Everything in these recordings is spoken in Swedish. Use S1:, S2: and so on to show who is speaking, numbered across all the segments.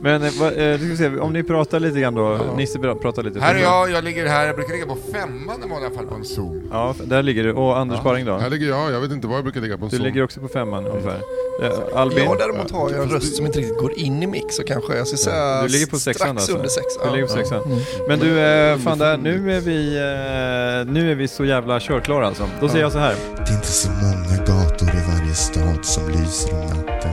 S1: Men eh, vad, eh, ska vi se, om ni pratar lite grann då. Nisse bra- pratar lite.
S2: Här är jag, jag ligger här, jag brukar ligga på femman i vanliga fall på en Zoom.
S1: Ja, f- där ligger du. Och Anders Baring då?
S3: Här ligger jag, jag vet inte var jag brukar ligga på en
S1: Du
S3: sån.
S1: ligger också på femman ungefär. Eh, Albin?
S4: Jag däremot har jag en röst som inte riktigt går in i mix så kanske jag ska säga
S1: Du ligger på sexan
S4: strax
S1: alltså.
S4: under sexan.
S1: Du ligger på sexan.
S3: Mm.
S1: Men du, eh, fan där, nu är vi, eh, nu är vi så jävla körklara alltså. Då säger jag så här.
S5: Det är inte så många gator i varje stad som lyser om natten.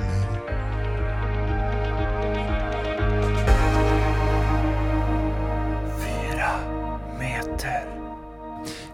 S5: mig.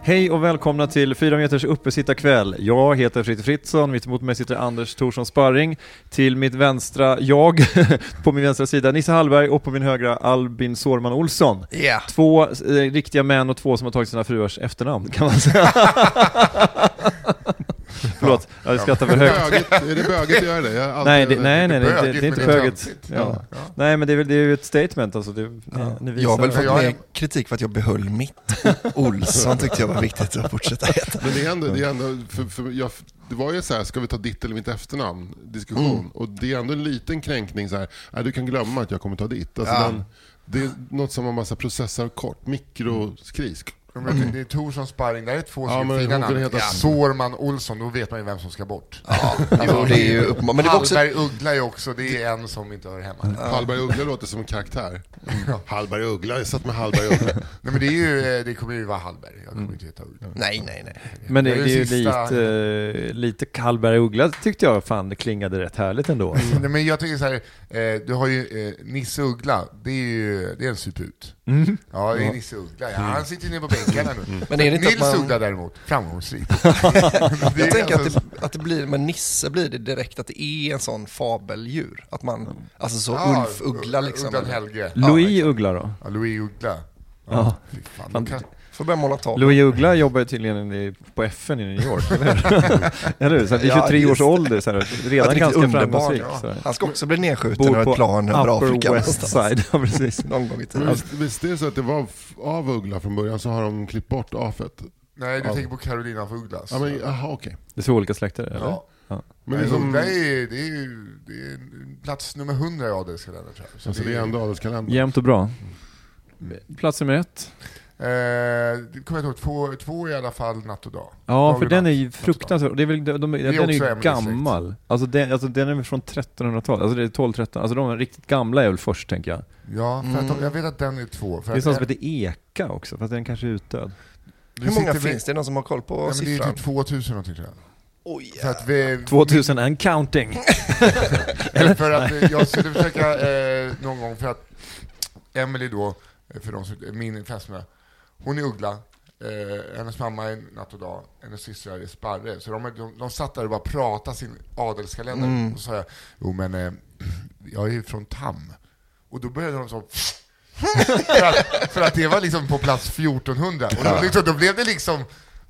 S1: Hej och välkomna till 4 meters uppesittarkväll. Jag heter Fritte Fritzson, mitt emot mig sitter Anders Thorsson Sparring. Till mitt vänstra jag, på min vänstra sida Nisse Hallberg och på min högra Albin Sårman Olsson.
S4: Ja.
S1: Två eh, riktiga män och två som har tagit sina fruars efternamn kan man säga. Förlåt, jag skrattar för högt.
S3: Bögigt, är det bögigt att göra det? Jag har alltid-
S1: Nej, det, nej, nej, det, är inte- det är inte
S3: men det är
S1: böget.
S3: töntigt.
S1: Ja.
S3: Ja.
S1: Nej, men det är väl det är ju ett statement alltså. Det, ni, ni
S4: Jag har
S1: visar.
S4: väl fått
S2: Jag är-
S4: mer kritik för att jag behöll mitt. Olsson tyckte jag var viktigt att fortsätta heta.
S3: Men det är ändå, det är ändå för, för jag, det var ju så här, ska vi ta ditt eller mitt efternamn? Diskussion.
S1: Mm.
S3: Och det är ändå en liten kränkning så här, nej, du kan glömma att jag kommer ta ditt. Alltså, den, det är något som man massa processar kort, mikroskris.
S2: Men Det är Torsson Sparring, det här är två
S3: Ja,
S2: som
S3: men
S2: är fina
S3: hon
S2: namn.
S3: kunde heta-
S2: Ja. Sårman Olsson, då vet man ju vem som ska bort.
S4: Jo, det är ju uppenbart. Men det var också...
S2: Hallberg Uggla är också, det är en som inte hör hemma.
S3: Hallberg Uggla låter som en karaktär. Hallberg Uggla, jag satt med Hallberg Uggla.
S2: Nej men det är ju, eh, det kommer ju vara Hallberg, jag kommer inte heta Uggla.
S4: Nej, nej, nej.
S1: Men det,
S2: Det
S1: det
S2: är
S1: är
S2: det
S1: ju
S2: sista.
S1: lite, eh, lite Kallberg och Uggla tyckte jag fan det klingade rätt härligt ändå.
S2: Mm. Nej, men jag tycker så här, eh, du har ju eh, Nisse Uggla, det är ju det är en suput. Ja, det är Nisse Uggla. Ja, han sitter nere på bänken här nu.
S4: Men är det inte
S2: Nils
S4: att man-
S2: Uggla däremot, framgångsrik.
S4: Jag tänker att det, att det blir, med Nisse blir det direkt att det är en sån fabeldjur. Att man, alltså så Ulf Uggla liksom.
S2: Ugglan Helge.
S1: Louis Uggla då?
S2: Ja, Louis Uggla.
S1: Ja.
S2: Fy fan,
S1: Fan.
S2: de kan-
S4: Får börja måla tavlor.
S1: Louis Uggla jobbar ju tydligen i, på FN i New York, eller hur? eller hur? Så att vid
S4: Ja,
S1: 23
S4: just
S1: års
S4: det.
S1: ålder, så här,
S4: Att
S1: redan
S4: riktigt
S1: ganska
S4: underbarn,
S1: framgångsrik.
S4: ja.
S1: Så här.
S4: Han ska också bli nedskjuten
S1: Bor
S4: över
S1: på
S4: ett plan över Afrika
S1: Upper West
S4: någonstans.
S1: Side, ja precis.
S4: Någon gång i
S3: Men
S4: tiden.
S3: visst, visst är det så att det var f- av Uggla från början så har de klippt bort afet?
S2: Nej, du
S3: Ja.
S2: tänker på Carolina af Ugglas.
S3: Ja, men jaha okej.
S1: Det är två olika släkter, eller?
S2: Ja.
S3: Men
S2: Nej,
S3: liksom,
S2: Uggla är, ju- det är ju det är en plats nummer 100 i adelskalendern tror jag. Så
S3: alltså,
S2: det
S3: det är ändå adelskalendern.
S1: Jämnt och bra. Plats nummer ett.
S2: är, eh, det kommer jag inte ihåg, två, två i alla fall natt och dag.
S1: Ja,
S2: Dag
S1: för
S2: och
S1: den är
S2: natt.
S1: ju fruktansvärd. Och Det är väl, de, de, den är
S2: också
S1: ju
S2: Emelies
S1: gammal. Alltså den, alltså den är väl från 1300-talet, alltså det är 12-13, alltså de är riktigt gamla är väl först tänker jag.
S2: Ja, för att de, jag vet att den är två. För
S1: Det är
S2: att,
S1: sån som heter Eka också, fast den kanske är utdöd.
S2: du
S4: Hur många
S2: sitter med-
S4: finns det? Någon som har koll på
S2: Ja, men det är
S4: siffran?
S2: typ 2000 någonting tror jag.
S4: Oj,
S2: För att, vi,
S1: 2000 and counting!
S2: för att eh, jag skulle försöka eh, någon gång, för att Emily då, eh, för de som, min fästmö, hon är Uggla, eh, hennes mamma är Natt och Dag, hennes systrar är Sparre. Så de, de, de satt där och bara pratade sin adelskalender.
S1: Mm.
S2: Och så sa jag, jo men eh, jag är ju från Tam. Och då började de så för, att, för att det var liksom på plats 1400. Och då, liksom, då blev det liksom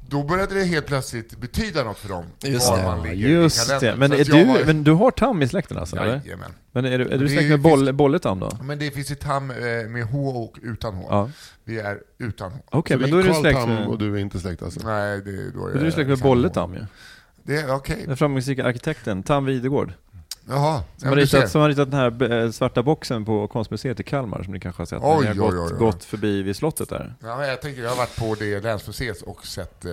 S2: då började det helt plötsligt betyda något för dem,
S4: Just
S2: var
S4: det.
S2: man ligger i
S1: Just det,
S2: kalendern.
S1: men,
S2: Så
S1: är
S2: att jag
S1: du,
S2: var-
S1: men du har Tam i släkten alltså? Eller?
S2: Jajamän.
S1: Men är du, är du
S2: Det
S1: släkt med
S2: finns-
S1: boll, Bolletam då?
S2: Men det finns ju tam eh, med H och utan H.
S1: Ja.
S2: Vi är utan H.
S1: Okej,
S3: Så
S1: men
S3: det
S1: då är du
S3: Carl
S1: släkt
S3: Tam
S1: med,
S3: och du är inte släkt alltså?
S2: Nej, det, då är
S1: då är du släkt med
S2: samma H.
S1: Bolletam ju.
S2: Det är okej.
S1: Den framgångsrika arkitekten, Tam Videgård.
S2: Jaha.
S1: Som har, ritat, som har ritat den här eh, svarta boxen på konstmuseet i Kalmar som ni kanske har sett när
S2: Oj,
S1: ni har
S2: oj,
S1: gått,
S2: oj, oj.
S1: gått förbi vid slottet där.
S2: Ja, men jag tänker, jag har varit på det länsmuseet och sett eh,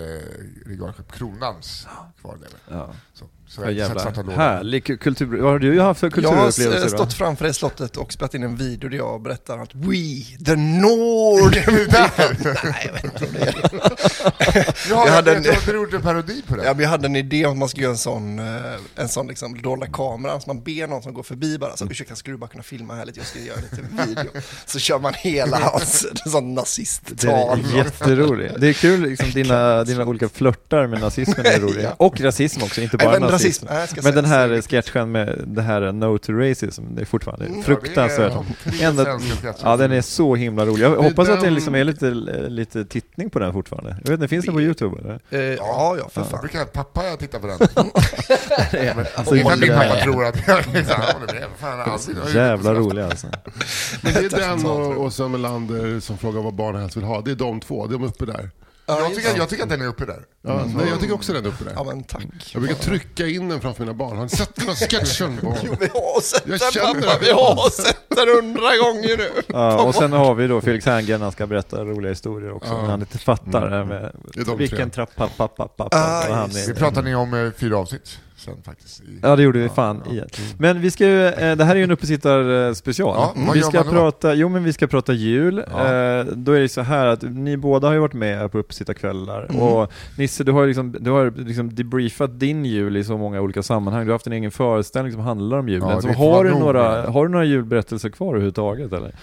S2: regalskepp Kronans kvarlevor.
S1: Ja.
S2: Så, Så
S1: Ja,
S2: jag satt
S1: jävlar.
S2: svarta lådor.
S1: Härlig ku- kultur... Vad har du haft för
S4: Jag har
S1: kulturupplevelser?
S4: eh,
S1: då?
S4: stått framför det slottet och spelat in en video där jag berättar att We, the Northern People. Nej, jag vet inte vad det är.
S2: Ja, jag
S4: Jag hade
S2: hade
S4: en-
S2: Du gjorde en parodi på det.
S4: Ja, men jag hade en idé om att man skulle göra en sån, eh, en sån liksom dolda kamera, så man ber någon som går förbi bara så ursäkta, skulle du bara kunna filma här lite, jag ska göra lite video. Så kör man hela hans sån
S1: Det är
S4: nazisttal.
S1: jätteroligt. Det är kul, liksom dina, dina olika flörtar med nazismen är roliga.
S4: Ja.
S1: Och rasism också, inte bara
S4: Även
S1: nazism.
S4: rasism. Nej, jag ska
S1: Men
S4: säga
S1: den här
S4: så.
S1: sketchen med det här eh, No to Racism, det är fortfarande fruktansvärt.
S2: Mm, Ja, det är de tre
S1: Enda,
S2: svenska sketcherna.
S1: ja, den är så himla rolig. Jag
S3: är
S1: hoppas att det
S3: den-
S1: liksom är lite, lite tittning på den fortfarande. Jag vet inte, finns den på YouTube? Eller?
S4: Eh, ja, ja, för
S2: Jag
S4: fan.
S2: brukar pappa titta på den.
S1: Alltså,
S2: Men- och
S1: håller
S2: Ifall min pappa
S1: med.
S2: tror att jag liksom, han håller med. Fan, alltid.
S1: Jävla rolig alltså.
S3: Men det är den och, och Sven Melander som frågar vad barn helst vill ha. Det är de två, de är uppe där.
S2: Jag tycker, jag tycker att den är uppe där.
S3: Ja, nej, jag tycker också den är uppe där.
S4: Ja, men tack.
S3: Jag brukar trycka in den framför mina barn. Har ni sett den här sketchen?
S4: Jo,
S3: Barn?
S4: vi har sett
S3: Jag
S4: den
S3: känner
S4: pappa,
S3: det.
S4: vi har sett den hundra gånger nu.
S1: Ja, och sen har vi då Felix Herngren, han ska berätta roliga historier också, när han inte fattar det här med
S3: Det är de
S1: vilken
S3: tre.
S1: trappa pappa pappa
S4: Ah,
S1: han
S4: just
S1: är.
S2: Vi pratade ju om eh, fyra avsnitt sen faktiskt. I,
S1: Ja det gjorde vi fan i ett. Men vi ska ju, eh, det här är ju en uppesittar special.
S2: Ja, vad
S1: vi
S2: gör
S1: ska
S2: man då?
S1: prata, jo men vi ska prata jul.
S2: Ja.
S1: Eh, Då är det så här att ni båda har ju varit med på uppesittarkvällar
S2: Mm.
S1: och Nisse du har ju liksom, du har liksom debriefat din jul i så många olika sammanhang. Du har haft en egen föreställning som handlar om julen.
S2: Ja,
S1: så
S2: det
S1: har
S2: var
S1: du,
S2: nog
S1: några,
S2: det.
S1: har du några julberättelser kvar överhuvudtaget eller?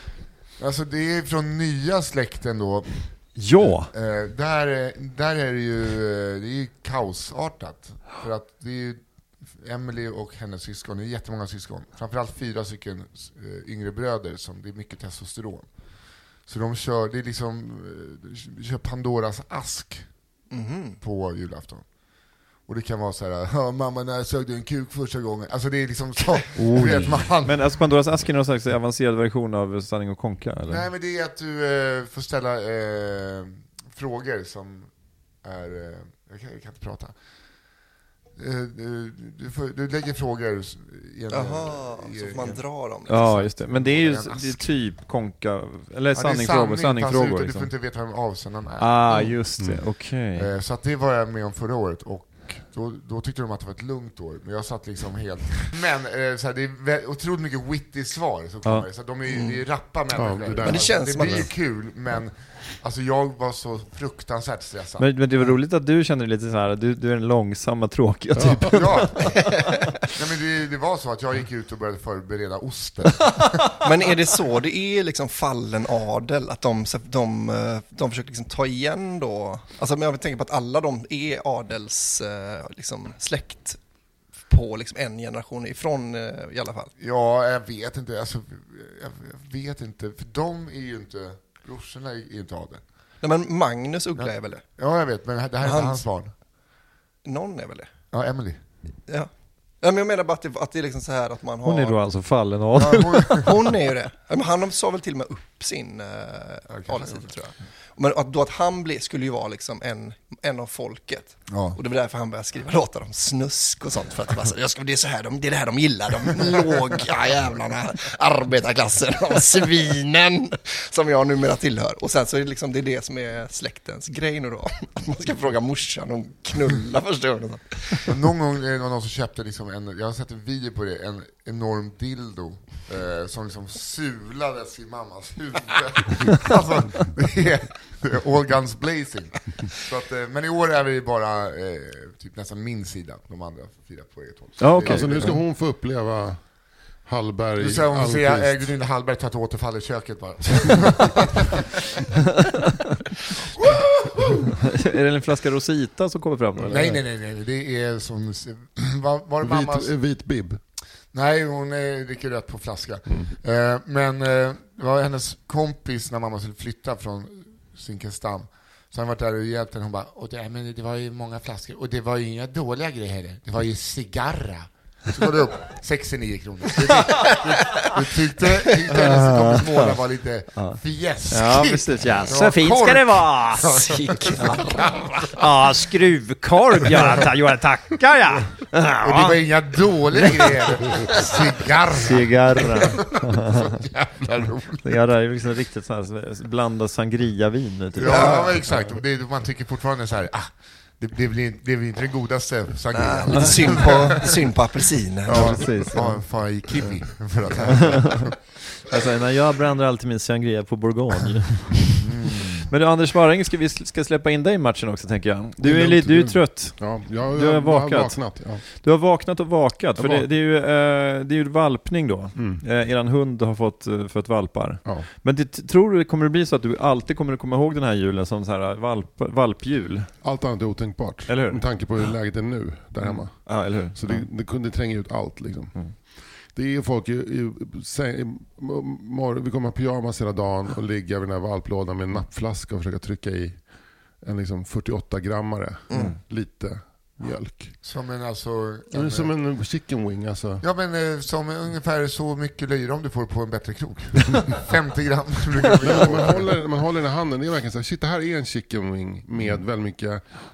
S2: Alltså det är från nya släkten då.
S1: Ja!
S2: Eh, där, eh, där är det ju, eh, det är ju kaosartat. För att det är ju Emily och hennes syskon, det är jättemånga syskon. Framförallt fyra stycken eh, yngre bröder, som det är mycket testosteron. Så de kör, det är liksom, eh, de kör Pandoras ask
S4: Mhm.
S2: på julafton. Och det kan vara så här, "Ja, mamma när sög du en kuk första gången? Alltså det är liksom så, du vet man.
S1: Men alltså Pandoras ask är någon slags avancerad version av Sanning och Konka eller?
S2: Nej men det är att du eh, får ställa eh, frågor som är, eh, jag, kan, jag kan inte prata. Eh, du, du, får, du lägger frågor s- i en...
S4: Jaha,
S2: i,
S4: så får man dra dem. Liksom.
S1: Ja, just det. Men det är ju
S2: Det är en alltså, ask.
S1: det är typ konka, eller
S2: Ja, det är
S1: sanningfrågor,
S2: sanning, fast
S1: sanningfrågor
S2: utan- Du
S1: liksom.
S2: får inte veta vem avsändaren är.
S1: Ah, just det. Okej.
S2: Eh, så att det var jag med om förra året och då, då tyckte de att det var ett lugnt år, men jag satt liksom helt... Men eh, så här, det är vä- otroligt mycket witty svar som kommer, så att de är ju det är rappa människor.
S3: det där. Men det
S2: Alltså,
S4: känns
S2: det
S4: som att-
S2: blir ju kul, men alltså, jag var så fruktansvärt stressad.
S1: Men, men det var roligt att du kände dig lite så här. Du, du är den långsamma, tråkiga typen.
S2: Ja. Nej, men det, det var så att jag gick ut och började förbereda osten.
S4: Men är det så det är liksom fallen adel, att de, de, eh, de försöker liksom ta igen då? Alltså men jag tänker på att alla de är adels eh, liksom, släkt på liksom en generation ifrån eh, i alla fall.
S2: Ja, jag vet inte. Alltså, jag jag vet inte. För de är ju inte... Brorsorna är ju inte adel.
S4: Nej men Magnus Uggla är väl det?
S2: Ja, jag vet. Men det här det här är inte
S4: Hans-
S2: hans barn.
S4: Någon är väl det?
S2: Ja, Emily.
S4: Ja. ja men jag menar bara att det, att det är liksom så här att man har...
S1: Hon är då alltså fallen av.
S2: Ja, hon,
S4: Hon är ju det. Ja, Men han sa väl till och med upp sin eh, adelstitel tror jag. Men att, då att han bli, skulle ju vara liksom en, en av folket.
S2: Ja.
S4: Och det var därför han började skriva låtar om snusk och sånt. För att det var så, jag ska, det, är så här de, det är det här de gillar, de låga jävlarna, arbetarklassen, de svinen som jag numera tillhör. Och sen så är det liksom, det är det som är släktens grej nu då. Att man ska fråga morsan om knulla första gången. och sånt.
S2: Och någon gång eh, det var någon som köpte liksom en, jag har sett en video på det, en enorm dildo eh, som liksom sulades i mammas huvud. alltså, det är det är all guns blazing. Så att, eh, men i år är vi bara eh, typ nästan min sida, de andra firar på eget håll. Så
S1: Ja, okej.
S3: Alltså nu ska hon få uppleva Hallberg,
S2: Nu ska hon få se eh,
S3: Almqvist.
S2: Gunilla Hallberg ta ett återfall i köket bara.
S1: är det en flaska Rosita som kommer fram? Eller?
S2: nej, nej, nej, nej, det är som, var, var det mammas?
S3: Vit, eh, vit bib.
S2: Nej, hon eh, dricker rött på flaska.
S1: Mm.
S2: Eh, men eh, det var hennes kompis när mamma skulle flytta från Zinkensdamm. Så han varit där och hjälpt henne. Hon bara, och det, men det var ju många flaskor. Och det var ju inga dåliga grejer heller. Det var ju cigarra. Så går det upp 69 kronor. Så det- Du tyckte, tyckte hennes kompis Mona var lite fjäskig.
S1: Ja, precis. Ja,
S2: Det var
S1: så fint
S2: kork.
S1: ska det vara! Ja, skruvkorv, ja. Jag tackar, ja.
S2: Och det var inga dåliga grejer. Cigarra.
S1: Cigarra.
S2: Jävla roligt.
S1: Cigarra är ju liksom riktigt sån här blanda sangria-vin. Typ.
S2: Ja, men exakt. Och Det, man tycker fortfarande så här, ah, Det, det, blir, det blir inte den godaste
S4: Nej,
S2: sangrian.
S4: lite synd på, synd på apelsinen.
S2: Ja,
S1: precis, ja.
S2: Fan, fan i kiwi. För att,
S1: Alltså, nej, jag bränner alltid min sangria på Bourgogne.
S3: Mm.
S1: Men du, Anders Sparring, ska vi s- ska släppa in dig i matchen också tänker jag. Du är, li- du är trött.
S3: Ja, jag,
S1: Du har
S3: jag
S1: vakat.
S3: vaknat. Ja.
S1: Du har vaknat och vakat, för
S3: Jag
S1: det,
S3: vak- Mm.
S1: det, är ju, eh, det är ju valpning då. Eh, eran hund har fått eh, fött valpar.
S3: Ja.
S1: Men det, tror du, kommer det bli så att du alltid kommer att komma ihåg den här julen som så här eh, valp, valpjul?
S3: Allt annat är otänkbart.
S1: Eller hur? Mm.
S3: Med tanke på hur läget är nu där hemma.
S1: Ja, eller hur?
S3: Så det, det kunde tränga ut allt. Liksom.
S1: Mm.
S3: Det är ju folk i, i, säng- i m- mor- vi kommer ha pyjamas hela dagen och ligga vid den här valplådan med en nappflaska och försöka trycka i en liksom 48-grammare.
S1: Mm.
S3: Lite mjölk.
S2: som en alltså...
S3: Det är som en chicken wing alltså.
S2: Ja men eh, som ungefär så mycket löjrom du får på en bättre krog. 50 gram brukar
S3: Men
S2: det bli.
S3: Man håller, man håller den i handen, det är verkligen så här, shit det här är en chicken wing med väldigt mycket,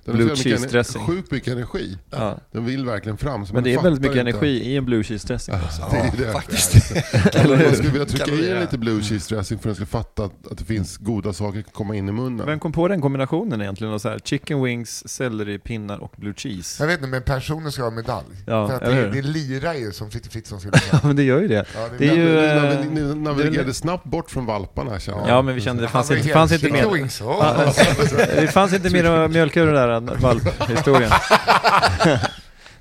S3: den
S1: Mm. Blue
S3: har så jävla
S1: cheese
S3: mycket
S1: dressing.
S3: sjukt mycket energi.
S1: Ja.
S3: Den vill verkligen fram.
S1: Men
S3: så man
S1: det är
S3: fattar
S1: väldigt mycket
S3: inte.
S1: energi i en blue cheese dressing.
S3: Det är det.
S4: Faktiskt.
S3: Eller man skulle vilja trycka i
S4: Kalorier.
S3: en lite blue cheese dressing för att den ska fatta att, att det finns goda saker att komma in i munnen.
S1: Vem kom på den kombinationen egentligen? Och så här, chicken wings, selleripinnar och blue cheese.
S2: Jag vet inte, men personen ska ha medalj.
S1: Ja,
S2: för att
S1: eller
S2: det,
S1: hur?
S2: det lirar ju som Fritte Fritzson skulle säga.
S1: Ja men det gör ju det.
S2: Ja,
S1: Det är ju...
S3: Navi-
S1: eh,
S3: navi- navigerade snabbt bort från valparna känner jag.
S1: Ja men vi kände det fanns
S2: Han var
S1: inte,
S2: helt
S1: fanns inte
S2: chicken
S1: mer.
S2: wings. Åh.
S1: Ja, eh, Det fanns inte mer att mjölka ur den där valphistorien.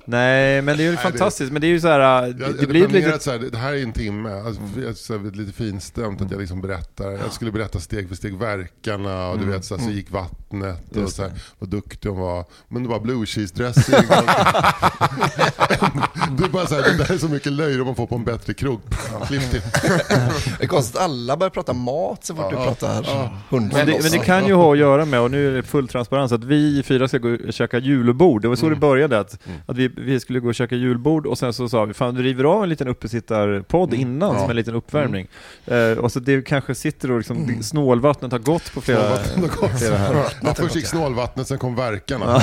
S1: Nej men det är ju fantastiskt. Men det är ju så här, eh,
S3: Jag
S1: det,
S3: hade
S1: det blir Mm. ju ett
S3: planerat
S1: litet...
S3: så här, det här är en timme, alltså, jag, så här, lite finstämt att jag liksom berättar, jag skulle berätta steg för steg verkarna och du
S1: Mm.
S3: vet så, här, så gick vattnet och så här, vad duktig hon var. Men det var blue cheese dressing. och, det är bara så här, det där är så mycket löjr om man får på en bättre krog. Klipp till.
S4: Det är konstigt att alla börjar prata mat så fort du pratar hundmat.
S1: Men det, men det kan ju ha att göra med, och nu är det full transparens, att vi fyra ska gå och käka julbord. Det var så det började, att, att vi, vi skulle gå och käka julbord och sen så sa vi, fan vi river av en liten uppesittarpodd innan som en liten uppvärmning. Eh, och så det kanske sitter och liksom, snålvattnet har gått på flera...
S3: Snålvattnet har gått.
S1: Det är det här.
S3: Ja, först gick snålvattnet, sen kom verkarna.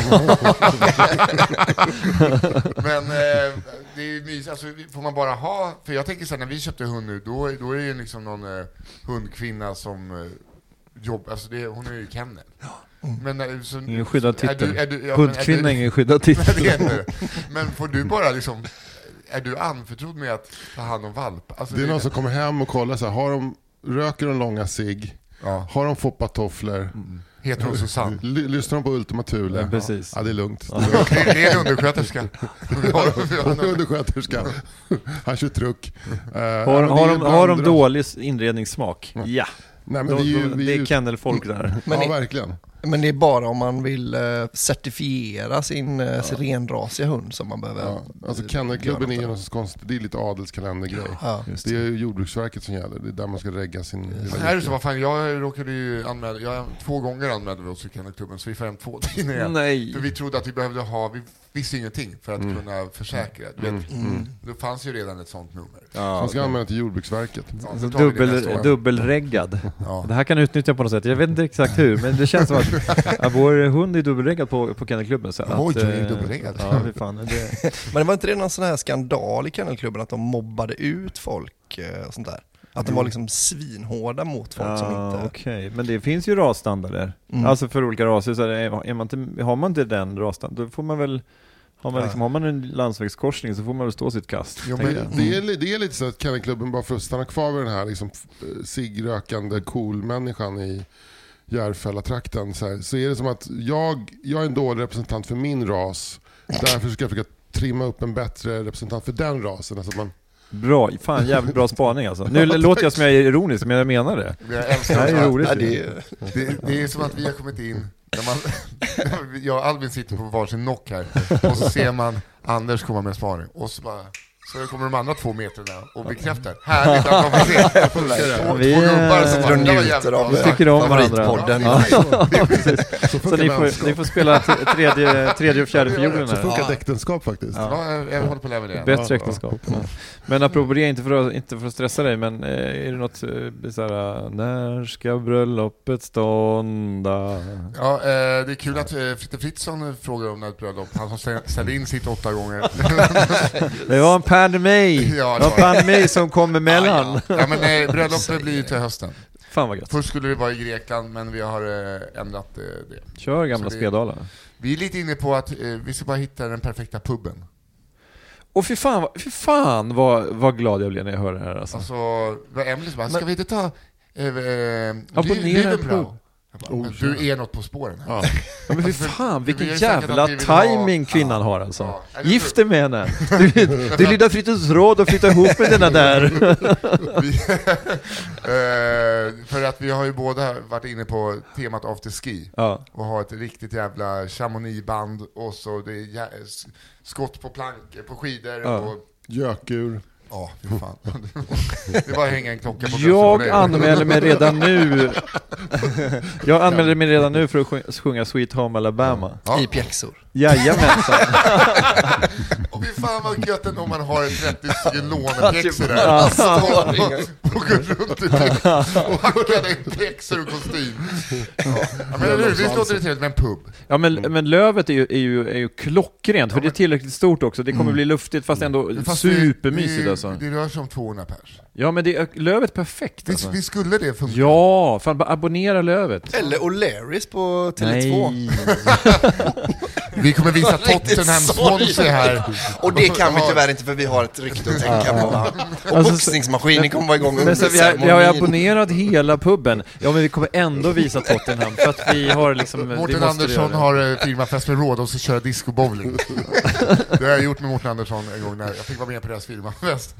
S2: Men eh, det är ju mysigt, alltså, får man bara ha, för jag tänker så här, när vi köpte hund nu, då, då är det ju liksom någon eh, hundkvinna som eh, jobbar, alltså det, hon är ju i kennel. Men, eh, så,
S1: Det är Mm. Ingen skyddad
S2: är du- är
S1: titel.
S2: du- ja, men är
S1: Hundkvinna är
S2: du-
S1: ingen skyddad
S2: Nej, det är
S1: titel.
S2: inte det. Men får du bara liksom, är du anförtrodd med att ta hand om valp? Alltså,
S3: Det är någon som kommer hem och kollar så här, har de, röker de långa cigg?
S2: Ja.
S3: Har de foppatofflor?
S2: Heter hon Susanne?
S3: Ly- Lyssnar de på Ultima Thule?
S1: Ja, precis.
S3: Ja, alltså, det är lugnt.
S2: Det är det är en undersköterska.
S3: Hon är undersköterska. Han kör truck. Eh, ja,
S1: Har,
S3: men det
S1: har,
S3: är
S1: de,
S3: ju
S1: har de
S3: bland-
S1: dålig inredningssmak? Ja,
S3: Nej, men
S1: de,
S3: vi är ju,
S1: de,
S3: vi
S1: det
S3: är
S1: är
S3: ju,
S1: kennelfolk där.
S3: ja,
S4: Men det-
S3: verkligen.
S4: Men det är bara om man vill eh, certifiera sin, eh, sin renrasiga hund som man behöver.
S3: Ja. Alltså kennelklubben är ju något konstigt. Det är lite adelskalendergrej.
S4: Ja.
S3: Det är ju Jordbruksverket som gäller. Det är där man ska regga sin...
S2: Det här är så, vad fan, jag råkade ju anmäla, jag, två gånger anmälde vi oss till kennelklubben så vi får hem två tidningar.
S1: Nej.
S2: För vi trodde att vi behövde ha, vi visste ingenting för att
S1: Mm.
S2: kunna försäkra. Du vet,
S4: Mm.
S2: Då fanns ju redan ett sånt nummer.
S3: Man ska anmäla till Jordbruksverket.
S2: Ja,
S1: Alltså
S2: då tar vi det
S1: Mm. dubbel,
S2: nästa år.
S1: dubbelreggad.
S2: Ja.
S1: Det här kan utnyttja på något sätt. Jag vet inte exakt hur, men det känns som att ja, vår hund är dubbelreggad på, på kennelklubben. Så att,
S2: Oj,
S1: eh,
S2: är ju dubbelreggad.
S1: Ja, fy fan. Det,
S4: Men det var inte det någon sån här skandal i kennelklubben att de mobbade ut folk eh, och sånt där? Att de var liksom svinhårda mot folk som
S1: ah,
S4: inte... Mm.
S1: okej. Men det finns ju rasstandarder.
S3: Mm.
S1: Alltså för olika raser, så är det- är man inte, har man inte den rasstandarden, då får man väl har man, liksom, har man en landsvägskorsning så får man väl stå sitt kast.
S2: Jo,
S1: tänker
S2: men-
S1: jag.
S3: Det är, li- det är lite så att kennelklubben, bara för att stanna kvar vid den här liksom, f- ciggrökande cool-människan i Järfälla-trakten, så, här, så är det som att jag, jag är en dålig representant för min ras. Därför ska jag försöka trimma upp en bättre representant för den rasen. Alltså att man,
S1: Bra, fan jävligt bra spaning alltså. Nu låter jag som jag är ironisk, men jag menar det.
S2: Jag
S1: Det här
S2: älskar
S1: är
S2: det,
S1: roligt.
S4: Ja, det är,
S2: det, det är som att vi har kommit in, när man, jag och Albin sitter på varsin nock här, och så ser man Anders komma med en spaning, och så bara så kommer de andra två meterna och bekräftar. Härligt att de vill se. Två,
S1: Vi,
S2: två gubbar som
S1: eh,
S2: bara,
S4: de
S2: "Det var
S4: njuter
S2: jävligt
S4: av
S2: bra."
S4: det.
S1: Vi tycker om varandra.
S4: Favoritpodden.
S2: Ja, ja, ja.
S1: Så ni får, ni får spela t- tredje, tredje och fjärde fiolen
S3: så
S1: här.
S3: funkar ett äktenskap faktiskt.
S2: Ja, jag- jag håller på att lära mig det.
S1: Bättre äktenskap. Men apropå det, inte för att, inte för att stressa dig, men eh, är det något eh, så här, eh, när ska bröllopet stånda?
S2: Ja, eh, det är kul att eh, Fritte Fritzson frågar om när ett bröllop. Han som ställde in sitt åtta gånger.
S1: Det var en pandemi!
S2: Ja,
S1: Det
S2: det
S1: var
S2: var
S1: en pandemi som kom emellan.
S2: ja, men eh, bröllopet blir ju till hösten.
S1: Fan vad gött.
S2: Först skulle det vara i Grekland, men vi har eh, ändrat eh, det.
S1: Kör gamla
S2: Så det-
S1: Svedala.
S2: Vi är lite inne på att eh, vi ska bara hitta den perfekta puben.
S1: Och fy fan, vad- fy fan vad, vad glad jag blev när jag hörde det här alltså.
S2: Alltså, det var Emelie som bara, ska vi inte ta eh, eh,
S1: Abonnera
S2: Li-
S1: en
S2: Liverpool?"
S1: pub. Oh,
S2: Jag bara, "Men Du är något på spåren här.
S3: Ja.
S1: Ja, men fy
S2: Alltså, för-
S1: fan
S2: för
S1: vilken
S2: vi har ju sagt
S1: jävla
S2: att vi vill ha-
S1: timing kvinnan har alltså.
S2: Ja, eller hur?
S1: Gift dig med henne! Du, du lilla Frittes råd och flytta ihop med denna där.
S2: Vi, eh, för att vi har ju båda varit inne på temat afterski.
S1: Ja.
S2: Och ha ett riktigt jävla Chamonix-band och så det är jä- s- skott på plank, på skidor
S1: Ja.
S2: och...
S3: Gökur.
S2: Ja, fy fan. det är bara att hänga en klocka på
S1: Jag
S2: bröstet på dig.
S1: anmäler mig redan nu Jag anmäler mig redan nu för att sjung- sjunga Sweet Home Alabama.
S2: Ja.
S4: I pjäxor.
S1: Jajamensan!
S2: Och fy fan vad gött ändå om man har en 30 stycken lånepjäxor där.
S1: typ. Ja.
S2: Och, och går runt i pjäxor och hackar i pjäxor och kostym. Ja. Ja, men eller hur, visst låter det trevligt med en pub?
S1: Ja men, men lövet är ju, är ju, är ju klockrent, för det är tillräckligt stort också. Det kommer bli luftigt fast ändå
S2: Fast det-
S1: supermysigt
S2: det-
S1: alltså.
S2: Det rör sig om 200 pers.
S1: Ja men det är, lövet är perfekt
S2: Visst,
S1: alltså.
S2: visst skulle det funka?
S1: Ja, fan bara abonnera lövet.
S4: Eller O'Learys på Tele2.
S1: Nej.
S2: Vi kommer visa
S4: Riktigt
S2: Tottenham sponsor här.
S4: Och det kan vi
S2: Ja.
S4: tyvärr inte för vi har ett rykte att tänka på. va? Och
S1: Alltså,
S4: boxningsmaskinen kommer vara igång under
S1: Men så vi, har, vi har ju
S4: ceremonin.
S1: abonnerat hela puben. Ja men vi kommer ändå visa Tottenham för att vi har liksom... vi
S2: Mårten
S1: måste göra
S2: Andersson
S1: det.
S2: har eh, firmafest med råd och så köra discobowling. det har jag gjort med Mårten Andersson en gång när jag fick vara med på deras firmafest.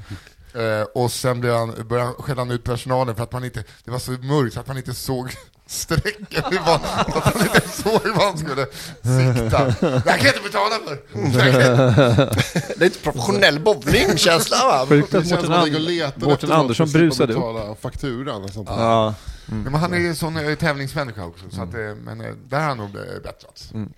S2: Eh, och sen blev han, började han skälla ut personalen för att man inte, det var så mörkt så att man inte såg strecken, det var, att man inte såg vad han skulle sikta. Det här kan jag inte betala för!
S4: Det är inte professionell bowlingkänsla va?
S1: Sjukt
S3: Det
S1: att
S3: känns som
S1: Mårten,
S3: att man ligger
S1: And-
S3: och letar efter
S1: Mårten
S3: något
S1: Andersson
S3: för att slippa
S1: brusade upp.
S3: betala fakturan och sånt där.
S1: Ja.
S2: Nej, Men han är ju en sån eh, tävlingsmänniska också, så att,
S1: Mm.
S2: eh, men eh, där har han nog eh, bättrat. Men,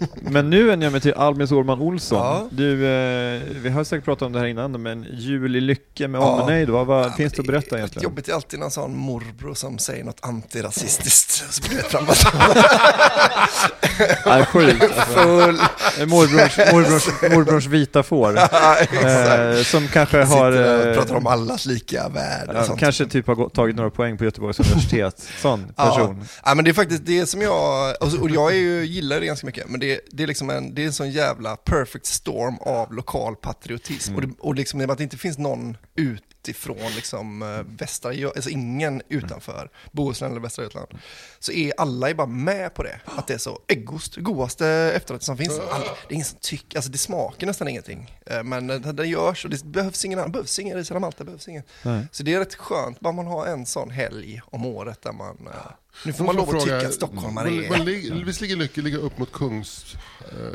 S2: eh,
S1: Men nu är jag med till Albin Sårman Olsson.
S4: Ja.
S1: Du, eh, vi har säkert pratat om det här innan, men jul i lycke med
S4: Ja.
S1: omnejd, vad, vad finns det att berätta
S4: Det är
S1: egentligen?
S4: jobbigt är alltid någon sån morbror som säger något antirasistiskt. Så blir det
S1: Eh,
S4: fram
S1: Nej, sjukt. Alltså,
S4: full.
S1: morbrors, morbrors, morbrors vita får.
S4: Ja, exakt.
S1: Eh, som kanske
S4: Sitter
S1: har...
S4: där och
S1: eh,
S4: pratar om allas lika värde och
S1: ja,
S4: sånt.
S1: kanske typ har gå- tagit några poäng på Göteborgs universitet. Sån person.
S4: Ja. ja, men det är faktiskt det som jag, och så- och jag är ju, gillar det ganska mycket, men det, det är liksom en, det är en sån jävla perfect storm av lokal patriotism. Och, det, och liksom det är att det inte finns någon utifrån liksom eh, västra, Gö- alltså ingen utanför Bohuslän eller västra Götaland. Så är alla är bara med på det, att det är så äggost, godaste efterrätt som finns. Alla, det är ingen som tycker, alltså det smakar nästan ingenting. Eh, Men det, det görs och det behövs ingen annan, behövs ingen ris eller Malta, behövs ingen. Så det är rätt skönt, bara man har en sån helg om året där man... eh, Nu får man lov att tycka att stockholmare
S3: man, man
S4: är...
S3: ligger, Visst ligger Lycke ligger upp mot Kungs...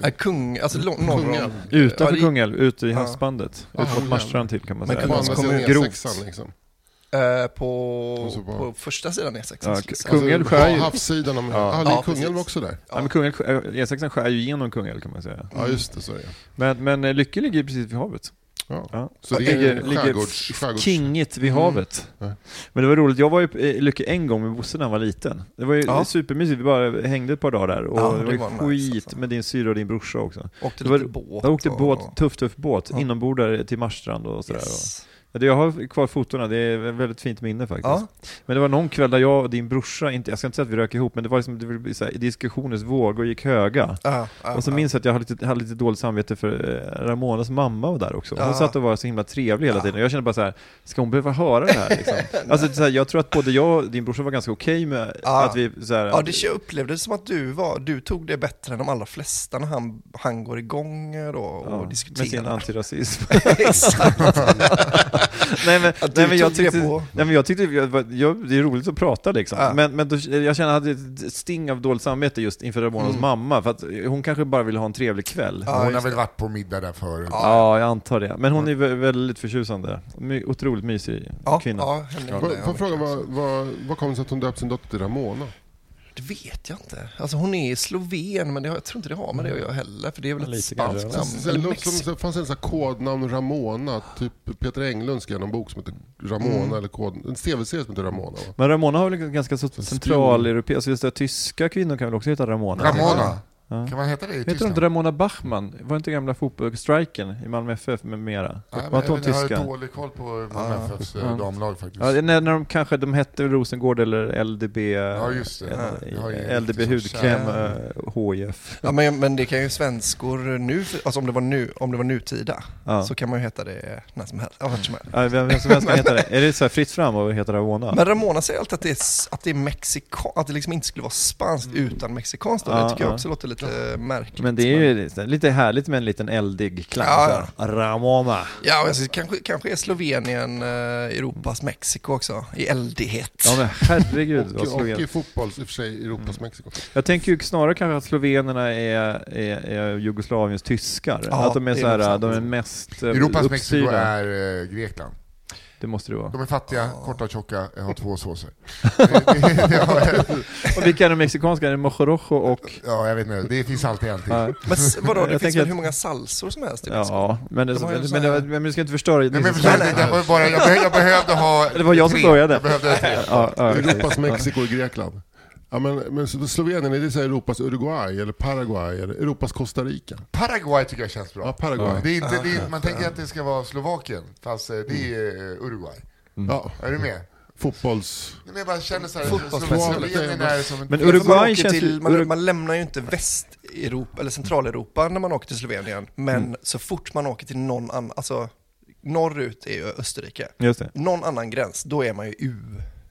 S4: är kung, alltså lång- norr om...
S3: Kungälv.
S1: Utanför
S4: Ja, det-
S1: Kungälv, ute i havsbandet. Ut mot Marstrand till kan man
S4: Men
S1: säga.
S3: På andra
S4: kommer
S3: sidan
S1: grovt.
S3: E6an liksom.
S4: eh,
S3: Och
S4: på,
S3: så bara-
S4: på första sidan E E6.
S1: Ja,
S4: skulle jag säga.
S1: Kungälv
S3: Alltså,
S1: skär ju-
S3: Havssidan om...
S1: Ja.
S3: Ja, ligger
S4: Ja, precis.
S3: Kungälv också där?
S1: Ja, men Kungälv, skär- E6 skär ju igenom Kungälv kan man säga.
S3: Ja, just det, så är det.
S1: Men, men eh, Lycke ligger ju precis vid havet.
S3: Ja.
S1: Ja.
S3: Så det
S1: ligger,
S3: är
S1: ligger
S3: skärgårds... skärgårds. Mm.
S1: kingigt vid havet.
S3: Ja.
S1: Men det var roligt, jag var ju i Lycke en gång med Bosse när han var liten. Det var ju
S4: Ja.
S1: supermysigt, vi bara hängde ett par dagar där. Och
S4: Ja,
S1: det,
S4: det
S1: var ju
S4: var nice,
S1: skit
S4: alltså.
S1: med din syra och din brorsa också.
S4: Åkte
S1: Det var-
S4: lite båt.
S1: Jag åkte
S4: och-
S1: båt, tuff tuff båt,
S4: Ja.
S1: inombordare till Marstrand och sådär.
S4: Yes.
S1: Och, det, jag har kvar fotona, det är ett väldigt fint minne faktiskt.
S4: Ja.
S1: Men det var någon kväll där jag och din brorsa, inte, jag ska inte säga att vi rök ihop, men det var liksom det var så här, diskussionens vågor gick höga.
S4: Ja, ja,
S1: Och så
S4: ja.
S1: minns jag att jag hade lite, hade lite dåligt samvete för eh, Ramonas mamma var där också. Hon
S4: Ja.
S1: satt och var så himla trevlig hela tiden. Jag kände bara så här, ska hon behöva höra det här? Liksom? alltså, så här jag tror att både jag och din brorsa var ganska okej med
S4: Ja.
S1: att vi så här,
S4: Ja, det jag upplevde det som att du var, du tog det bättre än de allra flesta när han, han går igång då
S1: ja,
S4: och
S1: med sin
S4: diskuterar.
S1: antirasism.
S4: Exakt.
S1: nej, men,
S4: Att du
S1: nej, men jag
S4: tog det
S1: tyckte,
S4: på.
S1: nej men jag tyckte, jag, jag, det är roligt att prata liksom.
S4: Ja.
S1: Men, men då, jag kände, jag hade ett sting av dåligt samvete just inför Ramonas mamma, för att hon kanske bara ville ha en trevlig kväll.
S4: Ja,
S2: Hon har
S4: just
S2: väl varit på middag där förut.
S1: Ja, jag antar det. Men hon är vä- väldigt förtjusande. My- Otroligt mysig
S4: Ja,
S1: kvinna.
S4: ja, henne
S3: Får
S4: gillar
S3: får
S4: jag
S3: jag fråga,
S4: mycket
S3: vad,
S4: också.
S3: vad, vad kom det sig att hon döpte sin dotter till Ramona?
S4: Det vet jag inte. Alltså hon är sloven, men det har, jag tror inte det har med det att göra heller, för det är väl ett
S1: Lite
S4: spanskt
S1: kanske.
S4: namn.
S3: Sen
S4: Eller
S3: låter som,
S4: Mexiko.
S3: så fanns det en sån här kodnamn Ramona, typ Peter Englund skrev någon bok som heter Ramona, eller kod, en tv-serie som heter Ramona va?
S1: Men Ramona har väl ganska så
S3: spion.
S1: centraleuropeisk, alltså just det, tyska kvinnor kan väl också heta Ramona?
S2: Ramona.
S1: Ja.
S2: Kan man heta det i
S1: Heter hon
S2: Tyskland?
S1: inte Ramona Bachmann? Var inte gamla fotbollsstriken i Malmö FF med mera?
S2: Nej, men
S1: Var inte hon
S2: jag, jag har
S1: tyska?
S2: dålig koll på Malmö FFs eh,
S1: Ja.
S2: damlag faktiskt.
S1: Ja, när, när de kanske de hette Rosengård eller LDB,
S2: Ja, just det.
S1: eh,
S2: Jag har ju
S1: LDB
S2: liksom
S1: hudkräm,
S4: kär-
S1: eh, HIF.
S4: Ja, men, men det kan ju svenskor nu, alltså om det var, nu, om det var nutida,
S1: Ja.
S4: så kan man ju heta det när som helst. Ja, vart som helst.
S1: Ja, vem, vem som helst kan heta det. Är det så här fritt fram och heter Ramona?
S4: Men Ramona säger alltid att det är, s- att det är mexikan, att det liksom inte skulle vara spanskt utan mexikanskt då.
S1: Ja,
S4: Det tycker jag
S1: ja.
S4: också låter lite märkligt.
S1: Men det är ju lite härligt med en liten eldig klang.
S4: Ja,
S1: så här. Ramona.
S4: Ja, och jag ser, kanske, kanske är Slovenien eh, Europas Mexiko också, i eldighet.
S1: Ja men herregud vad
S3: Och, och i
S1: Slovenien.
S3: fotboll, i och för sig, Europas
S1: Mm.
S3: Mexiko.
S1: Jag tänker ju snarare kanske att slovenerna är, är, är Jugoslaviens tyskar.
S4: Ja,
S1: att de är,
S4: det är
S1: så här,
S4: nog sant.
S1: de är mest eh,
S2: Europas Mexiko
S1: uppstyrda.
S2: är eh, Grekland.
S1: Det måste det vara.
S2: De är fattiga, korta och tjocka, eh, har två såser. det, det, det, har-
S1: Och vilka är de mexikanska? Är det Mojorojo och...
S2: ja, jag vet inte. Det finns alltid en till.
S1: Ja.
S4: Men s- vadå, det finns
S1: Jag tänker
S4: väl
S1: att-
S4: hur många salsor som helst i Mexiko?
S1: Ja, men, det,
S4: De har ju
S1: men,
S4: så
S1: men,
S4: här-
S1: men, men du ska inte förstöra
S2: Nej, men förstår, du, det, det var ju bara, jag, behö- jag behövde ha
S1: Det var jag som
S2: tre.
S1: började.
S2: Jag behövde tre.
S1: ja, ja,
S3: Europas
S1: precis.
S3: Mexiko och Grekland. Ja, men, men så- Slovenien, är det så här Europas Uruguay eller Paraguay eller Europas Costa Rica?
S2: Paraguay tycker jag känns bra.
S3: Ja, Paraguay.
S2: Det är inte, det är, man tänker att det ska vara Slovakien, fast eh, det
S1: Mm.
S2: är eh, Uruguay.
S3: Ja,
S2: Är du med?
S3: fotbolls...
S2: Men jag bara känner såhär,
S4: Fotbollsmässigt.
S2: Slovenien är som en...
S1: Men
S4: För man,
S1: Uruguay
S4: åker
S1: känns
S4: till,
S1: ju...
S4: man,
S1: Ur-
S4: man lämnar ju inte Västeuropa eller Centraleuropa när man åker till Slovenien, men
S1: Mm.
S4: så fort man åker till någon annan, alltså norrut är ju Österrike,
S1: Just det.
S4: någon annan gräns, då är man ju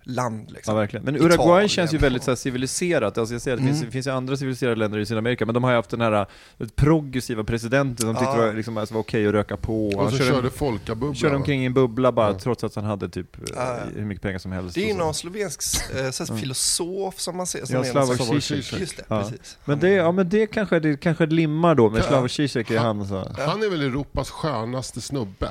S4: u-land
S1: Ja,
S4: liksom.
S1: verkligen. Men
S4: Italien.
S1: Uruguay känns ju väldigt så här, civiliserat. Alltså jag ser att det finns,
S4: Mm.
S1: det finns ju andra civiliserade länder i Sydamerika, men de har ju haft den här eh, progressiva presidenten som tyckte det var, liksom, alltså, var okej att röka på.
S3: Och
S1: han
S3: så
S1: körde,
S3: körde folkabubblan.
S1: körde
S3: va?
S1: omkring i en bubbla bara, trots att han hade typ eh,
S4: Ja, ja.
S1: hur mycket pengar som helst.
S4: Det är ju
S1: och så.
S4: någon slovensk eh, så här, filosof som man ser. Som
S1: Ja,
S4: är
S1: Slavoj
S4: någon sorts-
S3: Žižek.
S4: Just det,
S1: Ja.
S4: precis.
S1: Men det, ja, men det, kanske, det kanske limmar då med Slavoj Zizek i hand. Så.
S3: Han är väl Europas skönaste snubbe?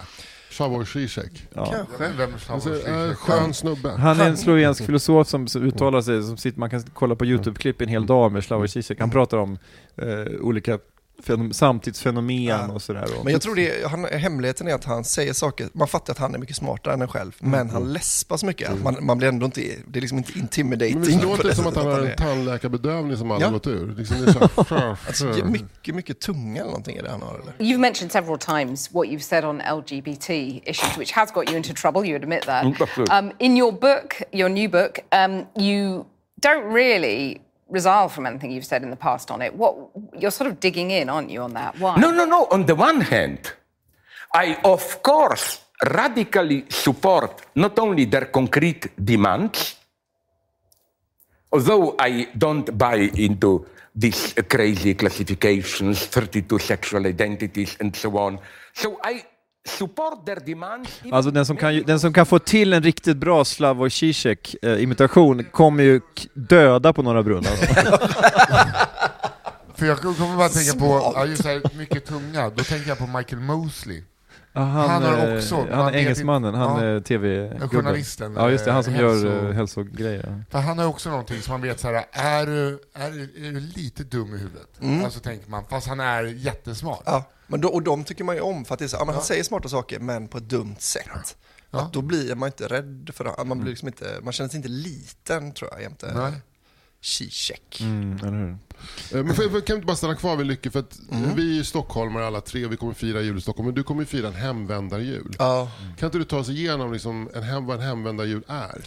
S3: Slavoj Zizek.
S1: Ja.
S2: Jag vet inte vem som
S3: Alltså,
S2: har
S3: eh, skön snubbe.
S1: Han är en slovensk filosof som som uttalar sig, som sitter, man kan kolla på YouTube-klipp en hel dag med Slavoj Zizek. Han pratar om eh, olika fenom- samtidsfenomen
S4: Ja.
S1: och sådär. Och-
S4: Men jag tror det, är- han, hemligheten är att han säger saker, man fattar att han är mycket smartare än en själv,
S1: Mm.
S4: men han läspar så mycket att man, man blir ändå inte, det är liksom inte intimidating.
S3: Men visst
S4: på
S3: låter det som att
S4: sättet
S3: han har
S4: är-
S3: en tandläkarbedövning som aldrig
S4: Ja.
S3: gått ur? Liksom det är så här,
S4: Alltså, det är mycket, mycket tunga eller någonting är det han har eller?
S6: You've mentioned several times what you've said on LGBT issues, which has got you into trouble. You admit that.
S7: Mm,
S6: Um, in your book, your new book, um, you don't really resile from anything you've said in the past on it. What you're sort of digging in, aren't you, on that? Why?
S7: No, no, no. On the one hand, I, of course, radically support not only their concrete demands, although I don't buy into these uh, crazy classifications, 32 sexual identities, and so on. So I support their demands. even
S1: Alltså den som, kan, ju- den som kan få till en riktigt bra Slavoj Zizek-imitation kommer ju k- döda på Norra Brunn. Alltså.
S2: För jag kommer bara tänka på, ja, just här, mycket tunga, då tänker jag på Michael Mosley.
S1: han,
S2: Han har
S1: eh,
S2: också- man
S1: han
S2: vet
S1: är engelsmannen,
S2: inte-
S1: han
S2: ja.
S1: är tv-gubben.
S2: Journalisten,
S1: Ja just det, han som
S2: eh,
S1: gör
S2: hälso-
S1: eh, hälsogrejer.
S2: För han har också någonting som man vet så här, är du, är, du- är du lite dum i huvudet? Alltså tänker man, fast han är jättesmart.
S4: Ja, men då, och de tycker man ju om för att det är så, ja, men han säger smarta saker men på ett dumt sätt. Att då blir man inte rädd för det, man, blir liksom inte, man känner sig inte liten tror jag jämte
S2: Nej.
S4: Zizek.
S1: Mm, eller hur?
S3: Eh, Men för, för, kan vi inte bara stanna kvar vid Lycke? För att
S4: Mm.
S3: Vi är ju stockholmare alla tre och vi kommer fira jul i Stockholm. Men du kommer ju fira en hemvändarjul.
S4: Ja,
S3: Kan inte du ta oss igenom liksom en hem, vad en hemvändarjul är?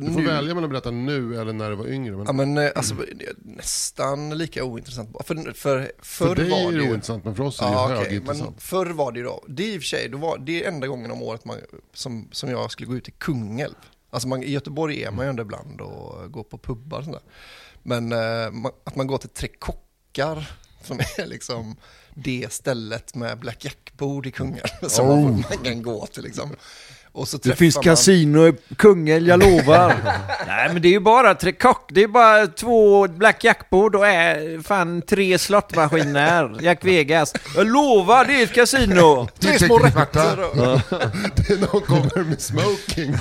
S3: Du får
S4: nu-
S3: välja mellan att berätta nu eller när du var yngre. Men
S4: Ja men eh, alltså det är nästan lika ointressant. För, för,
S3: för
S4: förr
S3: dig
S4: var
S3: är
S4: det
S3: det
S4: ju...
S3: ointressant, men för oss är det
S4: Ja,
S3: ju
S4: okej, men
S3: högintressant.
S4: förr var det ju då, det är i och för sig, då var, det är enda gången om året man, som, som jag skulle gå ut i Kungälv. Alltså man, i Göteborg är man ju ändå ibland och går på pubbar och sånt där. Men eh, man, att man går till Tre Kockar, som är liksom det stället med Black Jack-bord i Kungälv, som man, får- man kan gå till liksom. Och så träffar man-
S1: kasino i Kungälv, jag lovar. Nej men det är ju bara tre kock, det är bara två Black Jack-bord och äh, fan tre slottmaskiner, Jack Vegas. Jag lovar, det är ett kasino.
S4: Tre små
S2: Teknisk smärta.
S4: rätter och...
S3: Det är någon kommer med smoking.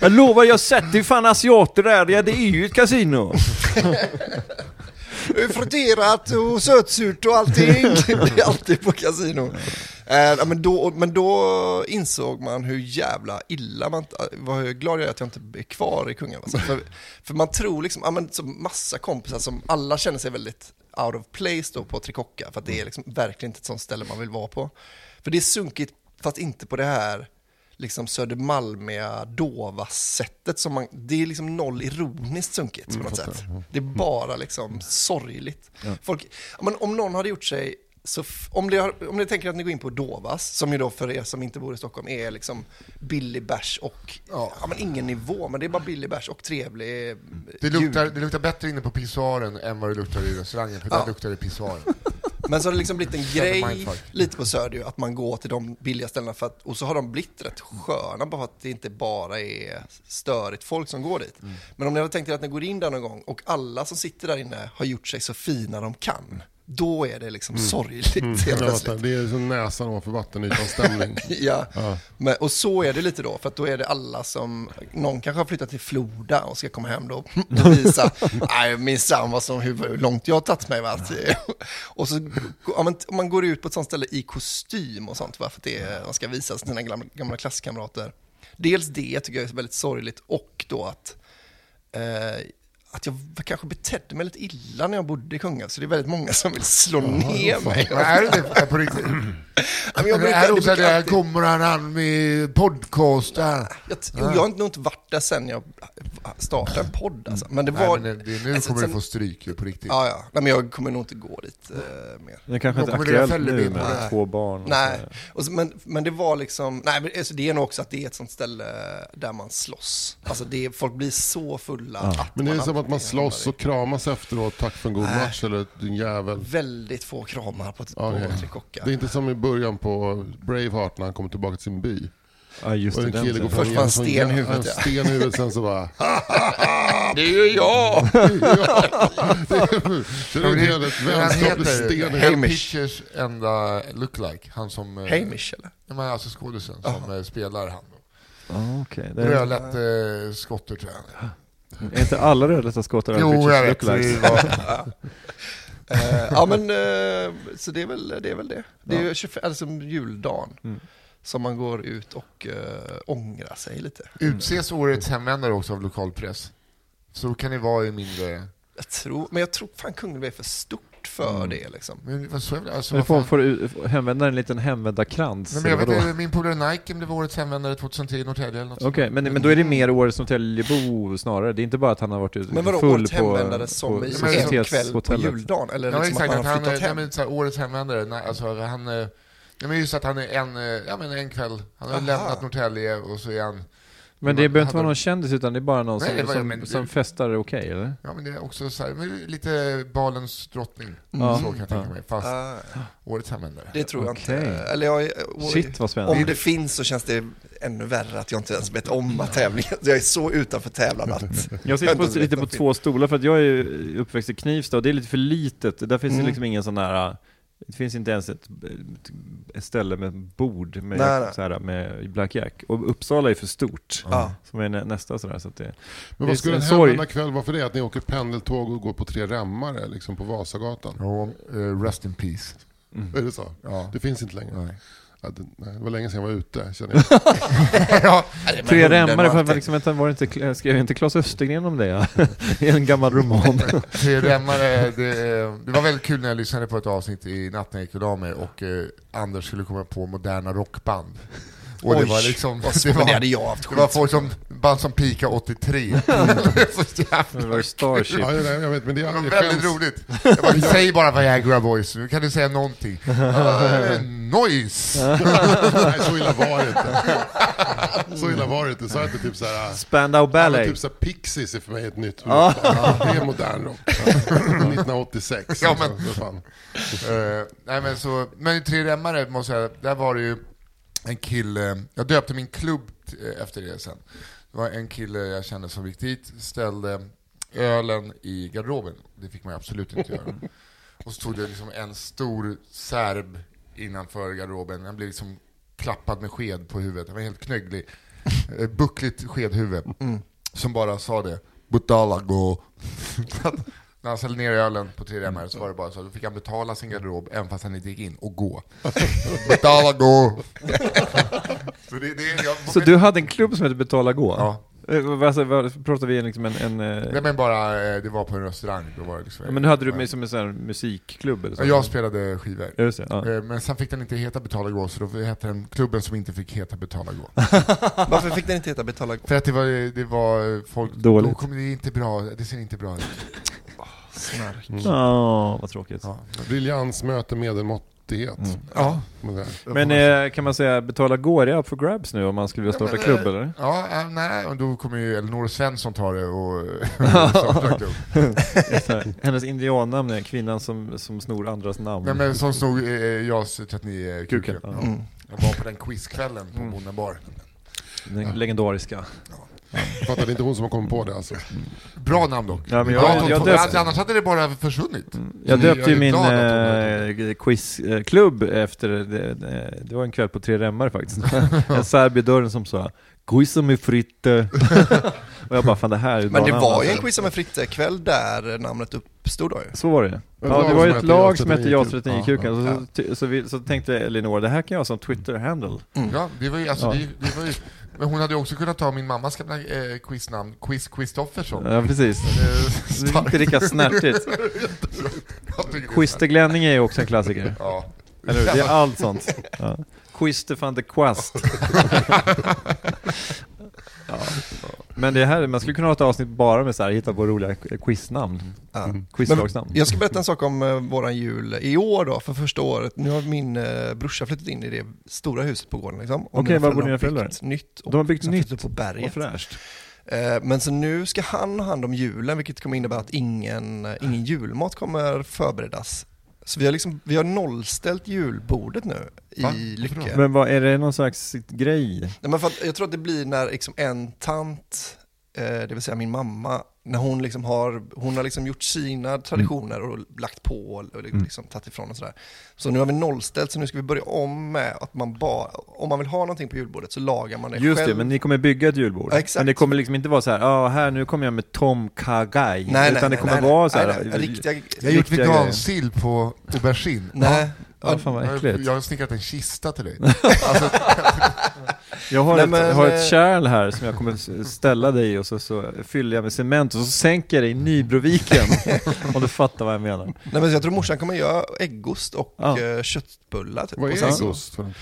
S1: Jag lovar, jag sätter ju fan asiater där, ja, det är ju ett kasino.
S4: friterat och sötsurt och allting. Det är alltid på kasino. Eh, ja, men, då, men då insåg man hur jävla illa man, eh, vad glad jag är att jag inte är kvar i Kungälv. Alltså. För, för man tror liksom, ja, men, så massa kompisar som alla känner sig väldigt out of place då på Trikocka, för att det är liksom verkligen inte ett sånt ställe man vill vara på. För det är sunkigt, fast inte på det här liksom Södermalmiga dova sättet som man, det är liksom noll ironiskt sunkigt
S2: Mm,
S4: på något sätt. Det är bara liksom sorgligt. Folk, men om någon hade gjort sig, så f- om, ni har, om ni tänker att ni går in på Dovas, som ju då för er som inte bor i Stockholm är liksom billig bärs och, ja. men ingen nivå, men det är bara billig bärs och trevlig eh,
S2: Det luktar, det luktar bättre inne på pissoaren än vad det luktar i restaurangen, för där luktar det pissoar.
S4: Men så har det liksom blivit en
S2: Känner
S4: grej
S2: mindfuck.
S4: lite på Söder ju, att man går till de billiga ställena för att, och så har de blivit rätt sköna bara för att det inte bara är störigt folk som går dit. Men om ni hade tänkt er att ni går in där någon gång och alla som sitter där inne har gjort sig så fina de kan, då är det liksom sorgligt helt plötsligt.
S3: Det är som näsan ovanför vattenytan-stämning.
S4: Ja, Men, och så är det lite då, för att då är det alla som, någon kanske har flyttat till Floda och ska komma hem då och visa, nej minsann vad som, hur hur långt jag har tagit mig. Va? Att, eh, och så, om man, om man går ut på ett sånt ställe i kostym och sånt, va? för att det, är- man ska visa sina gamla, gamla klasskamrater. Dels det tycker jag är väldigt sorgligt och då att eh, att jag kanske betedde mig lite illa när jag bodde i Kungälv, så det är väldigt många som vill slå ner mig.
S2: Men är det det är på riktigt?
S4: Men
S2: Jag
S4: jag brukar-
S2: är
S4: det
S2: det
S4: brukar
S2: så här
S4: alltid-
S2: kommer han an med podcasten?
S4: Jag, t- jo, jag har nog inte varit där sen jag startade en
S3: Mm.
S4: podd alltså. Men det
S2: Nej,
S4: var...
S2: men det, det, nu
S4: alltså,
S2: kommer du
S4: sen-
S2: få stryk ju på riktigt.
S4: Ja, ja. Nej, men jag kommer nog inte gå dit eh, mer.
S1: Det kanske inte är
S2: kommer det vara
S1: aktuellt nu
S2: fällebin
S1: med
S2: på
S4: det.
S1: två barn. och
S4: Nej,
S1: sådär.
S4: och så, men, men det var liksom, nej men alltså, det är nog också att det är ett sånt ställe där man slåss. Alltså det är, folk blir så fulla att
S3: Men det är
S4: man
S3: som att man
S4: alltid
S3: slåss
S4: hamnar i-
S3: och kramas efteråt, tack för en god match eller din jävel.
S4: Väldigt få kramar på, på
S3: Okej.
S4: Trikocka.
S3: Det är inte som i början på Braveheart när han kommer tillbaka till sin by.
S1: Ja, just
S3: Och
S1: det.
S3: en
S1: den
S3: kille går
S1: scenen.
S3: fram
S4: Först var han
S3: och så-
S4: sten i huvudet,
S3: han
S4: ja.
S3: sten i huvudet, sen så bara...
S4: Det är ju jag!
S3: Så det är en jävligt
S2: Men han
S3: vänskaplig
S2: heter
S3: sten i
S2: Hell
S3: huvudet.
S4: Hamish.
S2: Pitchers enda lookalike, han som... eh,
S4: Hamish eller?
S2: Nej, men alltså skådisen som eh, spelar han.
S1: Ah, okej. Det är,
S2: Rödlätt eh, skotte tror jag.
S1: är inte alla rödlätta skottar
S2: Jo, jag vet.
S1: lookalikes?
S2: Det var-
S4: Eh, ja men, eh, så det är väl det. Är väl det. det är ju 25, alltså juldagen.
S1: Mm.
S4: Som man går ut och eh, ångrar sig lite.
S2: Utses årets hemvändare också av lokalpress. Så kan det vara i mindre...
S4: Jag tror, men jag tror fan Kungälv är för stort för
S2: Mm.
S4: det liksom.
S1: Mm.
S2: Men vad så jävla... Alltså,
S1: Nu
S2: vad
S1: får,
S2: fan.
S1: får du eh, får hemvända en liten hemvändarkrans.
S2: Nej, men jag
S1: eller
S2: vet,
S1: vadå?
S2: inte, min polare Nike blev årets hemvändare 2010 i Norrtälje eller något
S1: Okej,
S2: sånt.
S1: men, men då är det mer årets Norrtäljebo snarare. Det är inte bara att han har varit ute
S4: Men vadå,
S1: full
S4: årets
S1: på,
S4: hemvändare som
S1: på
S4: i
S2: men-
S4: en kväll på
S1: societetshotellet.
S4: juldagen? Eller
S2: Ja, men
S4: liksom
S2: exakt,
S4: att man har
S2: han, eh,
S4: flyttat
S2: nej,
S4: hem?
S2: men, så här, årets hemvändare, nej, alltså han... eh, Nej, men just att han är en, eh, ja, men en kväll, han har
S4: Aha.
S2: lämnat Norrtälje och så är han...
S1: Men det
S2: Man
S1: behöver inte
S2: hade-
S1: vara någon kändis utan det är bara någon
S2: Nej, det
S1: som,
S2: var-
S1: som,
S2: men-
S1: som festar okej, eller?
S2: Ja men det är också så här, men lite balens drottning.
S1: Mm. Ja.
S2: Så kan jag tänka mig. Fast
S4: Ah,
S2: årets hemvändare.
S4: det tror jag
S1: Okej.
S4: inte. Eller jag, oj.
S1: Shit vad
S4: om
S1: spännande.
S4: det finns så känns det ännu värre att jag inte ens vet om att tävlingen, jag är så utanför tävlan att...
S1: Jag sitter
S4: Vänta,
S1: på, lite på
S4: vänta,
S1: två stolar för att jag är ju uppväxt i Knivsta och det är lite för litet. Där finns det liksom ingen sån här... äh, Det finns inte ens ett, ett ställe med bord med,
S4: Nej, nej.
S1: så här, med Black Jack. Och Uppsala är för stort.
S4: Ja.
S1: Som är nä- nästa sådär. Så att det,
S3: Men
S1: det är
S3: vad skulle
S1: en
S3: en
S1: sorg.
S3: hemvända kväll vara för det? Att ni åker pendeltåg och går på tre remmare liksom på Vasagatan?
S2: Ja, eh, rest in peace.
S3: Är det så?
S2: Ja.
S3: Det finns inte längre?
S2: Nej.
S3: Ja, det, nej, det var länge sedan jag var ute, känner jag.
S1: Tre
S4: hunden
S1: remmare,
S4: och
S1: för att
S4: allting.
S1: liksom, vänta, var det inte, Kla- skrev inte Claes Östergren om det? Ja? I en gammal roman.
S2: Tre remmare, det, eh, det var väldigt kul när jag lyssnade på ett avsnitt i Natt när jag gick och la mig och eh, Anders skulle komma på moderna rockband. Och
S4: Oj, vad svårt. Men det hade jag haft
S2: det var
S4: skit.
S2: folk som, band som pika 83. Det var så
S1: Det
S2: jävla-
S1: var ju Starship.
S3: Ja, jag, jag vet, men det är
S2: det
S3: jag
S2: var väldigt
S3: skäms.
S2: roligt. Jag bara, Säg bara Viagra Boys, nu kan du säga någonting. Uh, noise!
S3: Nej, så illa var det inte. Så illa var det inte. Så att det typ så här...
S1: Spandau
S3: Ja, men
S1: Ballet.
S3: Typ så här, Pixies är för mig ett nytt rockband. Det är modern rock. 1986.
S2: Ja,
S3: liksom.
S2: men-
S3: Vad fan.
S2: Eh, nej men så, men i Tre Remmare måste jag säga, där var det ju en kille, jag döpte min klubb t- eh, efter det sen. Det var en kille jag kände som gick dit, ställde ölen i garderoben. Det fick man ju absolut inte göra. Och så stod det liksom en stor serb innanför garderoben. Han blev liksom klappad med sked på huvudet. Han var helt knögglig. Eh, Buckligt skedhuvud. Som bara sa det. Butalago. Så att När han ställde ner ölen på 3 mm. så var det bara så. Då fick han betala sin garderob även fast han inte gick in och gå. Butalago. så det, det, jag,
S1: Så du hade en klubb som hette Betala Gå?
S2: Ja.
S1: Eh, Alltså, vad- pratar vi liksom en... en eh,
S2: Nej men bara, eh, det var på en restaurang. Då var det liksom,
S1: ja, men hade du med som en sån här musikklubb eller så?
S2: Ja, Jag spelade skivor.
S1: Ja, just det, ja.
S2: Eh, Men sen fick den inte heta Betala Gå, så då hette den Klubben som inte fick heta Betala Gå.
S4: Varför fick den inte heta Betala Gå?
S2: För att det var, det var folk...
S1: Dåligt.
S2: Då kommer det inte bra, det ser inte bra ut.
S4: Snark.
S1: Ja, vad tråkigt.
S3: Briljans möter medelmåttighet.
S2: Ja.
S3: Med det här.
S1: Men eh, kan man säga, betala går det up for grabs nu om man skulle vilja starta klubb eller?
S2: Ja, eh, nej, och då kommer ju Elinor Svensson ta det och... och starta klubb.
S1: Så här, Hennes indiannamn är kvinnan som, som snor andras namn.
S2: nej men som stod eh, JAS 39
S1: Kuken.
S2: kuken. Mm.
S1: Ja.
S4: Mm.
S1: Mm.
S2: Jag var på den quizkvällen på Bonden bar.
S1: Den legendariska.
S3: Fattar, det är inte hon som har kommit på det alltså.
S2: Bra namn dock.
S1: Ja, men jag-
S2: Bra, Tom-
S1: jag
S2: Tom-
S1: döpte- Mm.
S2: Annars hade det bara försvunnit.
S1: Jag
S2: Så ni-
S1: döpte ju
S2: är
S1: min
S2: glad att hon hörde det.
S1: eh, quizklubb efter, det, det, det var en kväll på tre remmar faktiskt. en serb i dörren som sa ”Quiz som är fritt” eh." och jag bara fan det här är
S4: Men
S1: ett bra
S4: det
S1: namn,
S4: var ju en
S1: alltså.
S4: quiz som en fritte-kväll där namnet uppstod då ju.
S1: Så var det Ja,
S3: lag
S1: det var
S3: som
S1: ju ett
S3: hette
S1: lag
S3: JAS
S1: som hette
S3: 39
S1: JAS 39 Kuken, så, så, ty- så, vi, så tänkte Elinor, det här kan jag ha som Twitter-handle.
S2: Ja, det var ju, alltså,
S1: Ja.
S2: det, det var ju, men hon hade ju också kunnat ta min mammas gamla eh, quiznamn, Quiz Kristoffersson.
S1: Ja, precis. Det är inte lika snärtigt. Quister Glänning är ju också en klassiker.
S2: Ja.
S1: Eller hur? Det är allt sånt. Ja. Quister van de Quast. ja. Men det här, man skulle kunna ha ett avsnitt bara med så här, hitta på roliga quiznamn.
S4: Ja.
S1: Mm. Quizlagsnamn.
S4: Jag ska berätta en sak om eh, våran jul i år då, för första året. Nu har min eh, brorsa flyttat in i det stora huset på gården liksom. Och
S1: Okej,
S4: mina
S1: var bor
S4: har
S1: dina föräldrar?
S4: byggt Nytt och
S1: De har byggt
S4: liksom
S1: nytt.
S4: flyttat upp på
S1: Vad
S4: berget.
S1: fräscht.
S4: Eh, Men så nu ska han ha hand om julen, vilket kommer innebära att ingen, eh, ingen julmat kommer förberedas. Så vi har, liksom, vi har nollställt julbordet nu
S2: Va?
S4: i
S2: Varför då?
S4: Lycke.
S1: Men vad, är det någon slags grej?
S4: Nej, men för att, jag tror att det blir när liksom en tant, eh, det vill säga min mamma, när hon, liksom har, hon har liksom gjort
S1: Mm.
S4: sina traditioner och lagt på och liksom tagit ifrån och sådär. Så nu har vi nollställt, så nu ska vi börja om med att man bara, om man vill ha någonting på julbordet så lagar man det
S1: Just
S4: själv.
S1: det, men ni kommer bygga ett julbord.
S4: Ja, exakt.
S1: Men det kommer liksom inte vara så här, ja här nu kommer jag med Tom Kagai.
S4: nej,
S1: utan
S4: nej,
S1: det
S4: nej,
S1: kommer
S4: nej,
S1: vara så här.
S4: nej, nej, riktiga,
S2: Jag har gjort
S1: Riktiga
S2: vegansill på aubergine.
S4: nej.
S1: Ja, fan vad
S2: Jag,
S1: äckligt.
S2: jag har snickat en kista till dig.
S1: Jag har,
S4: Nej,
S1: ett,
S4: men,
S1: har ett
S4: eh,
S1: kärl här som jag kommer s- ställa dig i och så, så fyller jag med cement och så sänker jag dig i Nybroviken. om du fattar vad jag menar.
S4: Nej, men jag tror morsan kommer göra äggost och
S1: Ja.
S4: eh, köttbullar. Typ.
S3: Vad
S4: och
S3: är
S4: sen så-
S3: äggost? för?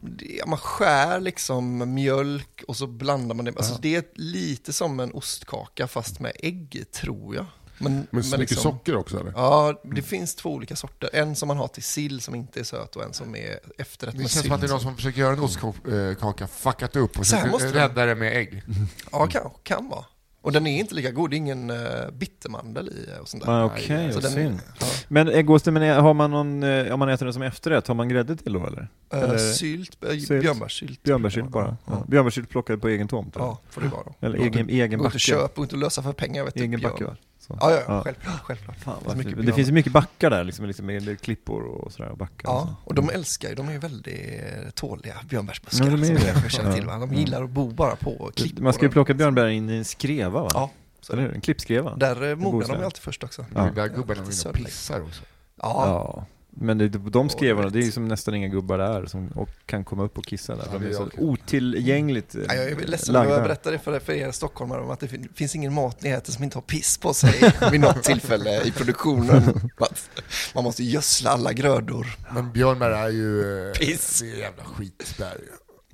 S4: det- Man skär liksom mjölk och så blandar man det. Alltså, Det är lite som en ostkaka fast med ägg i, tror jag. Men, liksom-
S3: Med så mycket
S1: liksom-
S3: socker också eller?
S4: Ja, det finns två olika sorter. En som man har till sill som inte är söt och en som är efterrätt
S2: Det
S4: med
S2: känns
S4: sylt.
S2: som att det är någon som försöker göra en ostkaka, fuckat upp och
S4: Så här måste
S2: försöker
S4: det.
S2: rädda det med ägg.
S1: Mm.
S4: Ja, kan, kan vara. Och den är inte lika god, det är ingen eh, bittermandel i eh, och sånt där.
S1: Ah, Okej,
S4: Så
S1: vad
S4: alltså den är-
S1: synd. Men äggosten, men är- har man någon, eh, om man äter den som efterrätt, har man grädde till då eller?
S4: Eh,
S1: Eller
S4: sylt, uh,
S1: sylt.
S4: björnbärssylt.
S1: Björnbärssylt bara? Ja. Björnbärssylt plockad på egen tomt?
S4: Ja, får det vara då.
S1: Eller egen, egen
S4: Gå inte
S1: backe?
S4: och köp, gå inte och lösa för pengar. Vet du,
S1: Egen
S4: björn.
S1: backe va? Så.
S4: Ja, ja,
S1: Ja.
S4: ja. självklart. självklart.
S1: Fan,
S4: Det
S1: vad
S4: är mycket
S1: fint. det
S4: björn.
S1: finns ju mycket backar där, liksom, liksom, med klippor och sådär. och Backar och
S4: Ja,
S1: så.
S4: och de älskar ju, de är ju väldigt eh, tåliga björnbärsbuskar.
S1: Mm. Ja, de är ju
S4: som
S1: det.
S4: jag känner till,
S1: Ja. Mm.
S4: va? De gillar att bo bara på klippor.
S1: Man ska ju plocka björnbär in i en skreva va?
S4: Ja, så är
S1: Eller hur? En klippskreva?
S4: Där eh, mognar
S1: Bohuslän.
S4: de ju alltid först också.
S1: Ja.
S2: De där gubbarna
S4: Ja,
S2: var inne och
S4: sörligt.
S2: pissar också.
S4: Ja,
S1: Ja. Men det, de skrevarna, det är ju som nästan inga gubbar där som och kan komma upp och kissa där. De är
S2: det är
S1: så
S2: jag.
S1: otillgängligt eh,
S4: Ja, jag är ledsen att
S1: lagda.
S4: behöva berätta det för, för er stockholmare om att det fin- finns ingen mat ni äter som inte har piss på sig vid något tillfälle i produktionen. Att Man måste gödsla alla grödor.
S2: Men björnbär är ju... eh,
S4: Piss.
S2: Det är jävla skit där ju.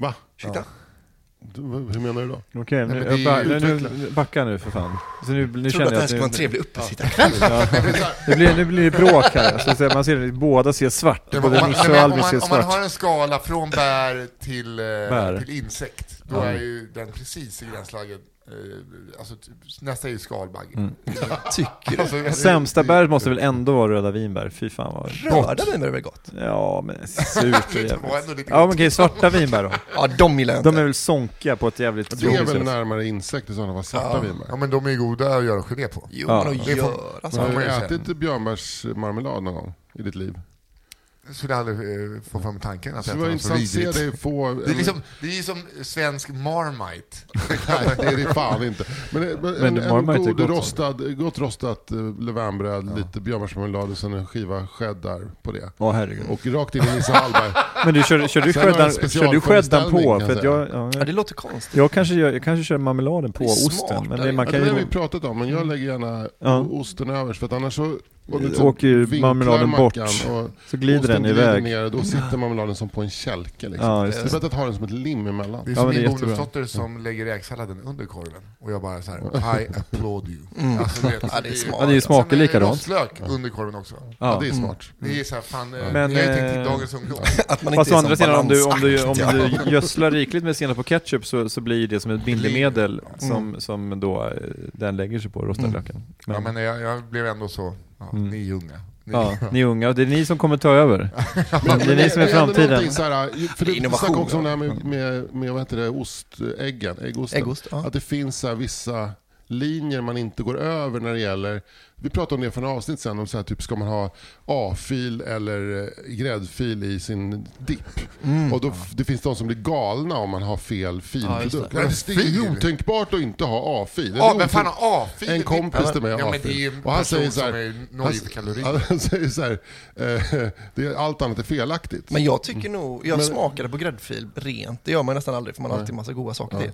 S3: Va?
S4: Ursäkta?
S3: Du, hur menar du då?
S1: Okej, nu,
S2: Nej, men det är ju
S1: jag ba- nu, nu,
S2: utvecklat.
S1: backa nu för fan. Så nu, nu
S4: Jag trodde att
S1: känner
S4: det
S1: jag
S4: här
S1: att
S4: skulle vara en
S1: nu,
S4: trevlig uppesittarkväll.
S1: ja, det blir, nu blir det bråk här. Så att säga, man ser, det, båda ser svart,
S2: Det var-
S1: både
S2: om, man,
S1: Nisse
S2: nej,
S1: och
S2: men om,
S1: Albin
S2: man,
S1: ser
S2: om man har
S1: svart.
S2: en skala från bär till, eh,
S1: Bär.
S2: till insekt, då är ju den precis i gränslagen. Eh, alltså, typ, nästa är ju skalbagge.
S1: Mm.
S4: Tycker du?
S2: Alltså, det-
S1: Sämsta
S2: det-
S1: bäret måste väl ändå vara röda vinbär? Fy fan vad...
S4: Röda viner är väl gott?
S1: Ja, men surt och
S2: Det var
S1: jävligt.
S2: ändå lite
S1: Ja, men okej, svarta vinbär då.
S4: Ja, de gillar jag
S1: De är
S4: inte.
S1: väl sonkiga på ett jävligt
S3: Det är
S1: tråkigt
S3: väl
S1: sätt.
S3: närmare insekt i sådana fall, svarta vinbär.
S2: Ja men de är goda att göra gelé på.
S4: Jo,
S1: Ja.
S4: men de
S2: Det får-
S4: gör alltså.
S3: Har du
S2: Ja,
S3: ätit björnbärsmarmelad någon gång i ditt liv?
S2: skulle jag aldrig eh, få fram tanken att
S3: Så det
S2: äta
S3: var
S2: något så
S3: intressant att se
S2: vidrigt.
S3: dig få...
S2: Det är, liksom, det är ju som svensk Marmite.
S3: Nej, det är det fan inte. Men, eh, men
S1: Men
S3: en, en
S1: Marmite är gott,
S3: god
S1: sa du.
S3: rostad, gott rostat eh, levainbröd, lite björnbärsmarmelad och sen en skiva cheddar på det.
S1: Åh herregud.
S3: Och rakt in i Nisse Hallberg.
S1: Men du, kör, kör du
S3: Sen har jag
S1: skeddan
S3: en
S1: kör du skeddan
S3: specialföreställning,
S1: på?
S3: kan
S1: För att
S3: jag
S1: jag, ja,
S4: Ja, det låter konstigt.
S1: jag, kanske gör, jag kanske kör marmeladen på
S4: Det är smart,
S1: osten, men
S4: det är-
S1: det, man
S3: Ja, det
S1: kan
S3: har vi
S1: ju... Mm.
S3: pratat om, men jag lägger gärna
S1: Ja.
S3: osten överst för att annars så... om du
S1: Eh,
S3: så
S1: åker ju
S3: vinklar
S1: marmeladen bort.
S3: mackan och
S1: Så glider
S3: osten
S1: den iväg.
S3: Ner, och då sitter marmeladen som på en kälke. Liksom.
S1: Ja,
S3: det
S1: just
S3: är bättre att ha den som ett lim emellan.
S2: Det är
S1: Ja,
S2: som
S1: men det är
S2: min
S1: jättebra.
S2: bonusdotter som lägger räksalladen under korven. Och jag bara så här, I applaud you. Alltså, du vet,
S4: Ja, det är smart.
S1: Mm. Ja, det är ju smaker
S2: Sen är det
S1: likadant.
S2: rostlök under korven också.
S3: Ja,
S1: Ja.
S3: det är smart.
S2: Det är så här, fan, eh,
S1: Men,
S2: jag har ju tänkt
S1: eh,
S2: till dagens ungdom.
S4: Att man
S1: Fast
S4: inte
S1: å
S4: är
S1: andra
S4: som
S1: sidan, om du, om du, om
S4: balansakt, ja.
S1: du gödslar rikligt med senap och ketchup så, så blir det som ett bindemedel som, som då eh, den lägger sig på, rostade löken. Men, Mm.
S2: Ja, men jag, jag blev ändå så, ja, ni är unga. Ni,
S1: ja, ni är unga, och det är ni som kommer ta över. det är ni som är
S3: ändå
S1: framtiden.
S3: någonting Så här, för
S4: Det är
S3: du
S4: innovation,
S3: snackade också om det
S4: ja.
S3: här med, med, med vad heter det, ostäggen, äggosten.
S4: Äggost, ja.
S3: Att det finns så här vissa linjer man inte går över när det gäller, vi pratade om det för en avsnitt sen, om så här, typ ska man ha A-fil eller eh, gräddfil i sin dipp.
S2: Mm.
S3: Och då, f- det finns de som blir galna om man har fel filprodukt.
S4: just
S3: det. det är ju otänkbar att inte ha A-fil. Det är
S2: Ja, men
S3: otänkbart.
S2: fan har A-fil
S3: En
S2: i
S3: kompis
S2: dippen?
S3: till mig har
S2: Ja, men det är ju
S3: A-fil.
S2: en
S3: Och han
S2: person
S3: säger så här,
S2: som är noll
S3: han-
S2: i kalorier.
S3: Han säger så här, eh, det är, allt annat är felaktigt.
S4: Men jag tycker
S3: Mm.
S4: nog, jag smakade på gräddfil rent, det gör man ju nästan aldrig för man har alltid massa goda saker till.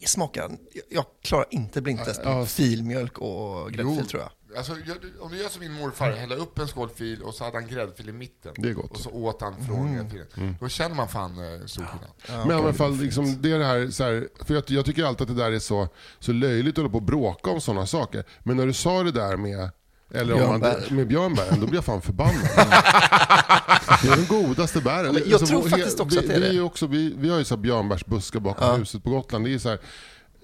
S4: Det smakar, jag klarar inte blindtest med filmjölk och gräddfil tror jag.
S2: Alltså, jag, om du gör som min morfar, hälla upp en skål fil och så hade han gräddfil i mitten.
S3: Det är gott.
S2: Och så åt han från
S1: Mm.
S2: gräddfilen. Då känner man fan eh, stor skillnad.
S3: Men i alla fall, liksom, det är det här, så här för jag, jag tycker alltid att det där är så, så löjligt att hålla på och bråka om sådana saker. Men när du sa det där med eller om man,
S4: Björnbär. Mm.
S3: med björnbären, då blir jag fan förbannad. Det är den godaste bären. Alltså,
S4: Men jag tror faktiskt också
S3: vi,
S4: att det är
S3: vi,
S4: det.
S3: ju också, vi, vi har ju så här björnbärsbuskar bakom huset på Gotland. Det är ju så här,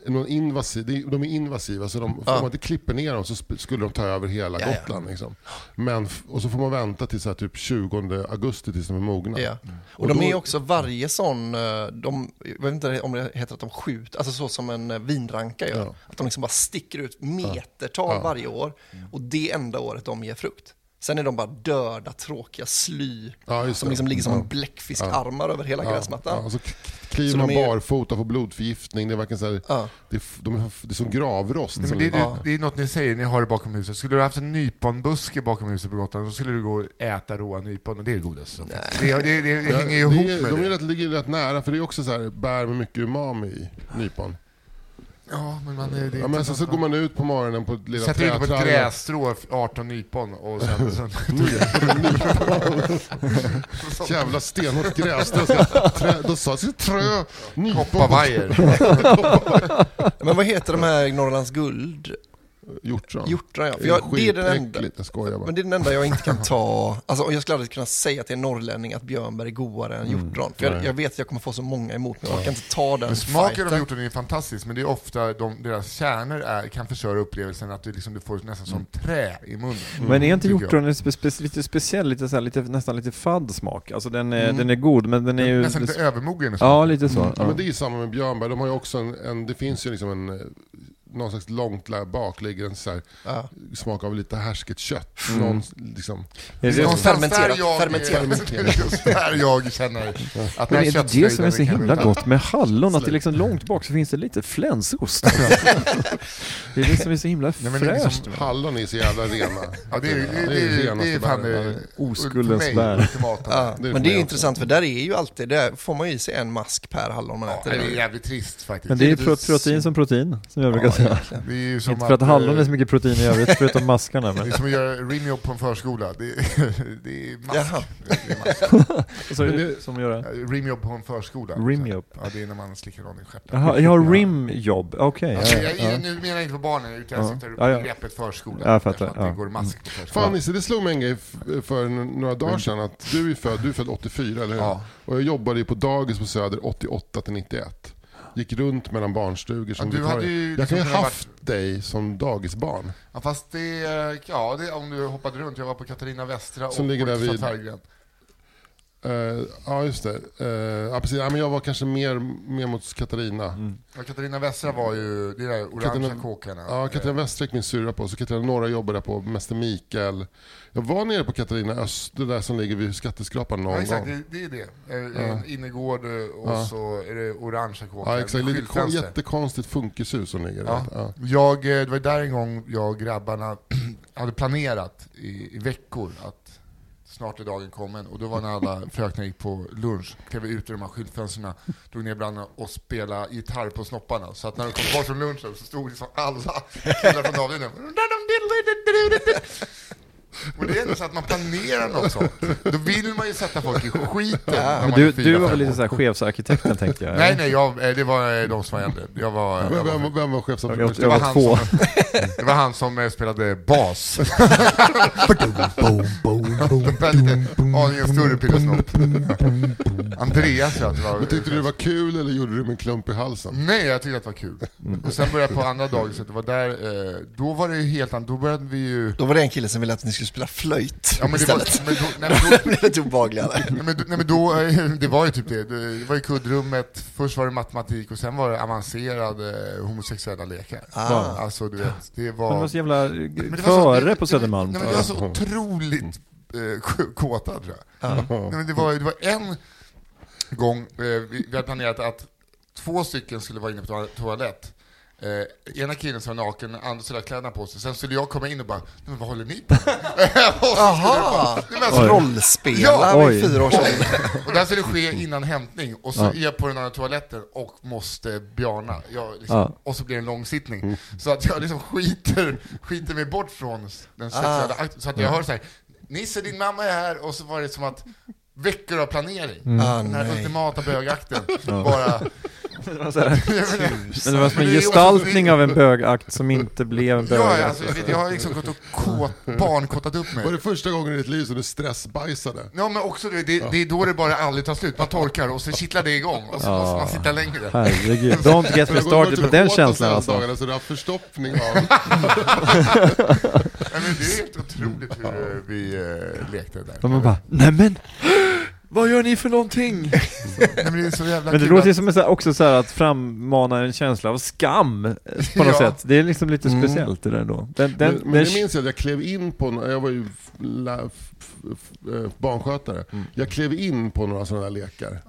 S3: någon invasiv, det är- de är invasiva, så de, om man inte klipper ner dem så sp- skulle de ta över hela
S4: Ja, ja.
S3: Gotland. Liksom. Men, f- och så får man vänta till så här, typ 20 augusti tills de är mogna.
S4: Ja. Och, de är ju också varje sån, eh, de, jag vet inte om det heter att de skjuter, alltså så som en eh, vinranka gör. Att de liksom bara sticker ut metertal varje år
S3: Mm.
S4: och det enda året de ger frukt. Sen är de bara döda, tråkiga sly
S3: Ja, just
S4: som
S3: det.
S4: liksom ligger som
S3: Ja.
S4: en bläckfiskarmar över hela
S3: Ja,
S4: gräsmattan.
S3: och så k- kliver
S4: Så de
S3: man
S4: är ju-
S3: barfota och får blodförgiftning. Det är verkligen så här,
S4: Ja.
S3: det, är, f- de är, f- det är som gravrost.
S2: Nej,
S3: som
S2: men det, är,
S3: ligger-
S2: det, det är något ni säger, ni har det bakom huset. Skulle du haft en nyponbuske bakom huset på Gotland, då skulle du gå och äta råa nypon och det är det godaste. Det, det, det, det
S3: Ja,
S2: hänger ju ihop
S3: är-
S2: med
S3: De är
S2: det.
S3: rätt, ligger rätt nära, för det är också så här, bär med mycket umami i nypon.
S2: Ja, men man, det, det är
S3: Ja,
S2: inte
S3: men sen så
S2: något
S3: går man ut på morgonen på ett lilla
S2: Sätter ut på ett
S3: trätrallet.
S2: grässtrå 18 nypon och sen... sen
S3: Jävla stenhårt gräs. Då, ska- trä, då sa sig trö, nypon,
S2: Hoppavajer.
S4: Men vad heter de här Norrlands guld?
S3: hjortron.
S4: Hjortrar ja. För jag, det är den enda.
S3: skitäckligt. Jag skojar bara.
S4: Men det är den enda jag inte kan ta, alltså jag skulle aldrig kunna säga till en norrlänning att björnbär är godare än hjortron. För jag, jag vet att jag kommer få så många emot mig, jag kan inte ta den
S2: Men smaken av
S4: fighten.
S2: hjortron är fantastisk, men det är ofta de, deras kärnor är, kan förstöra upplevelsen att du, liksom, du får nästan
S3: Mm.
S2: som trä i munnen.
S1: Men är inte
S2: Mm, tycker jag.
S1: hjortron en spe, spe, lite speciell, lite, så här, lite, nästan lite fadd smak? Alltså den är, den är god, men den är ju...
S2: Nästan lite övermogen. och så.
S1: Ja, lite
S2: Mm,
S1: så.
S3: Mm. Ja,
S1: Ja.
S3: men det är ju samma med Björnberg. De har ju också en, en det finns ju liksom en, eh, någon slags långt lä- bak ligger en så här, smak av lite härsket kött.
S2: Mm.
S3: Någon, liksom,
S1: Är det-
S2: Någonstans
S4: Fermenterat,
S2: där jag-
S4: fermenterat.
S2: det är just där jag känner att
S1: Men
S2: den här
S1: är det det som är så
S2: köttflöjden
S1: himla
S2: kan-
S1: gott med hallon? Att det liksom långt bak så finns det lite flänsost. det är det som är så himla
S2: men det är liksom-
S1: fräscht.
S3: hallon är så jävla rena.
S2: Ja, det är det, är- det,
S3: ju
S2: är- det är
S3: renaste
S2: fan
S3: bären.
S2: eh,
S1: Oskuldens
S2: för mig
S1: bär.
S2: ultimata.
S4: Ja,
S3: det är
S4: men det är
S3: också.
S4: ju intressant för där är ju alltid, där får man ju i sig en mask per hallon man
S2: Ja,
S4: äter.
S2: det är
S4: Det är-
S2: jävligt trist faktiskt.
S1: Men det är
S4: det
S1: pro-
S4: är-
S1: protein som protein, som jag brukar säga.
S2: Det är ju som
S1: Inte för att
S2: eh,
S1: hallon är så mycket protein i övrigt, förutom maskarna.
S2: Det
S1: Men.
S2: är som att göra rimjobb på en förskola. Det är, det är mask.
S4: Jaha.
S2: Det är mask.
S1: Och så är det Alltså, som gör det.
S2: Rimjobb på en förskola.
S1: Rimjobb.
S2: Ja, det är när man slickar någon i stjärten.
S1: Jaha, jag har rimjobb, okej.
S2: Alltså,
S1: ja,
S2: jag,
S1: ja.
S2: Nu menar jag inte på barnen, utan jag
S1: Ja.
S2: siktar upp
S1: Ja, ja.
S2: begreppet förskola.
S1: Ja, jag fattar,
S2: Eftersom att
S1: ja. Mm.
S2: Det går mask på förskolan.
S3: Fan Nisse, det slog mig en grej f- för n- några dagar sedan. Att du är född, du är född 84, eller hur?
S2: Mm. Ja.
S3: Och jag jobbade ju på dagis på Söder 88 till 91. Gick runt mellan barnstugor som
S2: Ja, du
S3: vikarie.
S2: hade ju
S3: Jag kan ju
S2: liksom kunnat
S3: haft dig som dagisbarn.
S2: Ja, fast det, ja, det, om du hoppade runt. Jag var på Katarina Västra
S3: Som
S2: och
S3: ligger där
S2: Ulriksdal
S3: vid-
S2: Färggren.
S3: Eh, ja, just det. Eh, ja, precis. Ja, men jag var kanske mer, mer mot Katarina.
S2: Ja, Katarina Wessra var ju, det är de orangea
S3: Katarina-
S2: kåkarna.
S3: Ja, Katarina Westräck min syrra på, så Katarina Norra jobbade jag på, Mäster Mikael. Jag var nere på Katarina Öst, det där som ligger vid skatteskrapan någon
S2: Ja, exakt,
S3: gång.
S2: det, det är det. Eh, En innergård eh, och så är det orangea kåkar.
S3: Ja, exakt. Lite kon-
S2: Skyltfönster.
S3: jättekonstigt funkishus som ligger
S2: Ja.
S3: där. Ja.
S2: Jag, eh, det var där en gång jag och grabbarna hade planerat i, i veckor att snart är dagen kommen. Och då var när alla fröknar gick på lunch, klev ut ur de här skyltfönstren, drog ner brallorna och spelade gitarr på snopparna. Så att när de kom bort från lunchen så stod liksom alla killar från avdelningen och det är ändå så att man planerar något sånt. Då vill man ju sätta folk i skiten. när man
S1: Du,
S2: är
S1: du
S2: fyra,
S1: var väl
S2: fem
S1: lite
S2: år.
S1: såhär chefsarkitekten tänkte jag?
S2: Nej, nej, jag, eh, det var eh, de som var äldre. Jag var... jag
S3: Vem,
S2: var-
S3: vem, vem var
S1: Jag,
S3: chefsantropolog?
S1: jag, jag var
S2: han
S1: två.
S2: Som, det var han som eh, spelade bas.
S8: Mm.
S2: Aningen större pillesnopp. Andreas ja, det
S3: Men
S2: var.
S3: tyckte du det var kul eller gjorde du det med en klump i halsen?
S2: Nej, jag tyckte att det var kul. Och sen började jag på andra dagen, så det var där, eh, då var det ju helt annat, då började vi ju...
S4: Då var det en kille som ville att ni skulle spela flöjt
S2: Ja, men det var,
S4: istället.
S2: men då, nej, men då,
S4: det är lite obehagligare.
S2: Nej men, nej, men då, eh, det var ju typ det. Det var ju kuddrummet, först var det matematik och sen var det avancerade eh, homosexuella lekar.
S4: Ah.
S2: Alltså du vet, det
S1: Han var
S2: var...
S1: så jävla eh,
S2: Men det var så-
S1: före
S2: det-
S1: på Södermalm.
S2: Nej, men det var så otroligt eh, k- kåta tror jag. Nej, men det, var, det var en gång eh, vi, vi hade planerat att två stycken skulle vara inne på toa- toalett. Eh, ena killen som var naken, den andra skulle ha kläderna på sig. Sen skulle jag komma in och bara, "Nej, men vad håller ni på med?" Och så skulle det bara-
S4: Jaha!
S2: Nej, men alltså,
S4: Rollspel.
S2: Ja.
S4: Ja,
S1: Oj.
S4: vid fyra års ålder.
S2: och det här skulle ske innan hämtning, och så är jag på den andra toaletten och måste björna. Jag liksom,
S1: Ja.
S2: Och så blir det en lång
S4: Mm.
S2: sittning. Så att jag liksom skiter, skiter mig bort från den sexuella
S4: Ah.
S2: akten. Så att jag hör så här, Nisse din mamma är här, och så var det som att veckor av planering.
S1: Mm.
S4: Ah,
S2: Den här
S4: nej.
S2: ultimata bögakten. Bara,
S1: Det var så här-
S2: jag menar,
S1: Men det var som en
S2: det är ju också-
S1: gestaltning av en bögakt som inte blev en
S2: ja,
S1: bögakt.
S2: alltså, jag vet, jag har liksom gått och kåt, barnkottat upp mig.
S3: Var det första gången i ditt liv som du stressbajsade?
S2: Ja men också det, det, det är då det bara aldrig tar slut. Man torkar och så kittlar det igång och så måste man sitta längre.
S1: Herregud, don't get me started på
S3: typ
S1: den känslan alltså.
S3: Dagarna, så du har haft förstoppning av...
S2: Nej, men det är helt otroligt hur eh, vi eh, lekte där.
S1: Och man bara, nämen! Vad gör ni för någonting?
S2: Nej, men det är så jävla
S1: Men det
S2: kul
S1: låter ju
S2: att-
S1: som en, så här- också så här att frammana en känsla av skam eh, på något
S2: Ja.
S1: sätt. Det är liksom lite speciellt det där då. Den, den,
S3: Mm. men
S1: den,
S3: men det minns jag att jag klev in på, nå- jag var ju f- la- f- f- eh, barnskötare.
S2: Mm.
S3: Jag klev in på några sådana där lekar.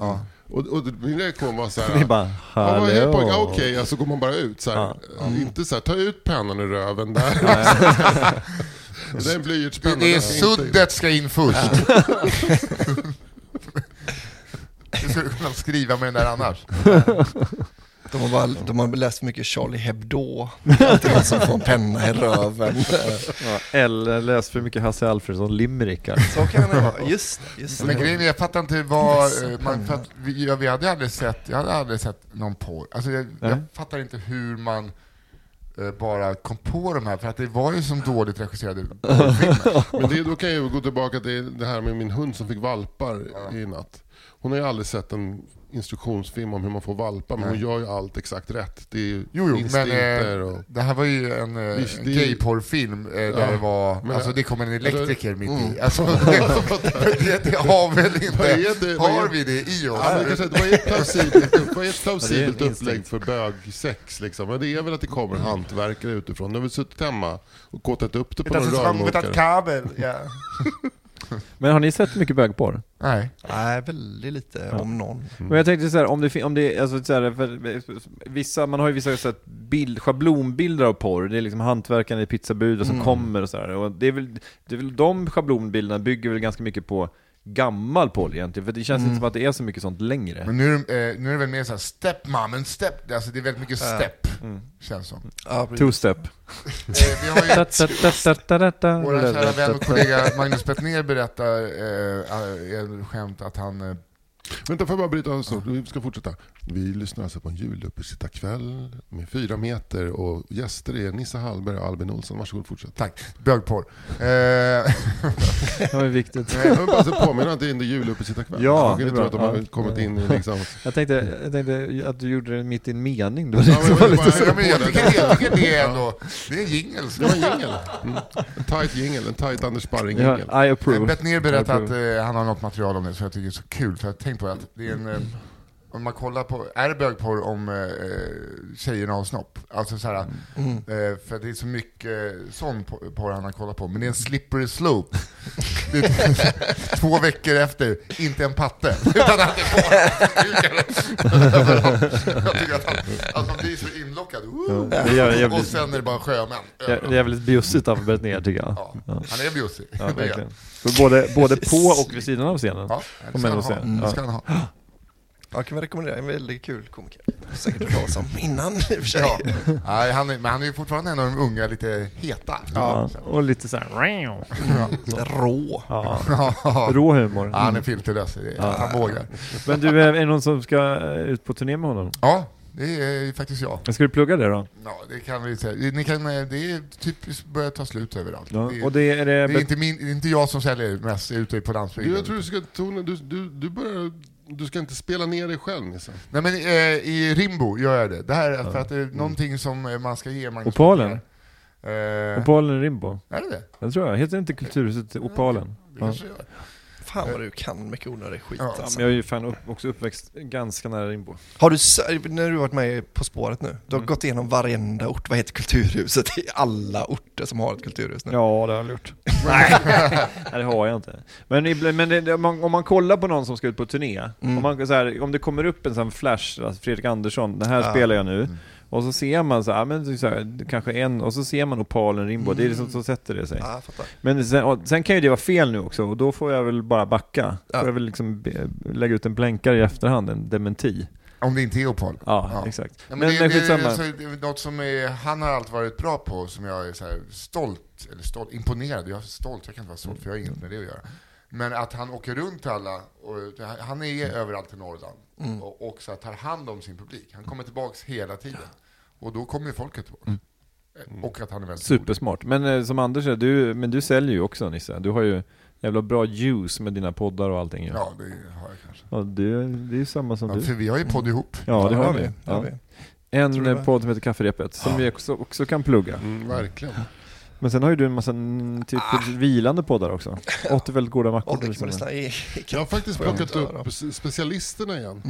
S3: Och, och min reaktion var så
S1: det
S3: här.
S1: är bara,
S3: Ja, vad är det, pojkar?
S1: hallå.
S3: Okej, ja, så går man bara ut så här.
S1: Ja.
S2: Mm.
S3: Eh, Inte så här, ta ut pennan ur röven där. det är en
S2: Det,
S3: blyertspenna.
S2: det är
S3: den ska inte in.
S2: suddet ska in först. Du skulle kunna skriva med den där annars.
S4: De har, bara, de har läst mycket Charlie Hebdo. Alltid någon som får en penna i röven.
S1: Eller läs för mycket Hasse Alfredson limerickar.
S4: Så kan det vara. Just det, just
S1: Mm.
S2: Men
S4: det.
S2: grejen är, jag fattar inte vad... eh, Man, för att vi, ja, vi hade ju aldrig sett, jag hade aldrig sett någon porr. Alltså jag, jag
S1: Nej.
S2: fattar inte hur man eh, bara kom på de här, för att det var ju som dåligt regisserade porrfilmer.
S3: Men det, då kan jag ju gå tillbaka till det här med min hund som fick valpar i natt. Hon har ju aldrig sett en instruktionsfilm om hur man får valpar, men hon gör ju allt exakt rätt. Det är ju
S2: Jo, jo, men
S3: instinkter
S2: eh,
S3: och...
S2: det här var ju en, eh,
S3: Visst,
S2: en
S3: det-
S2: gayporrfilm eh, där det var,
S3: men- mm.
S2: alltså det kom en elektriker mitt i. Alltså, det, det har väl
S3: Vad
S2: inte,
S3: är det? Vad
S2: har
S3: är,
S2: vi det i oss?
S3: Ja, men kanske, vad är ett plausibelt, vad är ett
S1: Ja, det är en
S3: plausibelt
S1: instinkt.
S3: upplägg för bögsex? Liksom? Men det är väl att det kommer hantverkare utifrån. De har väl suttit hemma och kåtat upp det på någon rörmokare.
S2: kabel, ja.
S1: Men har ni sett mycket bögporr?
S2: Nej.
S4: Nej, väldigt lite om någon.
S3: Mm.
S1: Men jag tänkte så här, om det, fin- om det alltså så här, för, vissa, man har ju vissa så här, bild, schablonbilder av porr, det är liksom hantverkarna i pizzabud
S3: Mm.
S1: och som kommer och sådär. Och det är väl, det är väl de schablonbilderna bygger väl ganska mycket på gammal porr egentligen, för det känns
S3: Mm.
S1: inte som att det är så mycket sånt längre.
S2: Men nu, är det- eh, nu är det väl mer såhär stepmom, en step, alltså det är väldigt mycket step,
S3: Mm.
S2: känns som.
S4: Ja, precis.
S1: Two-step.
S2: Eh, vi har ju Vår kära vän och
S1: Vår
S2: kollega Magnus Bettner berättar eh, eh, i ett skämt att han eh,
S3: Vänta, får jag bara bryta av snart? Vi ska fortsätta. Vi lyssnar alltså på en juluppesittarkväll med fyra meter och gäster är Nissa Hallberg och Albin Olsson. Varsågod, fortsätt.
S2: Tack. Bögporr. Eh,
S1: Det var ju viktigt.
S3: Jag vill bara så påminna att det är en juluppesittarkväll.
S1: Ja,
S3: Jag kan
S1: det är
S3: inte tro att de
S1: bra.
S3: har
S1: Ja.
S3: kommit in i liksom...
S1: Jag tänkte, jag tänkte att du gjorde det mitt i en mening. Då.
S3: Ja, men jag vill bara-
S2: ja, men jag, tycker, jag tycker det är
S3: Ja.
S2: ändå... Det är jingel.
S3: Det var en jingel. Mm. En tight jingel, en tight Anders
S1: Ja,
S3: Sparring-jingel.
S1: I approve.
S2: Bettner berättade
S1: Jag
S2: att eh, han har något material om det som jag tycker är så kul, för jag har tänkt på det att det är en... Eh, om man kollar på, är det bögporr om eh, tjejerna och snopp? Alltså såhär,
S1: Mm.
S2: eh, för det är så mycket eh, sån por- porr han har kollat på, men det är en slippery slope. Det är Två veckor efter, inte en patte, utan att det är porr. jag tycker att han, att man blir så inlockad, Woo!
S1: det gör jag jävligt.
S2: och sen är det bara sjömän.
S1: Ja, Det är väldigt bjussigt av Bettner tycker jag.
S2: Ja, han är bjussig.
S1: Ja,
S2: Det är
S1: verkligen. För både, både på och vid sidan av scenen.
S2: Ja,
S1: Får
S2: det
S1: man ändå
S2: ska han
S1: säga.
S2: ha. Mm, Det ska han ha.
S4: Jag kan väl rekommendera en väldigt kul komiker. Säkert hört talas om innan i och för sig.
S2: Ja. Nej, han är, men han är ju fortfarande en av de unga, lite heta.
S1: Ja. Och lite såhär...
S4: Rå.
S1: Ja.
S2: Ja.
S1: Rå humor.
S2: Ja, han är filterlös, det är- han vågar.
S1: Men du, är det någon som ska eh, ut på turné med honom?
S2: Ja, det är ju faktiskt jag.
S1: Ska du plugga det då?
S2: Ja, det kan vi säga. Ni kan, eh, det är typ börjar ta slut överallt.
S1: Ja.
S2: Det,
S1: Och
S2: är,
S1: det är det...
S2: det är inte, min, det är inte jag som säljer mest ute på landsbygden.
S3: Jag tror du ska tona... Du, du, du, börjar, du ska inte spela ner dig själv, Nissa.
S2: Nej men eh, i Rimbo gör jag det. Det här är för att det är någonting som eh, man ska ge Magnus
S1: Opalen?
S2: Betnér. Eh,
S1: Opalen Rimbo?
S2: är det det?
S1: Jag tror jag. Heter inte Kulturhuset Opalen? Ja.
S2: Det kanske gör.
S4: Fan vad du kan mycket onödig skit
S2: Ja,
S4: alltså.
S1: Men jag är ju fan upp, också uppväxt ganska nära Rimbo.
S4: Har du, sö- när du varit med På spåret nu, du har gått igenom varenda ort, vad heter kulturhuset i alla orter som har ett kulturhus nu?
S1: Ja, det har jag gjort. Nej, det har jag inte. Men, ibland- men det, det- om, man, om man kollar på någon som ska ut på turné, om, man, så här, om det kommer upp en sån här flash, alltså Fredrik Andersson, det här spelar jag nu, och så ser man så här, men det är så här, kanske en, och så ser man opalen Rimbo, det är liksom så sätter det sig.
S4: Ja, Ah, jag fattar.
S1: Men sen, och sen kan ju det vara fel nu också, och då får jag väl bara backa.
S4: Ja.
S1: Får jag väl liksom be, lägga ut en blänkare i efterhand, en dementi.
S2: Om det inte är Opal.
S1: Ja,
S2: Ja.
S1: exakt.
S2: Ja,
S1: men
S2: men
S1: men,
S2: det, det,
S1: skitsamma.
S2: alltså, det är något som är, han har alltid varit bra på, som jag är så här stolt, eller stolt, imponerad, jag är stolt, jag kan inte vara stolt för jag har inget med det att göra. Men att han åker runt till alla, och, han är
S1: Mm.
S2: överallt i Norrland, och, och så här, tar hand om sin publik. Han kommer tillbaks hela tiden. Och då kommer ju folket tillbaka.
S1: Mm.
S2: Och att han är väldigt
S1: Supersmart. Men eh, som Anders säger, du, men du säljer ju också Nisse. Du har ju jävla bra juice med dina poddar och allting ju.
S2: god. Ja, det har jag kanske.
S1: Ja, det, det är ju samma som
S2: Ja,
S1: du.
S2: för vi har ju podd ihop.
S1: Ja, det har
S4: vi.
S1: vi.
S4: det har
S1: Ja.
S4: vi. Tror
S1: En
S4: du
S1: eh,
S4: det?
S1: podd som heter Kafferepet, som vi också, också kan plugga.
S3: Mm, verkligen.
S1: Men sen har ju du en massa mm, typ vilande poddar också. 80 väldigt goda mackor. liksom.
S4: Åh, det kan man
S1: till exempel.
S4: lyssna i.
S3: Jag har faktiskt
S4: Får jag
S3: plockat
S4: inte höra? Mm.
S3: upp s- specialisterna igen.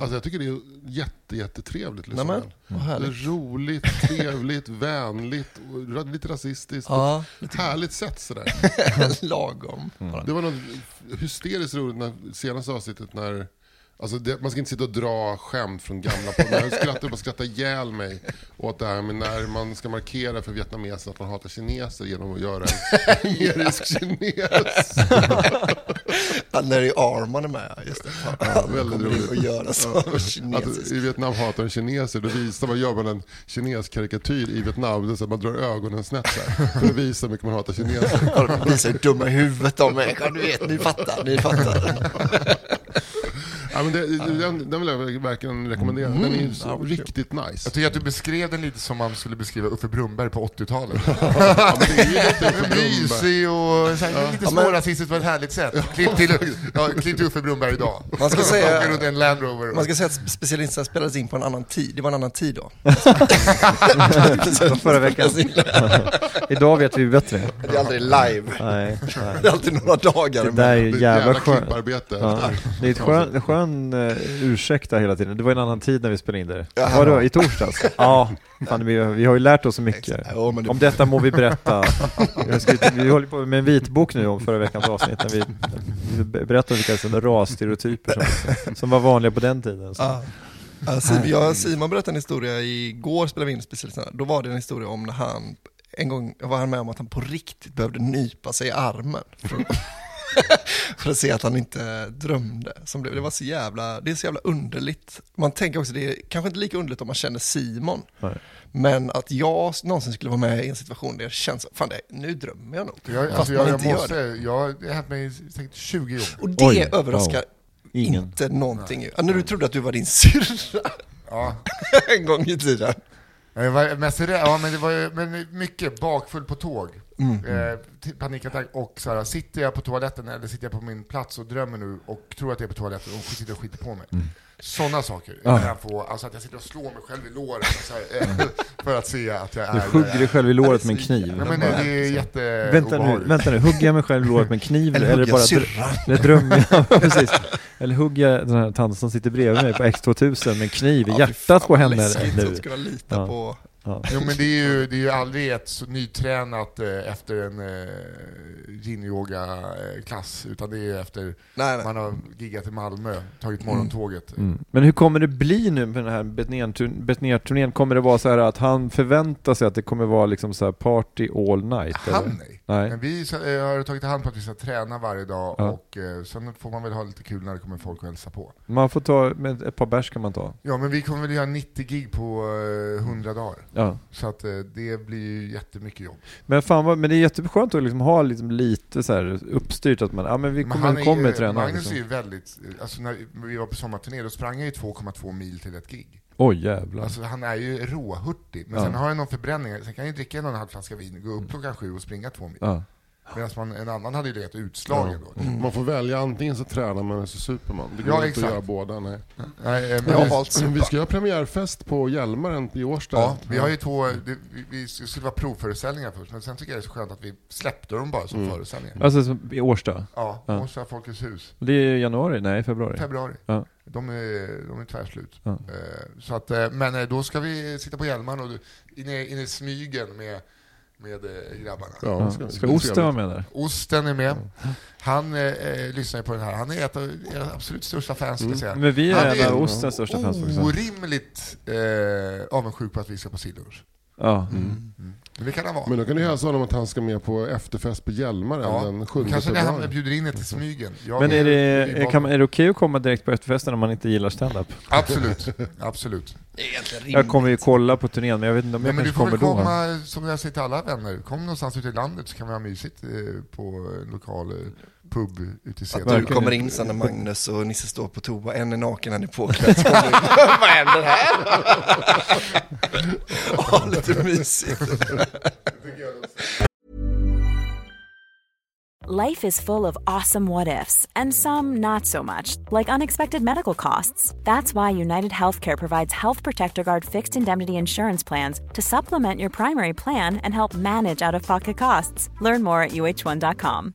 S3: Alltså jag tycker det är jätte, jättetrevligt. Liksom.
S4: Nämen, vad
S3: Det
S4: härligt.
S3: är roligt, trevligt, vänligt, och ra- lite rasistiskt.
S4: Ja,
S3: Härligt sätt sådär.
S4: lagom. bara.
S2: Mm.
S3: Det var något hysteriskt roligt när senaste avsnittet när Alltså det, man ska inte sitta och dra skämt från gamla poddar. Jag skrattade bara skrattade ihjäl mig åt det här med när man ska markera för vietnameser att man hatar kineser genom att göra en generisk kines.
S4: Ja, när det är Arman är med, just det. Fan, han
S3: väldigt
S4: kommer in
S3: roligt.
S4: och göra så
S3: Att
S4: kinesiskt.
S3: I Vietnam hatar de kineser. Då visar man, gör man en kineskarikatyr i Vietnam. Det är så att man drar ögonen snett så här, för att visa hur mycket man hatar kineser.
S4: Ja, de visar hur dumma i huvudet de är. Ja, du vet, ni fattar, ni fattar.
S3: Ja, men det, den, den vill jag verkligen rekommendera. Den är ju så riktigt nice.
S2: Jag tycker att du beskrev den lite som man skulle beskriva Uffe Brunnberg på 80-talet.
S3: Ja, men det är ju lite för dumma.
S2: Mysig och så här, lite smårasistiskt på ett härligt sätt. Klipp till, ja, klipp till Uffe Brunnberg idag.
S4: Man ska säga-
S2: Åker runt en Land Rover.
S4: Man ska säga att specialisterna spelades in på en annan tid. Det var en annan tid då.
S1: Förra veckan. Idag vet vi bättre.
S4: Det är aldrig live.
S1: Nej, nej.
S4: Det är alltid några dagar
S1: Det där är
S4: emellan.
S3: Det är
S1: jävla,
S3: ett jävla
S1: skönt.
S3: klipparbete.
S1: Ja, det är ett skön, en skön eh, ursäkt där hela tiden. Det var en annan tid när vi spelade in det.
S4: Jaha.
S1: Vadå, i torsdags? ja, fan, vi, vi har ju lärt oss så mycket.
S4: Ja, men det-
S1: Om detta må vi berätta. Jag har skrivit, vi håller på med en vitbok nu om förra veckans avsnitt, när vi vi berättar om vilka sådana rasstereotyper som, som var vanliga på den tiden. Så.
S4: Ja. Ja, Simon, jag, Simon berättade en historia, igår spelade vi in specialisterna, då var det en historia om när han, en gång var han med om att han på riktigt behövde nypa sig i armen. För, för att se att han inte drömde. Som det, det var så jävla, det är så jävla underligt. Man tänker också, det är kanske inte lika underligt om man känner Simon.
S1: Nej.
S4: Men att jag någonsin skulle vara med i en situation där det känns, fan det, nu drömmer jag nog.
S2: Jag,
S4: Fast
S2: alltså, jag,
S4: man
S2: jag
S4: inte gör
S2: måste, jag, det har hänt mig säkert 20 gånger.
S4: Och det
S1: Oj,
S4: överraskar
S1: Ingen.
S4: Inte någonting ju. Ja, När du trodde att du var din syrra en gång i tiden.
S2: Ja, Jag var mest rädd, ja, men det var ju, men mycket bakfull på tåg.
S1: Mm.
S2: Eh, t- panikattack och så här, sitter jag på toaletten eller sitter jag på min plats och drömmer nu och tror att jag är på toaletten och sitter och skiter på mig.
S1: Mm.
S2: Sådana saker. Kan jag få, alltså att jag sitter och slår mig själv i låret så här, eh, för att se att jag är...
S1: Mm. Du hugger dig själv i låret med en kniv.
S2: Ja, men det är ju jätte
S1: Vänta nu,
S2: obehagligt.
S1: vänta nu, hugger jag mig själv i låret med en kniv eller,
S4: Eller
S1: eller
S4: hugger
S1: bara
S4: jag
S1: dr- eller drömmer jag? Ja, Precis. Eller hugger jag den här tanten som sitter bredvid mig på X2000 med en kniv i
S4: Ja, fy
S1: hjärtat
S4: fan,
S1: på
S4: vad
S1: henne
S4: läskigt
S1: nu?
S4: att skulle lita
S1: Ja.
S4: på.
S2: Jo men det är ju, det är ju aldrig ett så nytränat eh, efter en eh, yin-yoga-klass, utan det är ju efter
S4: Nej, nej.
S2: man har giggat i Malmö, tagit morgontåget.
S1: Mm. Men hur kommer det bli nu med den här Betnér-turn- Betnér-turnén? Kommer det vara så här att han förväntar sig att det kommer vara liksom så här party all night? eller?
S2: Han nej.
S1: Nej.
S2: Men vi så- eh, har tagit hand på att vi ska träna varje dag
S1: Ja.
S2: och eh, sen får man väl ha lite kul när det kommer folk och hälsa på.
S1: Man får ta, med ett par bärs kan man ta.
S2: Ja men vi kommer väl göra 90 gig på eh, 100 dagar.
S1: Ja.
S2: Så att eh, det blir ju jättemycket jobb.
S1: Men, fan vad, men det är jätteskönt att liksom ha liksom lite så här uppstyrt att man, ja men vi
S2: Men
S1: kommer,
S2: han är ju-
S1: kommer träna.
S2: Magnus
S1: Liksom.
S2: är ju väldigt, eh, alltså när vi var på sommarturné då sprang jag ju 2,2 mil till ett gig.
S1: Oj jävlar.
S2: Alltså han är ju råhurtig, men
S1: Ja. Mm.
S2: sen har han någon förbränning, sen kan han ju dricka en och en halv flaska vin, gå upp klockan sju och springa två mil.
S1: Ja.
S2: Medan man, en annan hade ju legat utslagen då.
S3: Mm. Man får välja, antingen så tränar man eller så super man. Det går
S2: Ja,
S3: inte
S2: exakt.
S3: att göra båda. Nej.
S2: Nej, eh, men
S4: Jag har
S2: vi-
S4: valt
S3: Men vi
S4: supa.
S3: ska göra premiärfest på Hjälmaren i Årsta.
S2: ja, vi har ju två, det, vi, vi skulle vara provföreställningar först, men sen tycker jag det är så skönt att vi släppte dem bara som föreställningar.
S1: Alltså som i Årsta.
S2: Ja, ja. Åsa Folkets hus,
S1: Det är januari, nej februari.
S2: februari.
S1: Ja.
S2: De är, de är tvärslut.
S1: Ja.
S2: Eh, Så att, eh, men eh, då ska vi sitta på Hjälmaren och du- in i, in i smygen med, med eh, grabbarna.
S3: Ja,
S1: Ja.
S3: det det
S1: Ska
S3: bli
S1: Osten vara
S3: trevligt.
S1: med där?
S2: Osten är med. Han eh, eh, lyssnar ju på den här. Han är ett av era absolut största fans, ska jag säga.
S1: Men Mm. vi
S2: Han
S1: är en
S2: är
S1: av Ostens största fans också.
S2: Orimligt eh, avundsjuk på att vi ska på Sillunch.
S1: Ja. Mm.
S2: Men det kan han vara.
S3: Men då kan du hälsa honom att han ska med på efterfest på Hjälmaren
S2: Ja.
S3: den 7
S2: Kanske när han
S3: februari.
S2: bjuder in er till Smygen. Jag
S1: Men är
S2: vi
S1: det,
S2: var-
S1: kan, man- är det okej att komma direkt på efterfesten om man inte gillar stand-up?
S2: Absolut, absolut.
S4: Det är egentligen
S1: Jag
S4: rimligt.
S1: kommer ju kolla på turnén, men jag vet inte om
S2: Nej,
S1: jag
S2: men du
S1: kanske
S2: får
S1: kommer
S2: väl
S1: då.
S2: komma, som jag säger till alla vänner, kom någonstans ute i landet så kan vi ha mysigt eh, på en lokal eh, pub ute i
S4: Att
S2: Sedala.
S4: du
S1: Verkligen.
S4: kommer in sen när Magnus och Nisse står på toa, en är naken, en är påklädd. Så kommer du, Vad händer här? Ja, lite mysigt.
S9: Life is full of awesome what ifs, and some not so much, like unexpected medical costs. That's why United Healthcare provides Health Protector Guard fixed indemnity insurance plans to supplement your primary plan and help manage out of pocket costs. Learn more at uh1.com.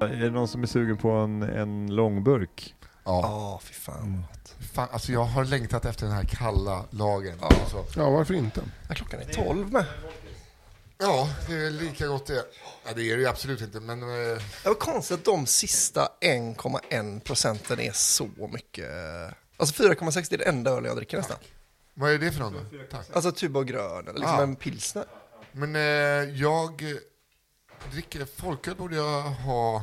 S1: Är det någon som är sugen på en, en långburk?
S2: Ja.
S4: Ja, fy fan.
S2: Fan, alltså jag har längtat efter den här kalla lagen. Alltså.
S3: Ja, varför inte?
S4: Ja, klockan är tolv med.
S2: Ja, det är lika gott det. Ja, det är det ju absolut inte, men... Eh,
S4: Det var konstigt att de sista 1,1 procenten är så mycket. Alltså 4,6 det är det enda öl jag dricker nästan.
S2: Vad är det för någon då? Tack.
S4: Alltså Tuborg grön eller liksom
S2: Ah.
S4: en pilsner.
S2: Men eh, jag dricker folköl borde jag ha.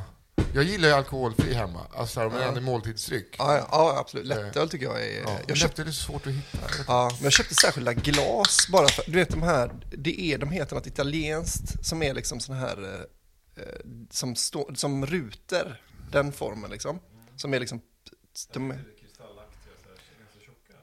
S2: Jag gillar ju alkoholfri hemma, alltså om det är en måltidsdryck.
S4: Ja, ja, ja absolut. Lättöl tycker jag är...
S2: Ja,
S4: jag,
S2: Eh, jag
S4: Eh, köpte,
S2: köpte det är svårt att hitta.
S4: ja, men jag köpte särskilda glas bara för... Du vet de här, det är, de heter något italienskt som är liksom sån här... eh, eh, Som, stå, som ruter, den formen liksom. Som är liksom... De,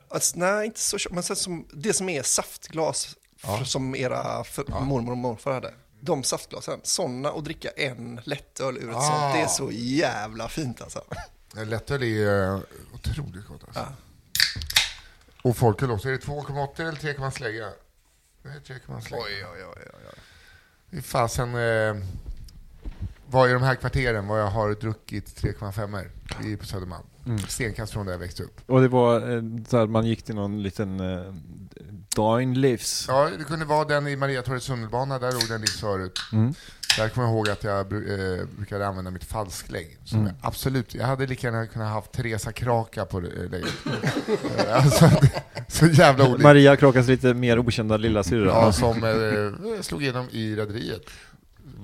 S4: alltså, nej, inte så tjocka. Men sen som, det som är saftglas för, som era för, mormor och morfar hade. De saftglasen, sådana och dricka en lättöl ur ett sånt, det är så jävla fint alltså.
S2: Eh, Lättöl är eh, otroligt gott alltså. Och folköl också. Är det 2,8 eller 3,0 slägga? Nej, 3,0 slägga.
S4: oj, oj, oj. oj.
S2: Fy fasen. Eh, var i de här kvarteren var jag har druckit 3,5 er i- på Södermalm. Stenkast från där jag växte upp.
S1: Och det var eh, så här, man gick till någon liten eh, Dine Livs.
S2: Ja, det kunde vara den i Mariatorgets tunnelbana, där låg den lite förut.
S3: Mm.
S2: Där kommer jag ihåg att jag bru- eh, brukade använda mitt falsklägg. Som
S3: Mm.
S2: jag, absolut, jag hade lika gärna kunnat haft Teresa Kraka på det, eh, lägget. Eh, alltså, så jävla olyckligt.
S1: Maria Krakas lite mer okända lillasyrra.
S2: Ja, som eh, slog igenom i Rederiet.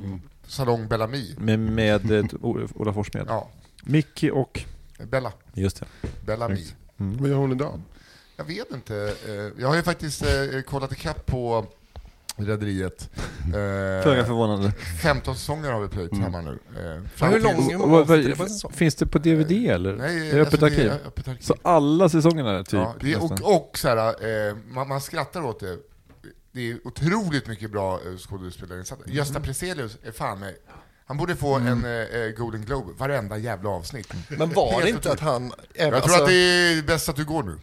S3: Mm.
S2: Salong Bellamy.
S1: Med, med eh, O- Ola Forssmed.
S2: Ja,
S1: Mickey och...
S2: Bella.
S1: Just det.
S2: Bellamy.
S3: Mm. Vad gör hon idag?
S2: Jag vet inte. eh, Jag har ju faktiskt eh, kollat ikapp på Rederiet. Eh,
S1: Föga förvånande.
S2: 15 säsonger har vi plöjt
S1: Mm.
S2: hemma nu. Eh, fram
S4: Men hur
S2: till-
S4: lång är
S1: Och vad-
S4: man? Det var en sån.
S1: finns det på DVD eller?
S2: Nej,
S1: är det öppet
S2: alltså,
S1: arkiv?
S2: är öppet arkiv.
S1: Så alla säsongerna typ?
S2: ja, det är,
S1: nästan.
S2: och, och så här, eh, man, man skrattar åt det. Det är otroligt mycket bra eh, skådespelarinsatser.
S1: Mm.
S2: Gösta Preselius är fan mig... Han borde få en eh, eh, Golden Globe varenda jävla avsnitt.
S1: Mm.
S4: Men var det
S2: Helt
S4: inte att han... alltså,
S2: Jag tror att det är bäst att du går nu.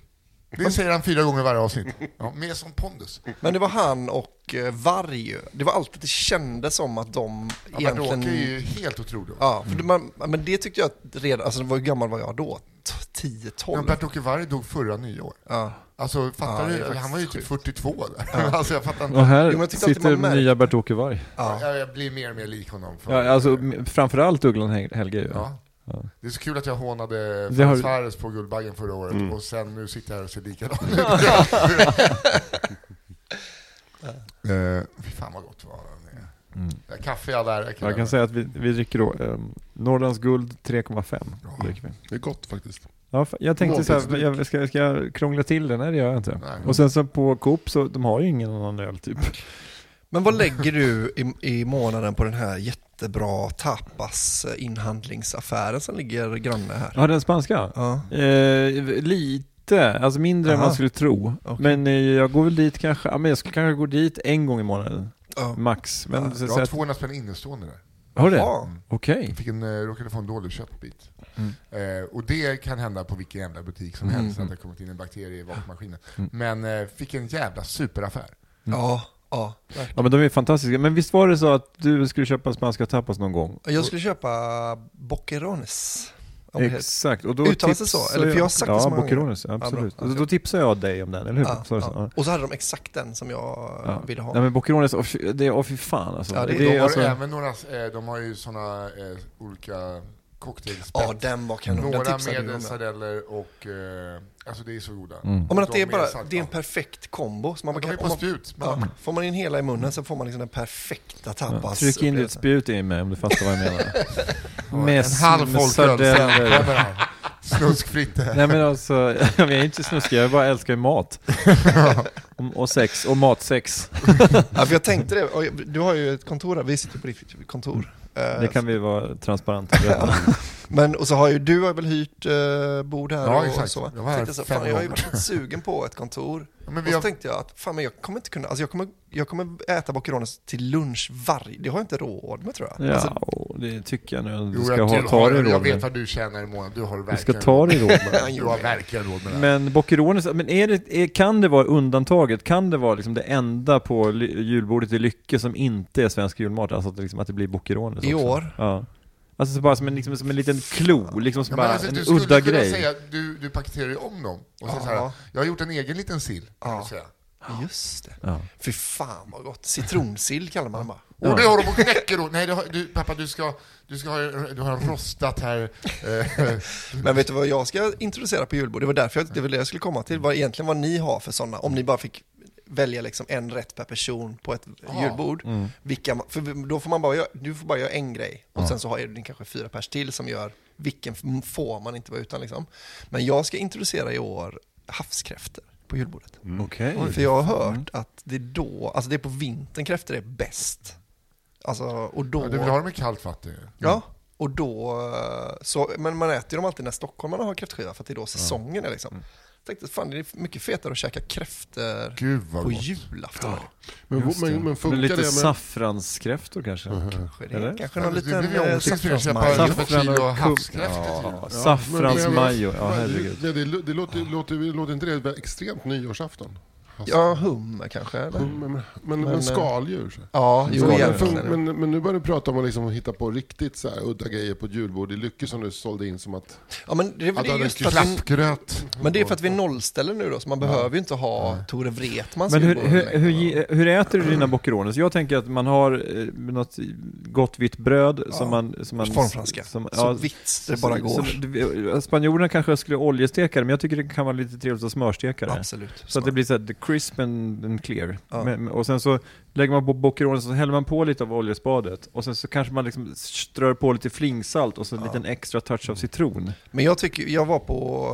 S2: Det säger han fyra gånger varje avsnitt. Ja, med som pondus.
S4: Men det var han och eh, Varg. Det var alltid, det kändes som att de
S2: Ja, men
S4: egentligen...
S2: Råke är ju helt otrolig.
S4: Ja, för det, man, men det tyckte jag att redan, alltså det var, hur gammal var jag då? T- 10-12?
S2: Men Bert-Åke Varg dog förra nyår.
S4: Ja.
S2: Alltså
S4: Ja,
S2: fattar
S4: det är
S2: du?
S4: faktiskt
S2: Han var ju typ
S4: sjukt.
S2: 42 där. alltså jag fattar
S1: Och
S2: inte.
S1: här
S4: Jo, men jag tyckte alltid
S1: sitter
S4: man märker-
S1: nya Bert-Åke Varg.
S4: Ja.
S2: Jag, jag blir mer och mer lik honom. För,
S1: Ja, alltså, m- framförallt Ugglan Hel- Helge ju.
S2: ja. Det är så kul att jag hånade
S1: Det
S2: Frans
S1: har- Mm.
S2: Fares på Guldbaggen förra året och sen nu sitter jag här och ser likadan ut. Eh, Fy fan vad gott det var den är. Kaffe i alla ära.
S1: Mm. Jag
S2: killar.
S1: kan säga att vi, vi dricker då ehm, Norrlands guld 3,5. dricker vi.
S3: Det är gott faktiskt.
S1: Ja, fa- jag tänkte så här, jag, ska, ska jag krångla till det? Nej det gör jag inte.
S2: Nej.
S1: Och sen så på Coop så, de har ju ingen annan öl typ.
S4: Men vad lägger du i, i månaden på den här jättebra tapas-inhandlingsaffären som ligger granne här?
S1: Ja, den spanska?
S4: Ja.
S1: Eh, lite, alltså mindre än
S4: Aha.
S1: man skulle tro.
S4: Okej.
S1: Men eh, jag går väl dit kanske, ja, men jag skulle kanske gå dit en gång i månaden,
S4: Ja.
S2: Mm.
S1: max. Men så,
S2: Jag
S1: så
S2: har
S1: att,
S2: 200 spänn innestående där.
S1: har du det?
S4: Ja.
S1: Okej.
S2: Jag fick en, eh, råkade få en dålig köttbit.
S4: Mm.
S2: Eh, och det kan hända på vilken jävla butik som helst, att det har kommit in en
S4: Mm.
S2: bakterie i vakuummaskinen. Men eh, fick en jävla superaffär.
S4: Ja, ja. verkligen.
S1: Ja men de är fantastiska. Men visst var det så att du skulle köpa spanska tapas någon gång?
S4: Jag skulle köpa Boccherones. om det heter.
S1: Exakt, och då
S4: Uttalas det så?
S1: tipsar
S4: Eller för jag har sagt det
S1: ja,
S4: så många gånger.
S1: Boccherones,
S4: Ja, bra.
S1: absolut.
S4: Ja,
S1: då tipsade jag dig om den, eller hur?
S4: Ja,
S1: Så- så-
S4: ja. Och så hade de exakt den som jag
S1: ja.
S4: ville ha.
S1: Nej men Boccherones, åh fy- det är, åh fy fan alltså.
S4: Ja, det-
S2: De har
S1: alltså-
S2: även några, eh, de har ju sådana eh, olika cocktailspett.
S4: Ja, den var kanon. Den
S2: några
S4: tipsade
S2: med
S4: du om. Mm.
S2: sardeller och, eh, alltså det är så goda.
S4: Ja, men att
S2: De
S4: det är, bara,
S2: salt-
S4: det är en
S2: ja.
S4: perfekt kombo. Så man
S2: De
S4: kan,
S2: är på
S4: om man-
S2: spjut.
S4: Ja, får man in hela i munnen så får man liksom den perfekta tapas.
S1: Tryck in ditt spjut i mig om du fattar vad jag menar. med,
S2: en halv
S1: med
S2: folköl, sen
S1: sardeller.
S2: kommer han. Snuskfritte.
S1: Nej men alltså, jag är inte snuskig, jag bara älskar ju mat. Och- och sex, och matsex.
S4: Ja, för jag tänkte det. Och jag- Du har ju ett kontor här. Vi sitter på ditt kontor. Eh,
S1: Det kan vi vara transparenta och berätta.
S4: Men, och så har ju du har väl hyrt eh, bord här
S2: Ja,
S4: och, och
S2: exakt.
S4: så. va?
S2: Jag var här
S4: Tänkte så,
S2: fem
S4: fan, jag har ju
S2: gånger.
S4: varit lite sugen på ett kontor.
S2: Ja, men
S4: och
S2: vi
S4: så
S2: har-
S4: tänkte jag att fan, men jag kommer inte kunna, alltså jag kommer, jag kommer äta Boccherones till lunch varje, det har jag inte råd med tror jag.
S1: Ja,
S4: Alltså,
S1: och det tycker jag nu. Du
S2: Jo,
S1: ska
S2: jag
S1: ha,
S2: tror-
S1: ta dig
S2: jag, jag
S1: råd
S2: vet
S1: med.
S2: vad du tjänar i månaden, du har
S1: Du
S2: verkligen
S1: ska ta dig råd med.
S2: Du har verkligen råd med det här.
S1: Men Boccherones, men är det, är, kan det vara undantaget? Kan det vara liksom det enda på ly, julbordet i Lycke som inte är svensk julmat? Alltså att, det liksom, att det blir Boccherones
S4: I
S1: också.
S4: år?
S1: Ja. Alltså så bara som en, liksom, som en liten klo, liksom som
S2: Ja, men
S1: bara
S2: alltså, du
S1: en
S2: skulle
S1: udda
S2: kunna
S1: grej.
S2: Säga, du, du paketerar ju om dem och säger
S4: Ja.
S2: så här, jag har gjort en egen liten sill. Kan du säga.
S4: Just det.
S1: Ja.
S4: Fy fan vad gott. Citronsill kallar man det bara.
S2: Och det har de och knäcker då. Nej, det har, du, pappa du ska, du ska ha, du har rostat här. Eh,
S4: Men vet du vad jag ska introducera på julbord? Det var därför jag, det var det jag skulle komma till. Vad, egentligen vad ni har för sådana, om ni bara fick välja liksom en rätt per person på ett julbord.
S2: Mm.
S4: Vilka, man- för då får man bara göra, du får bara göra en grej och sen så har ni kanske fyra pers till som gör vilken f- får man inte vara utan liksom. Men jag ska introducera i år havskräfter på julbordet.
S2: Mm.
S1: Okej.
S4: För jag har hört att det är då, alltså det är på vintern kräfter är bäst. Alltså, och då...
S2: du vill ha dem i kallt vatten ju.
S4: Ja, och då... eh, Så, men man äter ju dem alltid när stockholmarna har kräftskiva för att det är då säsongen är liksom. Jag tänkte, fan det är mycket fetare att käka kräftor
S2: Gud vad
S4: på
S2: gott.
S4: julafton.
S3: Men, men, men funkar
S1: Men lite
S3: det med...
S1: saffranskräftor kanske?
S4: Kanske det
S1: Eller?
S4: är Kanske någon
S2: Nu
S4: liten
S2: blir jag
S4: eh,
S2: också inspirerad.
S4: saffransmajo.
S2: Köpa ett kilo
S1: och
S2: havskräftor till
S1: Ja,
S2: jul.
S3: Men- men-
S1: saffransmajo, ja
S3: men-
S1: herregud.
S3: men det, det, låter, låter, låter inte det extremt nyårsafton?
S4: Ja, hummer kanske. Eller?
S3: Men, men,
S4: Men, eh,
S3: men skaldjur. Så.
S4: Ja, jo,
S3: Men-
S4: egentligen. är det-
S3: men, men nu börjar du prata om att liksom hitta på riktigt så här, udda grejer på ett julbord i Lycke som du sålde in som att...
S4: Ja, men det, är-
S3: Att
S4: det
S3: ha
S4: är
S3: den
S4: just för att vi,
S3: Klappgröt.
S4: men det är för att vi nollställer nu då, så man behöver ju inte ha Tore Wretmans
S1: Men hur,
S4: julbord
S1: hur,
S4: längre,
S1: hur,
S4: va?
S1: ge- hur äter du dina boccherones? Jag tänker att man har eh, något gott vitt bröd som man... Som man
S4: Formfranska.
S1: som-
S4: så
S1: ja,
S4: vitt det bara
S1: som-
S4: går.
S1: som- eh, Spanjorerna kanske skulle oljesteka det, men jag tycker det kan vara lite trevligt att smörsteka det.
S4: Absolut.
S1: Så att det blir så här, the crisp and, and clear.
S4: Ja.
S1: Men, men- och sen så lägger man på boccheronen, så häller man på lite av oljespadet. Och sen så kanske man liksom strör på lite flingsalt och så en liten extra
S4: Mm.
S1: touch av citron.
S4: Men jag tycker, jag var på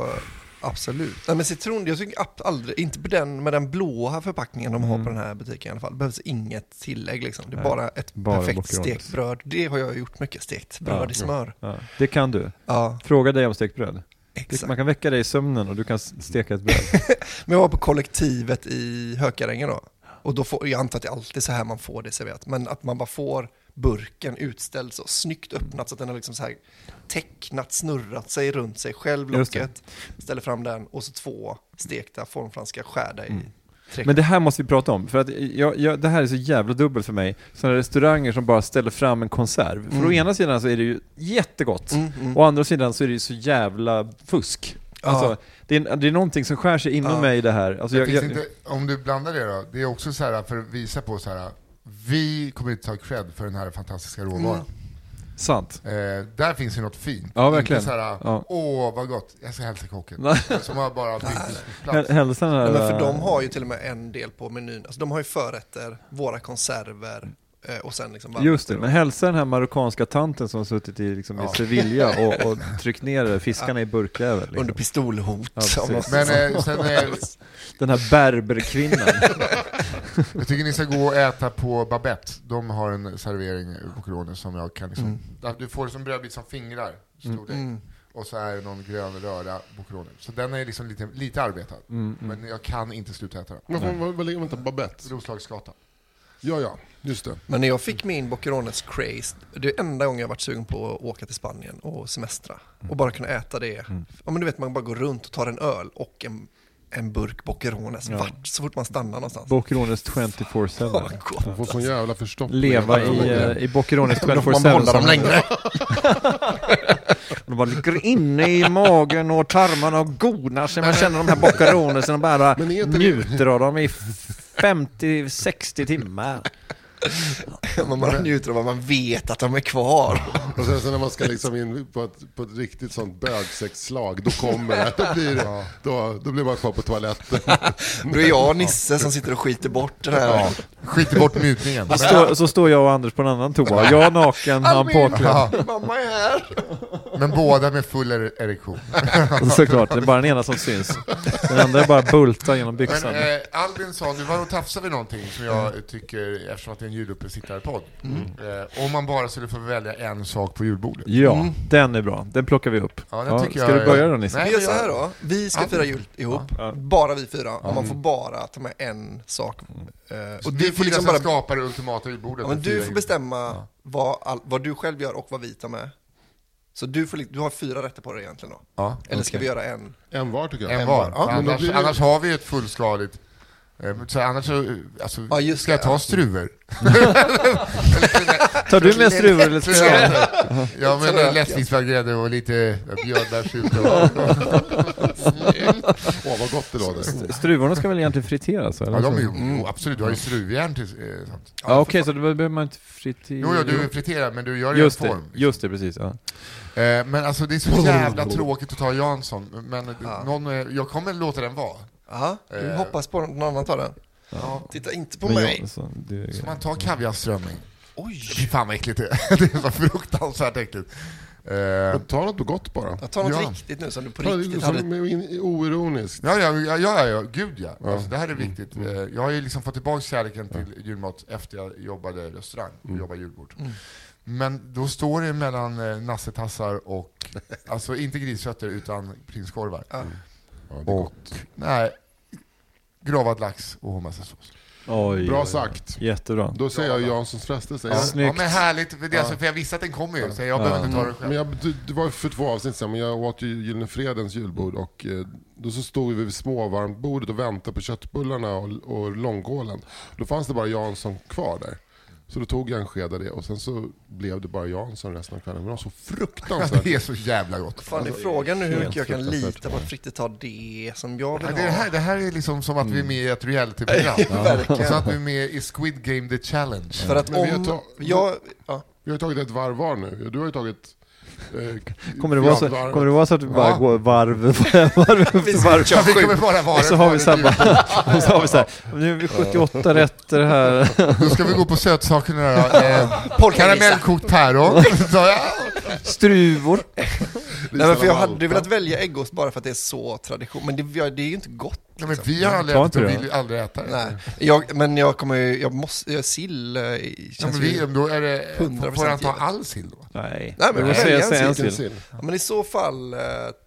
S4: Absolut. Nej, men citron, jag tycker ab- aldrig, inte på den, med den blåa förpackningen de har på den här butiken i alla fall, behövs inget tillägg liksom. Det är
S1: Mm. Nej.
S4: bara ett
S1: Bara
S4: perfekt
S1: boccherones.
S4: stekt bröd. Det har jag gjort mycket, stekt bröd
S1: Ja.
S4: i smör.
S1: Ja. Det kan du.
S4: Ja,
S1: Fråga dig om stekt bröd.
S4: exakt.
S1: Man kan väcka dig i sömnen och du kan s- steka ett bröd.
S4: Men jag var på kollektivet i Hökarängen då. Och då får, jag antar att det är alltid så här man får det serverat, men att man bara får burken utställd så snyggt öppnat så att den har liksom så här tecknat, snurrat sig runt sig själv,
S1: Just det.
S4: locket, ställer fram den och så två stekta formfranska skärda i tre
S1: Mm. Men det här måste vi prata om, för att jag, jag, det här är så jävla dubbelt för mig. Sådana restauranger som bara ställer fram en konserv. För å ena sidan så är det ju jättegott, å andra sidan så är det ju så jävla fusk. Alltså, det, är, det är någonting som skär sig inom mig i det här. Alltså, jag,
S2: Finns
S1: jag,
S2: inte, om du blandar det då, det är också så här för att visa på så här. vi kommer inte ta cred för den här fantastiska råvaran.
S1: sant.
S2: Eh, där finns ju något fint.
S1: Mm. Ja, verkligen.
S2: Inte så här,
S1: Ja.
S2: åh vad gott, jag ska hälsa kocken.
S1: Nej.
S2: Som har bara bytt
S1: Häl-
S2: plats.
S1: Hälsa den här...
S4: Nej, men för de har ju till och med en del på menyn. Alltså, de har ju förrätter, våra konserver eh, och sen liksom varmrätter
S1: Just det,
S4: då.
S1: men hälsa den här marockanska tanten som har suttit i, liksom, i Sevilla och, och tryckt ner fiskarna i burkjävel. Liksom.
S4: Under pistolhot.
S1: Ja,
S4: om något
S1: precis.
S4: sånt.
S2: Men eh, sen, eh,
S1: Den här berberkvinnan.
S2: jag tycker ni ska gå och äta på Babette. De har en servering på Corona som jag kan
S3: Mm.
S2: liksom, där Du får det som brödbit som fingrar, storlek. Och så är det någon grön röra på Corona. Så den är liksom lite, lite arbetad. Men jag kan inte sluta äta den.
S3: Men Mm, vad- vad- vad ligger man inte Babette?
S2: Roslagsgatan.
S3: Ja, ja, just det.
S4: Men när jag fick min Boccherones craze, det är enda gången jag varit sugen på att åka till Spanien och semestra.
S2: Mm.
S4: Och bara kunna äta det. Ja, men du vet, man bara går runt och tar en öl och en, en burk Boccherones vart, så fort man stannar någonstans.
S1: Boccherones
S4: Ja, vad
S1: 24-7.
S4: gott.
S3: Man får sån jävla förstoppning.
S1: Leva
S3: Ja, men
S1: i,
S3: det-
S1: eh, i Boccherones
S4: Men då
S1: 24-7.
S4: får man behålla dem
S1: som-
S4: längre.
S1: De bara ligger inne i magen och tarmarna och godnar sig. Man känner de här Boccherones och bara
S3: Men är inte det-
S1: njuter av dem i 50-60 timmar.
S4: Man bara njuter av att man vet att de är kvar.
S3: Och sen så när man ska liksom in på ett, på ett riktigt sånt bögsexslag, då kommer det. Då blir, det då, då blir man kvar på toaletten.
S4: Då är jag och Nisse som sitter och skiter bort den här
S2: Skit bort njutningen.
S1: Så står- Så står jag och Anders på en annan toa. Jag naken, han påklädd.
S2: Ja,
S4: Mamma är här!
S2: men båda med full er- erektion.
S1: Såklart, det är bara den ena som syns. Den andra är bara bultar genom byxan.
S2: Men eh, Albin sa, du var och tafsade vid någonting som jag tycker, eftersom att det är en juluppesittarpodd. Eh, om man bara skulle få välja en sak på julbordet. Mm.
S1: Ja, den är bra. Den plockar vi upp.
S2: Ja, den tycker
S1: ska
S2: jag
S1: du börja
S2: är-
S1: då Nisse?
S4: Vi
S2: Nej,
S4: gör
S2: jag-
S4: så här då, vi ska
S2: Ja.
S4: fira jul ihop, bara vi fyra, och man får bara ta med en sak. Eh,
S2: Och
S4: Och
S2: du
S4: du
S2: Mm. fyra
S4: får
S2: liksom
S4: liksom bara
S2: skapar det ultimata julbordet.
S4: Ja, men
S2: för
S4: du
S2: fyra
S4: får
S2: jul.
S4: bestämma vad, all, vad du själv gör och vad vi tar med. Så du, får, li- du har fyra rätter på dig egentligen då?
S2: Ja,
S4: Eller ska vi göra en?
S3: En var tycker jag.
S2: En var.
S3: Ja, men då
S2: annars,
S3: blir det,
S2: annars har vi ett fullskaligt... eh, men Så annars så, eh, alltså,
S4: Ja, just
S2: ska jag
S4: det,
S2: ta
S4: ja.
S2: struvor?
S1: Tar du med struvor eller ska jag?
S2: ja men eh, lättvinsfärgad grädde och lite björnbärssylt.
S3: åh, vad gott det låter.
S1: Struvorna ska väl egentligen friteras? Eller?
S2: Ja, de är ju, jo, absolut, du har ju struvjärn till eh, sånt.
S1: Ja, okej, så då behöver man inte fritera.
S2: Jo, ja, du friterar men du gör det i en
S1: Just det,
S2: form.
S1: just det, precis. Ja.
S2: Eh, men alltså det är så jävla tråkigt att ta Jansson, men eh, någon, eh, jag kommer låta den vara.
S4: Ja, du
S2: Eh.
S4: hoppas på någon annan tar den.
S2: Ja.
S4: Titta inte på
S1: Men
S4: mig.
S1: jag- så, det,
S2: Ska man ta kaviarströmming?
S4: Oj!
S2: Fy fan vad äckligt det är. Det är så fruktansvärt äckligt. Eh,
S3: Men Ta något gott bara.
S4: Jag tar något
S2: Ja.
S4: riktigt nu som du på
S3: Ta
S4: riktigt
S3: det liksom
S4: hade...
S3: som in- oironiskt.
S2: Ja, ja, ja, ja, ja, gud ja. Alltså, det här är viktigt. Eh, Jag har ju liksom fått tillbaka kärleken till julmat efter jag jobbade i restaurang och jobbade julbord. Men då står det mellan eh, nassetassar och, alltså inte grisfötter utan prinskorvar.
S4: Ja.
S3: Ja, det är
S2: Och,
S3: gott.
S2: nej, gravad lax och homosexuellt.
S1: Oj,
S3: Bra
S1: oj, oj.
S3: sagt.
S1: Jättebra.
S3: Då säger jag Janssons frestelse. Jag-
S2: Ja,
S1: Snyggt.
S2: men härligt, för, det, alltså, för jag visste att den kommer ju, så jag behöver inte ta det själv.
S3: Men jag, du- det var för två avsnitt sedan, men jag åt ju Gyllene Fredens julbord och eh, då så stod vi vid småvarmbordet och väntade på köttbullarna och, och långkålen. Då fanns det bara Jansson kvar där. Så då tog jag en sked av det och sen så blev det bara Jansson resten av kvällen. Men det var så
S2: Ja,
S3: fruktansvärt.
S2: det är så jävla gott.
S4: Fan, det är frågan nu hur mycket jag kan
S1: fruktansvärt.
S4: lita på att Fritte tar det som jag
S2: Ja,
S4: vill
S2: det, är det,
S4: ha.
S2: här, det här är liksom som att vi är med i ett realityprogram. Och så att vi är med i Squid Game The Challenge.
S4: För att
S3: Men vi har
S4: om...
S3: ta-
S4: Jag, ja.
S3: Vi har ju tagit ett varv var nu. Du har ju tagit... eh,
S1: Kommer det, vara så,
S3: fjärdevarvet.
S1: kommer det vara så att vi bara
S2: Ja.
S1: går varv, varv efter varv?
S2: Ja, vi kommer bara vara
S1: Så har vi
S2: ett
S1: samma.
S2: varv till.
S1: Och så har vi så här, nu är vi 78 rätter här.
S2: Då ska vi gå på sötsakerna då. Eh,
S4: Polkavisa.
S2: karamellkokt päron. Så, ja.
S1: Struvor.
S4: Nej, men för jag hade velat välja äggost bara för att det är så tradition, men det, det är ju inte gott.
S2: Nej, men vi har aldrig
S1: Ta
S2: ätit
S1: inte
S2: och
S1: det.
S2: vill ju aldrig äta det.
S4: Nej, jag, men jag kommer ju, jag måste, jag, sill eh, känns
S2: Ja, men
S4: ju...
S2: vi, då är det,
S4: 100%
S2: får han ta
S4: givet.
S2: all sill då?
S1: Nej,
S4: Nej, men
S1: jag
S4: välja
S1: säger
S4: en
S1: säger en
S3: Vilken
S1: till.
S3: sill?
S4: Ja, men i så fall eh,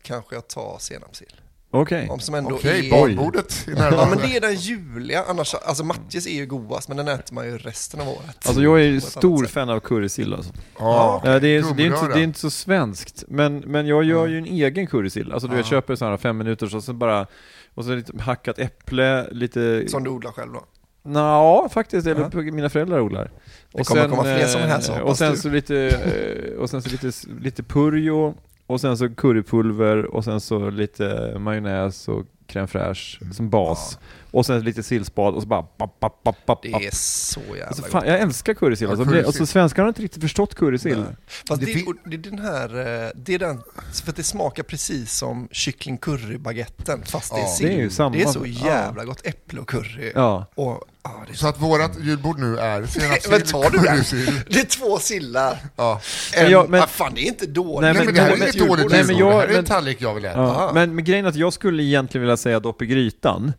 S4: kanske jag tar senapssill.
S1: Okej.
S4: Om som ändå
S2: Okej,
S4: är...
S2: barnbordet är
S4: Ja men
S2: närvarande.
S4: det är den juliga, annars, alltså matjes är ju godast men den äter man ju resten av året.
S1: Alltså jag är ju
S4: På ett
S1: stor
S4: annat sätt.
S1: fan av currysill alltså.
S2: Ja,
S1: Eh, det, är, så- det, är inte, så-
S2: gummiröra.
S1: det är inte så svenskt, men, men jag gör ju en egen currysill. Alltså du vet, köper sådana här fem minuter och så bara, och så lite hackat äpple, lite...
S4: Som du odlar själv då.
S1: Nå, faktiskt, eller mina föräldrar odlar.
S4: Det kommer komma fler såna här, så
S1: eh, och
S4: hoppas
S1: sen
S4: du.
S1: så lite, eh, och sen så lite, s- lite purjo, och sen så currypulver, och sen så lite majonnäs och crème fraîche
S4: Mm.
S1: som bas. Och sen lite sillspad och så bara... Bap, bap, bap, bap,
S4: Det
S1: bap.
S4: är så jävla
S1: Alltså,
S4: gott.
S1: fan, jag älskar currysill.
S2: Ja,
S1: Alltså,
S2: currysill.
S1: alltså svenskarna har inte riktigt förstått currysill.
S4: Fast
S2: Det
S4: det,
S2: fin-
S4: och det är den här, eh, det är den, för att det smakar precis som kyckling currybaguetten fast det är
S2: Ja,
S4: sill.
S1: Det är ju samma.
S4: Det är så jävla gott, äpple och curry.
S1: Ja.
S4: Och, ja, det är så...
S2: Så att vårat julbord nu är senapssill,
S4: Men tar du den?
S2: currysill.
S4: Det är två sillar.
S2: Ja.
S4: En,
S1: jag- men-
S4: ah, fan det är inte dåligt.
S1: Nej,
S2: Nej, men
S1: men-
S2: det här är
S1: men-
S2: inget
S1: men-
S2: dåligt liksom.
S1: nej, men
S2: julbord. Det
S1: jag-
S2: här är en
S1: men-
S2: tallrik jag vill äta.
S1: Ja. Men, men grejen är att jag skulle egentligen vilja säga dopp i grytan,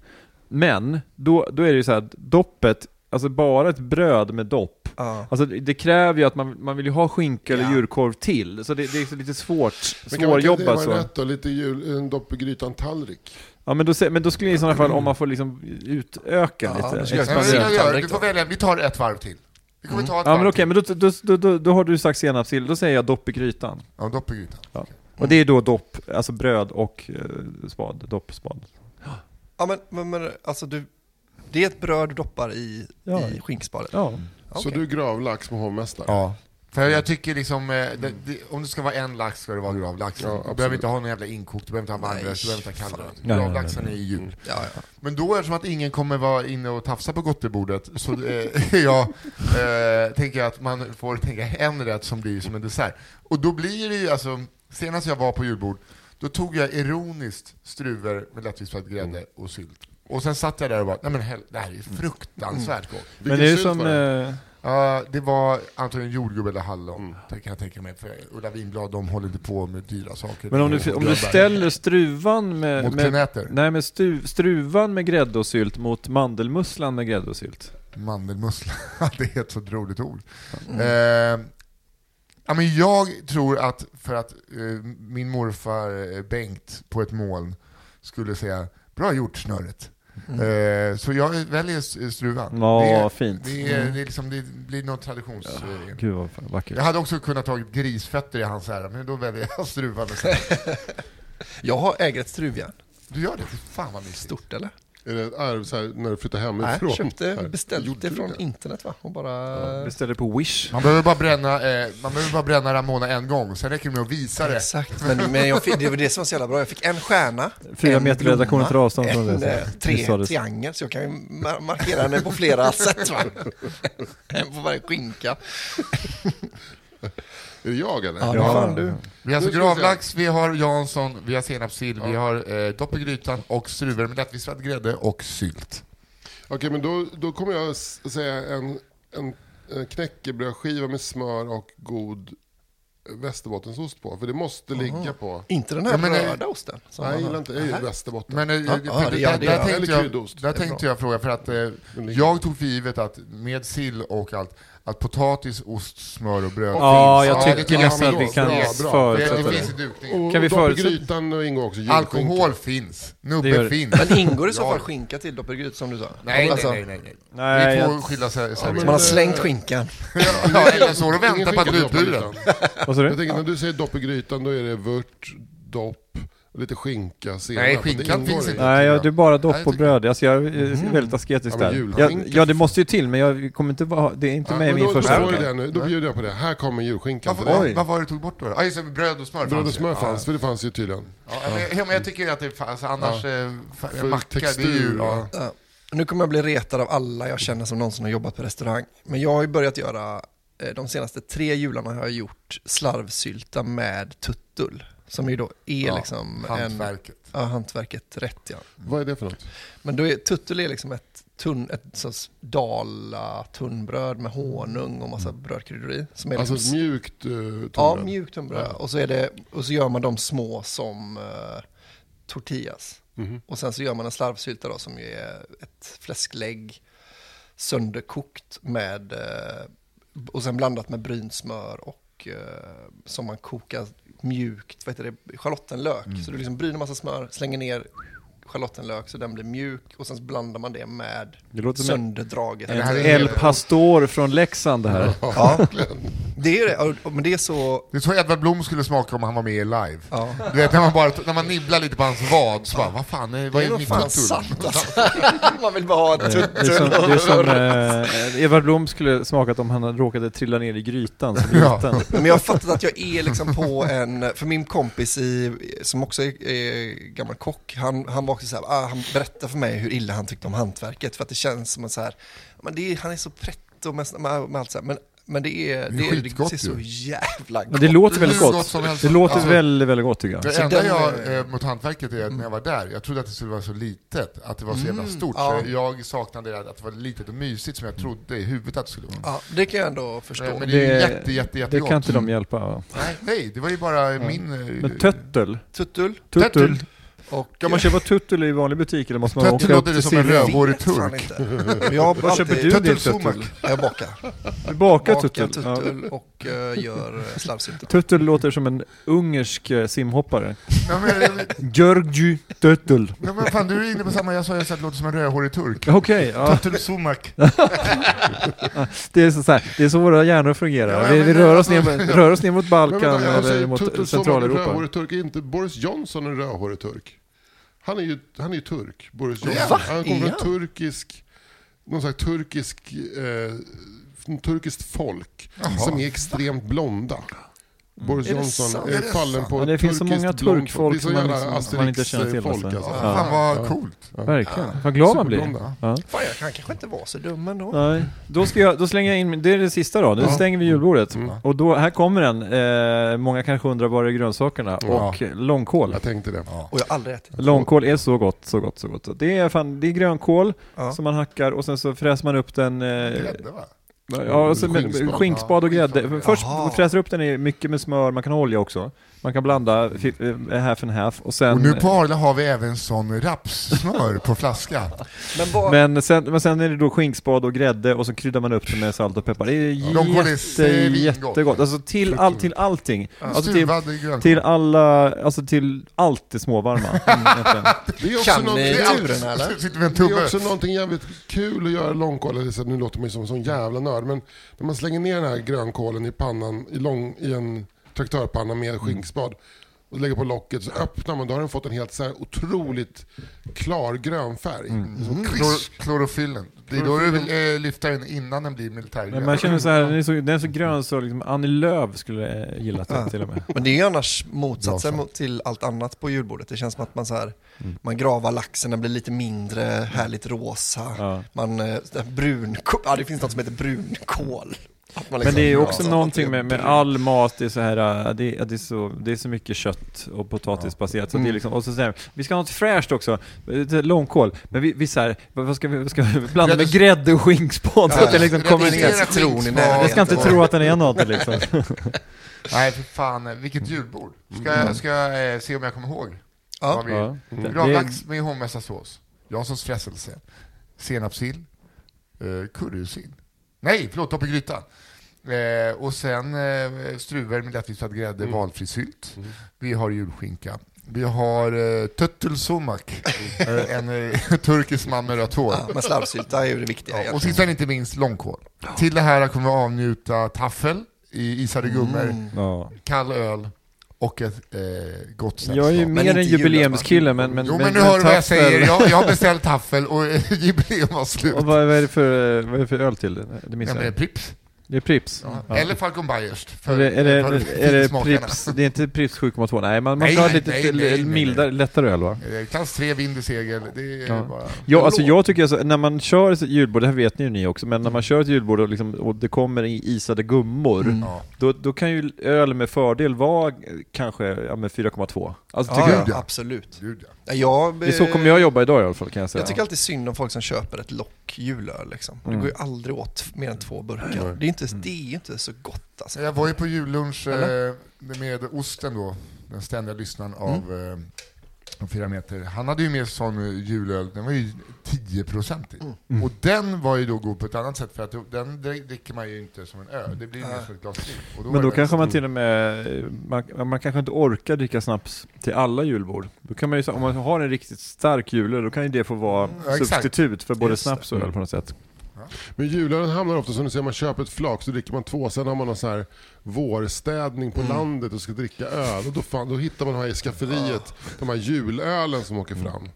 S1: men då, då är det ju så här att doppet, alltså bara ett bröd med dopp,
S4: Ja.
S1: alltså det, det kräver ju att man, man vill ju ha skinka eller
S4: Ja.
S1: djurkorv till, så det, det är lite svårt,
S3: Men kan man inte
S1: svårjobbat
S3: det
S4: alltså.
S1: så.
S3: vara rätt då? Lite jul, en dopp i grytan tallrik.
S1: Ja men då, se- men då skulle jag i sådana fall, om man får liksom utöka
S4: då
S1: lite,
S4: skulle jag
S2: Nej, men vi,
S4: Expanderar.
S1: expandera.
S2: kan göra,
S4: Tallrik
S2: du
S4: då.
S2: får välja, vi tar ett varv till. Vi
S4: Mm.
S2: kommer ta ett
S1: Ja
S2: varv
S1: men okej,
S2: till.
S1: men då, då, då, då, då har du sagt senapssill, då säger jag dopp i grytan.
S2: Ja, dopp i grytan.
S1: Ja. Och det är då dopp, alltså bröd och eh, spad, dopp, spad.
S4: Ja men, men, men alltså du, det är ett bröd du doppar i,
S1: Ja.
S4: i skinkspadet.
S1: Ja.
S3: Så
S4: Okej.
S3: du är gravlax med hovmästare?
S2: Ja. För jag tycker liksom, eh, det, det, om det ska vara en lax ska det vara gravlax. du
S3: Mm. absolut.
S2: behöver inte ha någon jävla inkokt, du behöver inte ha varmrätt, du behöver inte ha kallrät.
S1: Nej,
S2: Gravlaxen är i
S3: Mm.
S2: jul.
S4: Ja, ja.
S2: Men då eftersom att ingen kommer vara inne och tafsa på gottebordet så eh, jag eh, tänker att man får tänka en rätt som blir som en dessert. Och då blir det ju alltså, senast jag var på julbord, då tog jag ironiskt struver med lättvispad
S3: Mm.
S2: grädde och sylt. Och sen satt jag där och bara, nej men hell- det här är ju fruktansvärt gott.
S3: Vilken
S1: Mm. Men det är ju
S3: sylt
S1: som...
S3: var det?
S1: eh,
S2: Ja, det var antagligen jordgubbe eller hallon, det kan jag tänka mig. För Ulla Winblad, de håller inte på med dyra saker.
S1: Men om du, om du ställer struvan med,
S2: Mot
S1: med,
S2: klenäter?
S1: nej, med stu, struvan med grädde och sylt mot mandelmusslan med grädde och sylt.
S2: Mandelmussla, det är ett så roligt ord.
S1: Mm.
S2: Eh, ja, men jag tror att, för att eh, min morfar eh, Bengt på ett moln skulle säga Bra gjort snöret. Eh, så jag väljer s- eh, struvan.
S1: Mm. Ja,
S2: det, är-
S1: fint. Mm.
S2: Det, är, det, är liksom, det blir någon traditions... eh,
S1: Gud vad fan vackert.
S2: Jag hade också kunnat tagit grisfötter i hans ära, men då väljer jag struvan.
S4: Jag har äger ett struvjärn.
S2: Du gör det? Fan vad mysigt.
S4: Stort eller?
S3: Är det ett arv så här, när du flyttar
S4: Nej,
S3: hemifrån?
S4: jag köpte,
S3: Här. Gjorde
S4: beställde
S3: du
S4: från
S3: det?
S4: internet va? Och bara...
S1: Beställer på Wish.
S2: Man behöver bara bränna, eh, man behöver bara bränna Ramona en gång, sen räcker det med att visa det.
S4: Exakt, men, men jag fick, det var det som var så jävla bra. Jag fick en stjärna,
S1: Fyra
S4: en
S1: meter redaktionen tar avstånd från
S4: en,
S1: det.
S4: eh,
S1: Det
S4: tre
S1: sades.
S4: triangel, så jag kan ju mar- markera henne på flera sätt. Va? En på varje skinka.
S3: Är det jag eller?
S4: Ja, det var fan du.
S2: Vi har alltså
S3: Nu ska vi se.
S2: gravlax, vi har Jansson, vi har senapssill, vi har eh, dopp i grytan och struver med lättvispad grädde och sylt.
S3: Okej, men då, då kommer jag s- säga en, en, eh, knäckebrödskiva med smör och god västerbottensost på? För det måste ligga på.
S4: Inte den här
S2: Ja, men det-
S4: röda osten. som
S3: eh, Nej, jag
S4: man
S3: gillar
S4: har.
S3: inte, jag gillar
S4: Nej.
S3: västerbotten.
S2: Men eh,
S4: Ja,
S2: för
S4: ja,
S2: det-
S4: det- ja,
S2: där,
S4: det-
S2: där
S4: ja,
S2: tänkte,
S3: eller
S2: jag,
S3: kudost.
S2: där
S4: Det är
S2: tänkte
S4: bra.
S2: jag fråga, för att eh, jag tog för givet att med sill och allt, att potatis, ost, smör och bröd
S1: Ja,
S2: finns.
S1: jag
S2: det
S1: tycker
S2: kan
S1: nästan
S2: jag
S1: att vi
S2: förstå.
S1: kan
S2: Det,
S1: förutsätta
S2: det
S1: det.
S2: finns i dukningen.
S3: och
S1: Kan vi
S3: dopp i
S1: förutsätta-
S3: grytan och ingår också julskinka.
S2: Alkohol finns,
S1: Det gör det.
S2: nubbe finns.
S4: Men ingår i så
S2: Ja.
S4: fall skinka till doppergryt som du sa?
S2: Nej,
S4: Alltså,
S2: nej, nej, nej.
S1: Nej,
S2: det är två
S1: jag-
S2: skilda se-
S4: Man
S2: serier.
S4: har slängt skinkan.
S2: Ja, eller så har de väntat på att
S3: Ingen skinka
S2: bli
S3: dopp i
S2: utburen.
S3: grytan.
S1: Vad sa
S3: Jag
S1: du?
S3: tänker när du säger dopp i grytan, då är det vört, dopp, lite skinka, senap.
S2: Nej,
S3: Det
S2: skinkan
S3: ingår
S2: finns
S3: i-
S2: inte.
S1: Nej, jag, det är bara
S2: Nej,
S1: dopp
S2: jag
S1: och
S2: tycker-
S1: bröd. Alltså jag är eh, väldigt asketisk
S3: Ja, men
S1: där.
S3: julskinka-
S1: Jag, ja, det måste ju till, men jag kommer inte vara... Det är inte med i
S3: men
S1: min
S3: då,
S1: första
S3: då, får du
S1: tanke.
S3: det nu. då bjuder jag på det. Här kommer julskinkan.
S2: Varför,
S3: till
S2: vad,
S3: dig.
S2: vad var det du tog bort då? Ah, just det, bröd och smör
S3: Bröd och
S2: fanns ju.
S3: smör
S2: Ja.
S3: fanns, för det fanns ju tydligen.
S2: Ja, men, ja, men jag tycker att det fanns, annars ja.
S3: För
S2: macka, det är
S3: textur,
S2: ju... Ja.
S4: Ja. Eh, Nu kommer jag bli retad av alla jag känner som någonsin har jobbat på restaurang. Men jag har ju börjat göra, eh, de senaste tre jularna har jag gjort slarvsylta med tuttul. Som ju då är
S2: Ja,
S4: liksom
S2: hantverket.
S4: en... Ja, hantverket. Rätt ja.
S3: Vad är det för något?
S4: Men då är, tuttul är liksom ett, tunn, ett sorts dala tunnbröd med honung och massa brödkryddor i. Som är
S3: Alltså ett
S4: liksom,
S3: mjukt
S2: eh,
S3: uh, tunnbröd?
S4: ja, mjukt tunnbröd. Och, så är det, och så gör man de små som eh, tortillas.
S1: Mhm.
S4: Och sen så gör man en slarvsylta då som ju är ett fläsklägg sönderkokt med eh, och sen blandat med brynt smör och eh, som man kokar mjukt, vad heter det, schalottenlök.
S1: Mm.
S4: Så du liksom bryner massa smör, slänger ner schalottenlök så den blir mjuk och sen så blandar man det med
S1: Det låter som en-
S4: sönderdraget. Alltså,
S1: En
S2: här är-
S1: El Pastor från Leksand det här.
S4: Ja, det är det. Ja, Men det är så...
S2: Det är så Edvard Blom skulle smaka om han var med i live.
S4: Ja.
S2: Du vet när man, bara, när man nibblar lite på hans vad, så bara, vad fan, är, vad
S4: Det
S2: är,
S4: är nog
S2: mitt
S4: fan
S2: kultur?
S4: sant alltså. Man vill bara ha ett
S1: Det är som, det är som eh, Edvard Blom skulle smakat om han råkade trilla ner i grytan som
S2: Ja.
S1: liten.
S4: Men jag har fattat att jag är liksom på en, för min kompis i, som också är, är gammal kock, han, han var också så här, ah, han berättade för mig hur illa han tyckte om hantverket, för att det känns som en så här, men det är, han är så pretto med, med, med allt så här, men, men det är,
S2: Det är
S4: det, är det
S2: skitgott
S4: ser så
S2: ju.
S4: jävla
S1: Men
S4: gott
S1: det låter
S2: Det är
S1: väldigt
S2: hur
S1: gott.
S2: gott som helst.
S1: det låter
S2: Ja.
S1: väldigt, väldigt gott tycker jag.
S2: Det
S4: Så
S2: enda
S4: den- Mm.
S2: jag, eh, mot hantverket är att när jag var där, jag trodde att det skulle vara så litet, att det var så jävla stort.
S4: ja. Mm.
S2: Så jag saknade det där att det var litet och mysigt som jag trodde i huvudet att det skulle vara.
S4: Ja, det kan jag ändå
S2: Eh,
S4: förstå.
S2: Men det är ju jätte, jätte,
S1: det
S2: jättegott.
S1: kan inte de hjälpa. va?
S2: Nej, nej, det var ju bara min... eh,
S1: Men töttel?
S4: Tuttul
S1: Tuttul?
S4: och...
S1: Kan man köpa tuttul i vanlig butik eller måste man
S2: Töttel
S1: åka upp
S2: låter det
S1: till
S2: som en
S1: Silja?
S4: Jag
S2: rövhårig
S4: vet fan
S2: turk.
S4: inte. Men Jag har
S1: Vad köper
S4: alltid-
S1: du din
S4: Tuttul-sumak.
S1: tuttul?
S4: Ja, Jag bakar.
S1: Du bakar
S4: Bakar
S1: tuttul? Ja.
S4: tuttul och eh, gör eh, slarvsylta.
S1: Tuttul låter som en ungersk eh, simhoppare.
S2: Ja, men, eh,
S1: Görgy Tuttul.
S2: ja, men fan, du är inne på samma, jag sa just att det låter som en rödhårig turk.
S1: Okej, ja.
S2: Töttel Sumak.
S1: det, är så här, det är så våra hjärnor fungerar.
S2: Ja,
S1: vi
S2: men- alltså,
S1: vi rör, oss ner, rör oss ner mot
S3: Men
S1: Balkan
S3: vänta, alltså, jag
S1: eller
S3: säger
S1: mot
S3: Tuttul Sommar, en
S1: Centraleuropa.
S3: rödhårig turk. Är inte Boris Johnson en rödhårig turk? Han är ju, han är ju turk, Boris
S4: Va?
S3: Johnson. Han kommer
S4: Är
S3: från
S4: han?
S3: turkisk, någon slags turkisk, eh, från turkiskt folk som är extremt blonda. Boris
S4: Mm. Är det sant?
S3: Johnson
S4: Är
S3: är
S4: det
S3: fallen på
S1: Ja, det finns så
S3: turkiskt
S1: många
S3: blond folk. Det
S1: turkfolk
S3: är så
S1: som man
S3: jävla
S1: liksom- som man inte känner till,
S3: Asterix-folk,
S1: alltså.
S3: alltså.
S1: Ja.
S2: Fan vad coolt.
S1: Verkligen. Vad glad man blir.
S3: Superblonda.
S1: Ja.
S4: Fan, jag kan kanske inte vara så dum ändå.
S1: Nej. Då, ska jag, då slänger jag in, min- det är det sista då, nu stänger vi julbordet. Och då, här kommer den, eh, många kanske undrar var är grönsakerna?
S3: Ja.
S1: Och långkål.
S3: Jag tänkte det.
S4: Och jag har aldrig ätit.
S1: Långkål är så gott, så gott, så gott. Så Det är, fan, det är grönkål
S4: Ja.
S1: som man hackar och sen så fräser man upp den eh,
S2: Grädde va?
S1: Ja, och så med,
S3: Skinkspad.
S1: skinkspad och grädde.
S2: skinkspad.
S1: Först
S4: Jaha.
S1: fräser upp den i mycket med smör, man kan ha olja också. Man kan blanda fi- eh, half and half och
S2: Och
S1: sen...
S2: nu på Arla har vi även sån rapssmör på flaska.
S4: Men vad,
S1: men, sen, men sen är det då skinkspad och grädde och så kryddar man upp det med salt och peppar. Det är
S2: Långkål är
S1: jätte,
S2: svingott.
S1: jättegott. Alltså till, all, till allting. Alltså till,
S2: Stuvad grönkål.
S1: till alla, alltså till allt det småvarma. Mm, egentligen.
S3: Det är också
S4: Kan
S3: någon-
S4: ni
S3: det är
S4: turen,
S3: allt-
S4: eller?
S2: Sitter med en
S3: Det är
S2: tumme.
S3: också någonting jävligt kul att göra långkål, eller så, nu låter man ju som en sån jävla nörd, men när man slänger ner den här grönkålen i pannan i, lång, i en traktörpanna
S2: Mm.
S3: med skinkspad och lägger på locket så öppnar man, då har den fått en helt så här otroligt klar grön färg. Så,
S2: Mm. Klor, klorofyllen. Det är då du vill eh, lyfta den innan den blir militärgrön.
S1: Men man känner så här, den är så, den är så grön så liksom Annie Lööf skulle eh, gillat den till och med.
S4: men det är ju annars motsatsen
S2: Bra
S4: mot- till allt annat på julbordet. Det känns som att man, så här,
S1: Mm.
S4: man gravar laxen, den blir lite mindre härligt rosa.
S1: Ja.
S4: Man, eh, brunkål, ja, det finns något som heter brunkål. Att man
S1: Men det är ju
S4: liksom-
S1: också
S4: ja,
S1: någonting
S4: att
S1: med, med all mat, det är så här, äh, det, är- det, är så, det är så mycket kött och potatisbaserat. Så
S2: Mm.
S1: det är liksom, och så säger de, vi ska ha något fräscht också, eh, lite långkål. Men vi, vi så här, vad vad ska vi, vad ska vi blanda med grädde och skinkspån så att det liksom kommer
S4: Reducera
S1: ner?
S2: Reducera
S4: citron i
S2: skinkspad.
S4: närheten.
S1: Jag ska inte tro att den är något liksom.
S2: Nej, för fan. Vilket julbord. Ska jag, ska jag eh, se om jag kommer ihåg?
S4: Mm. Ja.
S2: Vad vi-
S1: Ja.
S2: Gravlax med hårdmästarsås. Janssons frestelse. Senapssill. Eh, currysill. Nej, förlåt, topp i grytan. Eh, och sen eh, struver med lättvispad grädde,
S4: Mm.
S2: valfri sylt. Vi har julskinka. Vi har eh, töttelsumak,
S4: Mm.
S2: eh, en eh, turkisk man med rött hår.
S4: Ja, men slarvsylta är ju det viktiga.
S2: Ja, och
S4: egentligen.
S2: sist men inte minst långkål. Till det här kommer vi avnjuta taffel i isade gummor,
S1: Ja.
S2: kall öl och ett eh, gott sällskap.
S1: Jag är ju
S4: Men
S1: mer
S4: inte
S1: en jubileumskille, men... men
S2: Jo men nu hör du vad
S1: taffel-
S2: jag säger, jag, jag har beställt taffel och jubileum var slut.
S1: Och vad, vad, är det för, eh, vad är det för öl till? Det
S2: Nej,
S1: missade
S2: men det är
S1: jag.
S2: Pripps.
S1: Det är Pripps.
S2: Ja.
S1: Ja.
S2: Eller Falcon Bayerst.
S1: Är
S2: För,
S1: det, är det,
S2: för
S1: är det
S2: finsmakarna.
S1: Pripps, det är inte Pripps 7,2? Nej, man, man
S2: Nej,
S1: ska ha
S2: nej,
S1: lite
S2: nej,
S1: till-
S2: nej, nej, nej.
S1: mildare, lättare öl va?
S2: Eh, Klass 3, vind i segel. Det är
S1: Ja.
S2: bara...
S1: Ja, alltså jag tycker alltså, när man kör ett julbord, det här vet ni ju ni också, men
S4: Mm.
S1: när man kör ett julbord och, liksom, och det kommer i isade gummor,
S2: Ja.
S1: då, då kan ju öl med fördel vara eh, kanske ja, men 4,2. Alltså, tycker
S4: ja,
S1: jag.
S4: ja, absolut.
S2: Gud, ja.
S4: Ja, Jag,
S1: Det är så kommer jag jobba idag i alla fall kan jag säga.
S4: Jag tycker alltid synd om folk som köper ett lock julöl. Liksom. Det går ju aldrig åt mer än två burkar. Det är, inte, det är ju inte så gott alltså.
S2: Så jag var ju på jullunch eh, med Osten då, den ständiga lyssnaren
S4: Mm.
S2: av eh, de fyra meter. Han hade ju med sig sån eh, julöl, den var ju 10-procentig.
S4: Mm.
S1: Mm.
S2: Och den var ju då god på ett annat sätt, för att den dricker man ju inte som en ö, det blir ju mer som ett glas vin. Och var
S1: men då
S2: den-
S1: kanske man till och med, man, man kanske inte orkar dricka snaps till alla julbord. Då kan man ju, så- om man har en riktigt stark julöl, då kan ju det få vara
S2: Ja, exakt.
S1: substitut för både
S4: Mm, Just det.
S1: snaps och öl på något sätt.
S3: Men julen hamnar ofta som du säger, man köper ett flak så dricker man två, sen har man någon sån här vårstädning
S2: Mm.
S3: på landet och ska dricka öl. Och då, fan, då hittar man de här i skafferiet,
S2: Ah.
S3: de här julölen som åker fram.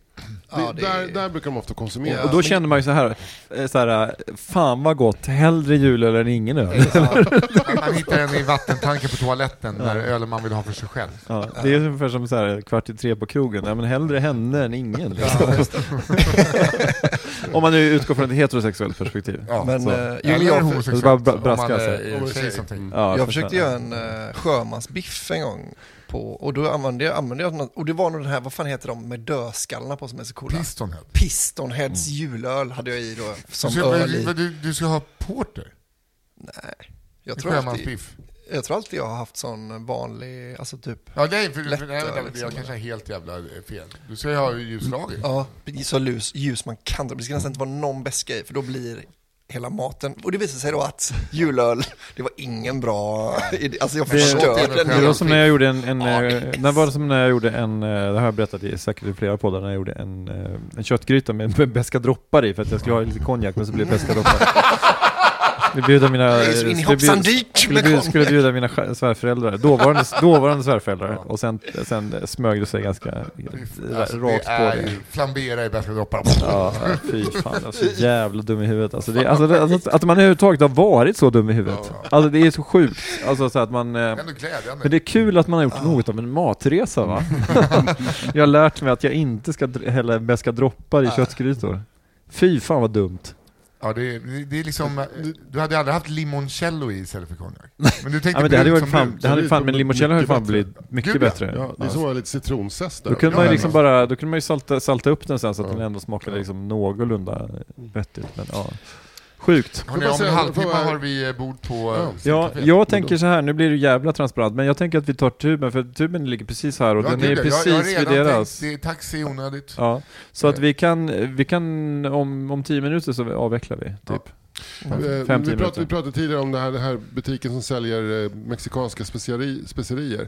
S4: Ja,
S3: det,
S4: det är-
S3: där, där brukar de ofta konsumera.
S1: Och då känner man ju så här, eh, så här fan vad gott, hellre julöl än ingen öl.
S2: Man- Man hittar den i vattentanken på toaletten, där ölen man vill ha för sig själv.
S1: Ja, det är ungefär som så här, kvart i tre på krogen, Nej, men hellre henne än ingen. Liksom. Om man nu utgår från ett heterosexuellt perspektiv.
S2: Ja,
S4: Men,
S1: så.
S4: eh, jo, men
S2: Eller
S4: jag,
S2: homosexuellt,
S1: Det var bra-
S2: om man
S1: braska,
S2: eh,
S1: alltså.
S2: eh,
S3: Om man
S2: säger
S3: säger.
S2: something.
S1: Ja,
S4: jag
S1: förstår.
S4: försökte göra en uh, sjömansbiff en gång. På, och då använde jag, använde jag något, och det var nog den här, vad fan heter de med dödskallarna på som är så coola?
S2: Pistonhead.
S4: Pistonheads julöl hade jag i då,
S2: Du
S4: som
S2: ska,
S4: öl
S2: men
S4: i.
S2: du, du ska ha porter?
S4: Jag tror, alltid,
S2: Sjömansbiff?
S4: jag tror alltid jag har haft sån vanlig, alltså typ,
S2: Ja, nej, för, för, nej,
S4: Lättare,
S2: nej,
S4: liksom,
S2: jag kanske har helt jävla eh, fel. Du ska ju ha ljuslager.
S4: ja, så ljus, ljus man kan. Det ska nästan inte vara någon beska i, för då blir hela maten, och det visade sig då att julöl, det var ingen bra idé. Alltså jag
S1: Det-
S4: förstörde den.
S1: Det var
S4: hela-
S1: som när jag gjorde en, en
S4: Ja,
S1: eh, det var som när jag gjorde en, eh, det har jag berättat i säkert i flera poddar, när jag gjorde en, eh, en köttgryta med, med beska droppar i för att jag skulle ha lite konjak men så blev det beska droppar. Det bjuda mina,
S4: Det är så in i hoppsan dyrt
S1: skulle,
S4: med
S1: bjuda,
S4: konjak.
S1: skulle bjuda mina skär- svärföräldrar, dåvarande, dåvarande svärföräldrar, och sen, sen smög det sig ganska eh,
S2: Alltså,
S1: rakt
S2: det
S1: på
S2: är
S1: det.
S2: ju flambera i bästa droppar.
S1: Ja, fy fan. Jag är så jävla dum i huvudet. Alltså, det, alltså, det, alltså att man överhuvudtaget har varit så dum i huvudet. Alltså det är så sjukt. Alltså så att man... eh,
S2: Ändå
S1: Men
S2: glädjande.
S1: det är kul att man har gjort något av en matresa va? jag har lärt mig att jag inte ska dr- hälla beska droppar i köttgrytor. Fy fan vad dumt.
S2: Ja, det, är- det är liksom, eh, du hade aldrig haft limoncello i istället för konjak. Men du
S1: Ja,
S2: tänkte
S1: men det hade ju varit
S2: brut som
S1: fan,
S2: brut.
S1: det hade ju fan, men
S3: Mycket
S1: limoncello har ju fan
S3: bättre.
S1: blivit mycket
S2: Gud, ja.
S1: bättre.
S3: Ja, det är som att ha lite citronzest där.
S1: Då kunde man ju
S2: Ja,
S1: liksom
S2: ja.
S1: bara, då kunde man ju salta, salta upp den sen så att den ändå smakade liksom någorlunda
S2: Mm.
S1: vettigt. Men ja, sjukt.
S3: Jag
S2: Hörrni,
S3: bara
S2: om en
S3: säga,
S2: halvtimme
S3: vad är-
S2: har vi eh, bord på... eh,
S1: Ja,
S2: Café.
S1: jag tänker så här, nu blir det jävla transparent, men jag tänker att vi tar tuben, för tuben ligger precis här och
S2: Ja,
S1: den
S2: gud,
S1: är
S2: jag-
S1: precis
S2: jag har
S1: vid
S2: redan
S1: deras.
S2: tänkt, det Eh. är taxi i onödigt.
S1: Ja, så att vi kan, vi kan om, om tio minuter så avvecklar vi, typ.
S3: Eh,
S1: Fem, tio
S3: vi,
S1: minuter.
S3: pratade, vi pratade tidigare om den här, den här butiken som säljer eh, mexikanska speciari, specierier.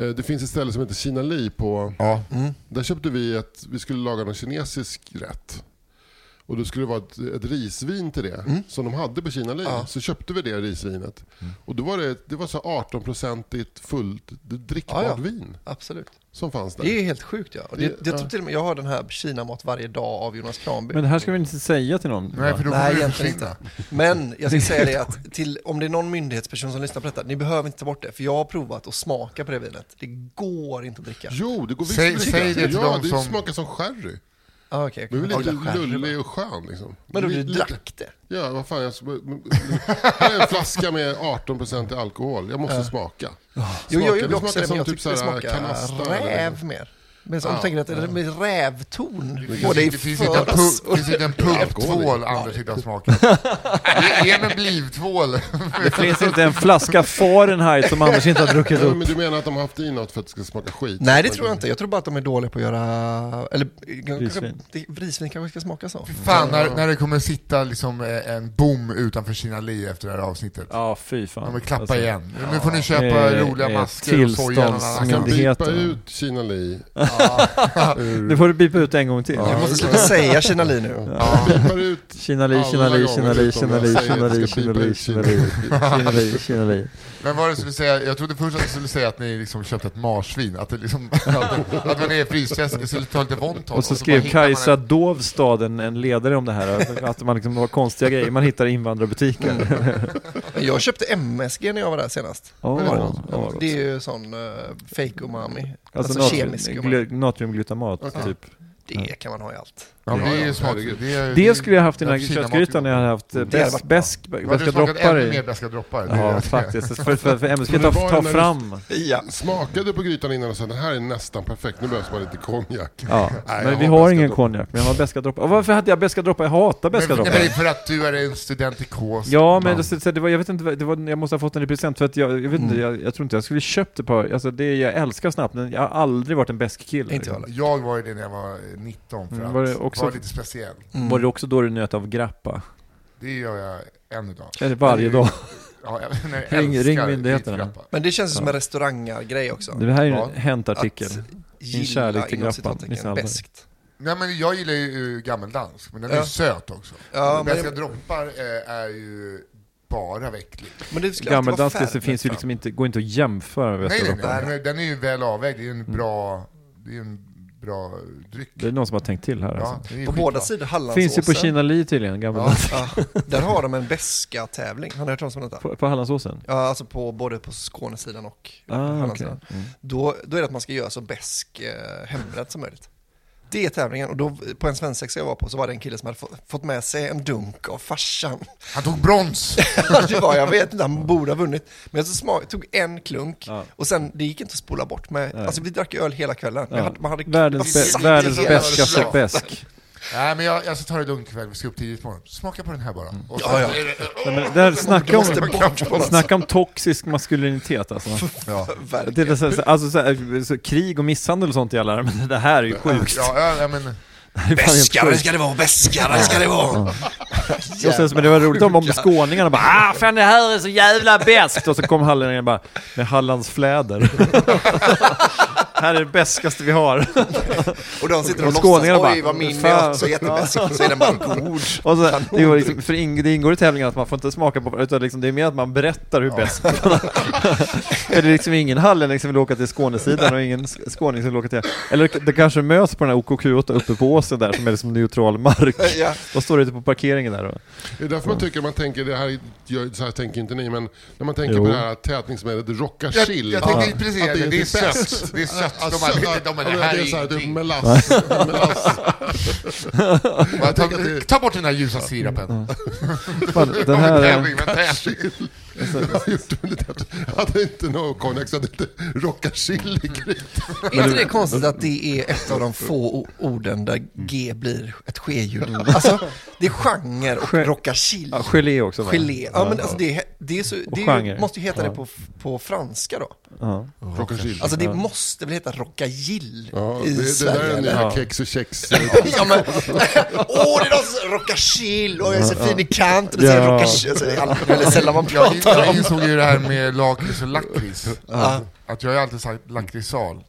S3: Eh, det finns ett ställe som heter Kina Li på...
S2: Ja.
S4: Mm,
S3: Där köpte vi ett, vi skulle laga någon kinesisk rätt. Och då skulle det vara ett, ett risvin till det,
S1: Mm.
S3: som de hade på Kina Li. Så köpte vi det risvinet. Och då var det, det var så 18-procentigt fullt drickbart
S4: Ja, ja.
S3: vin
S4: Absolut.
S3: som fanns där.
S4: Det är helt sjukt ja. Och det,
S3: Det-
S4: jag tror till och med jag har den här Kinamat varje dag av Jonas Kranby.
S1: Men det här ska vi inte säga till någon.
S2: Nej, för då kommer
S4: Nej,
S2: du
S4: egentligen
S2: försvinna.
S4: inte. Men jag ska säga det att till, om det är någon myndighetsperson som lyssnar på detta, ni behöver inte ta bort det, för jag har provat att smaka på det vinet. Det går inte att dricka.
S3: Jo, det går visst
S2: Säg-
S3: att dricka.
S2: säg det till
S3: ja,
S2: dem
S3: det
S2: som-
S3: smakar som sherry.
S4: Ah, okej,
S3: Men
S4: okej.
S3: det är
S4: Oj,
S3: lite
S4: skärm.
S3: lullig och skön liksom.
S4: Men då
S3: Lite-
S4: du drack det?
S3: Ja, vad fan. Jag, här är en flaska med 18% i alkohol. Jag måste smaka.
S4: Jo,
S3: Smakar-
S4: jag gjorde
S3: det
S4: också
S3: smakar
S4: det,
S3: som
S4: men jag
S3: typ
S4: tyckte det
S3: så här
S4: smakade
S3: kanasta eller
S4: räv
S3: något.
S4: mer. Men som tänker att det är med rävton,
S2: Det
S4: både i
S2: finns- det finns inte en
S4: föras
S2: pu-
S4: och...
S2: det finns inte en pungtvål Anders inte har smakat. Det är en blivtvål.
S1: Det finns inte en flaska Fahrenheit som Anders inte har druckit
S3: Ja,
S1: upp.
S3: men du menar att de har haft i något för att det ska smaka skit?
S4: Nej, det tror jag inte. Jag tror bara att de är dåliga på att göra... Eller
S1: Risvin.
S4: risvin, risvin kanske ska smaka så.
S2: Fan, när, när det kommer sitta liksom eh, en bom utanför Kina Lee efter det här avsnittet.
S1: Ja, fy fan.
S2: De vill klappa
S1: Alltså,
S2: igen. Nu får ni köpa
S1: Eh,
S2: roliga
S1: eh,
S2: masker och soja. och någon annan.
S3: Man kan bipa
S1: Myndigheterna.
S3: ut Kina Li.
S1: Nu får du bipa ut en gång till.
S4: Du måste sluta säga Kina Li nu.
S3: Ja. Bipar ut
S1: Kina Li, Kina
S3: alla
S1: Li,
S3: gånger
S1: Kina Li,
S3: utom
S1: Kina Li,
S3: jag säger
S1: Kina
S3: att
S1: Li,
S3: jag
S1: Kina
S3: ska
S1: Li,
S3: bipa
S1: Kina Li,
S3: ut
S1: Kina Li, Kina Li.
S2: Men vad var det du skulle säga? Jag trodde först att du skulle säga att ni liksom köpte ett marsvin. Att, det liksom, att, att man är i frysväskan skulle ta lite Vonton.
S1: Och så
S2: bara
S1: skrev
S2: hittar man en-
S1: Kajsa Dovstad en, en ledare om det här, att man liksom har konstiga grejer, man hittar Alltså i invandrarbutiker.
S4: Men Jag köpte MSG när jag var där senast.
S1: Åh,
S4: Var det?
S1: ja, vad gott.
S4: det är ju sån uh, fake umami. Alltså,
S1: Alltså, natrium,
S4: kemisk umami.
S1: gl- natriumglutamaat, typ.
S4: Det kan man ha i allt.
S2: Ja, men det är ju smakligt. Det, är-
S1: Det skulle jag haft i den här
S2: Kina mat-
S1: köttgrytan när jag hade haft eh,
S4: Det hade
S1: bäsk,
S4: varit
S1: bäsk,
S2: Men du
S1: bäska
S2: smakat
S1: droppar
S2: ännu mer
S1: i.
S2: bäska droppar. Det är
S1: Ja,
S2: det.
S1: faktiskt. För, för, för ämnet ska
S3: Men det
S1: ta,
S3: var
S1: ta
S3: när du-
S1: fram.
S4: Ja.
S3: Smakade på grytan innan och sa den här är nästan perfekt, nu behövs bara lite konjak.
S1: Ja.
S3: Nej, jag
S1: Men vi
S3: har
S1: har
S3: bäska
S1: ingen
S3: droppar.
S1: konjak, men jag har bäska droppar. Och varför hade jag bäska droppar? Jag hatar bäska
S2: Men, nej,
S1: droppar.
S2: men det är för att du är en studentikos.
S1: Ja, men
S2: man.
S1: det, så det var, jag vet inte, det var, jag måste ha fått den i present för att jag, jag, vet inte, jag, jag tror inte jag skulle köpt ett par, alltså det jag älskar snabbt, men jag har aldrig varit en bäsk kille. liksom.
S4: Inte jag heller.
S2: Jag var ju det när jag var 19 för
S1: Mm,
S2: att
S1: var
S2: var
S1: det också-
S2: vara lite speciell.
S4: Mm.
S1: Var det också då du njöt av grappa?
S2: Det gör jag än idag.
S1: Eller varje
S2: Men det är ju-
S1: dag?
S2: Ja, jag, nej, jag
S1: Ring-
S2: älskar
S1: ring myndigheterna.
S2: grappa.
S4: Men det känns ju som en restaurangargrej också.
S1: Det här är ju
S2: Ja.
S1: en Hänt-artikel. Min kärlek till grappan, liksom. Nisse Hallberg.
S4: bäst.
S2: Nej men jag gillar ju eh, gammeldansk, men den är
S4: Ja.
S2: söt också.
S4: Ja,
S2: Ja,
S4: men-
S2: Bäska droppar eh, är ju bara väcklig.
S4: Men det skulle alltid vara
S1: Gammeldans
S4: färg.
S1: det finns ju liksom inte, går inte att jämföra med
S2: Nej, nej,
S1: Västeuropa.
S2: nej, men den är ju väl avvägd, det är ju en bra, det är ju en bra dryck.
S1: Det är någon som har tänkt till här
S2: Ja,
S1: alltså.
S2: det är ju
S4: På
S2: skitbra.
S4: båda sidor Hallandsåsen.
S1: Finns ju på Kina Li tydligen,
S4: Ja,
S1: Gammeldans.
S4: ja. Där har de en beska tävling Har ni hört talas om detta?
S1: På, på Hallandsåsen?
S4: Ja, alltså på, både på Skånesidan och
S1: Ah, okej.
S4: Hallandssidan. Då, då är det att man ska göra så besk eh, hembränt som möjligt. Det är tävlingen och då på en svensexa jag var på så var det en kille som hade få, fått med sig en dunk av farsan. Alltså,
S2: Han tog brons!
S4: det var, jag vet inte, han borde ha vunnit. Men så smak, tog en klunk
S1: Ja.
S4: och sen det gick inte att spola bort med, alltså vi drack öl hela kvällen. Men
S1: Ja.
S4: hade, man hade
S1: Världens,
S4: man satt i
S1: bä- världens
S4: hela
S1: bäskaste
S4: ölen.
S1: bäsk.
S2: nej men jag, jag ska ta det lugnt ikväll, vi ska upp tidigt imorgon. Smaka på den här bara. Och sen,
S4: Ja, ja.
S1: Nej, men där, snacka
S4: måste
S1: om,
S4: bort från oss.
S1: snacka om toxisk maskulinitet alltså.
S2: Ja.
S1: Det är så, så, alltså, så, här, så, krig och misshandel och sånt i alla men det här är ju sjukt.
S2: Ja, ja, ja, men,
S1: Det är fan helt
S4: Bäskare
S1: sjukt.
S4: ska det vara, bäskare ska det vara.
S1: Och sen, så- men det var roligt om, om skåningarna bara ah, fan det här är så jävla bäst och så kom hallänningarna bara med Hallands fläder. här är det bäskaste vi har.
S4: Och de sitter och,
S1: Och skåningarna
S4: låtsas,
S1: bara,
S4: oj vad min
S1: "Fan."
S4: är också jättebäsk, och så är den bara god.
S1: Och så, det, var
S4: typ.
S1: liksom, för ing, det ingår i tävlingen att man får inte smaka på utan liksom, det är mer att man berättar hur bäst man För det är liksom ingen hallänning som vill åka till Skånesidan och ingen sk- skåning som vill åka till... Eller det kanske möts på den här OKQ8 uppe på åsen där som är liksom neutral mark.
S4: Ja.
S1: Då står det ute på parkeringen där. Och,
S3: Det är därför man tycker, man tänker, det här, är- jag- så här tänker inte ni, men när man tänker
S1: Jo.
S3: på det här tätningsmedlet rocka
S2: jag,
S3: chill.
S2: jag
S3: att-
S2: tänkte precis
S3: att
S2: det, det är
S3: inte
S2: sött. Det är sött.
S3: Ja,
S2: De här,
S3: sött.
S2: de
S3: Alltså, Ja,
S2: här,
S3: men
S2: det här
S3: så här,
S2: är
S3: typ
S2: ingenting.
S3: melass. melass.
S2: Bara Ta, ta bort den här ljusa sirapen.
S1: fan, den
S2: Här,
S1: här... eh,
S2: tävling, men tävling.
S3: Hade inte någon konjak så hade inte rocka chill
S4: Mm.
S3: i grytan.
S4: Är inte det konstigt att det är ett av de få o- orden där G blir ett ske-ljud? Alltså, det är genre och
S1: Ge-
S4: rocka chill.
S1: Ja, gelé också. va?
S4: Gelé. Ja, men alltså det, är- det, är så, det är ju,
S1: genre.
S4: måste ju heta det på, på franska då.
S1: Ja.
S3: Rocka chill.
S4: Alltså det måste väl heta rocka gill
S3: Ja,
S4: i
S3: det, det där
S4: Sverige?
S3: är den
S4: eller?
S3: nya kex och kex.
S4: Ja, men, åh, det är de som rockar chill och jag är så fin i kant och det säger
S1: Ja.
S4: rocka chill. Alltså, det är all- väldigt sällan man
S2: Jag,
S4: pratar
S2: jag
S4: om.
S2: insåg ju det här med lakrits och lakrits. Att jag har ju alltid sagt lakritsal.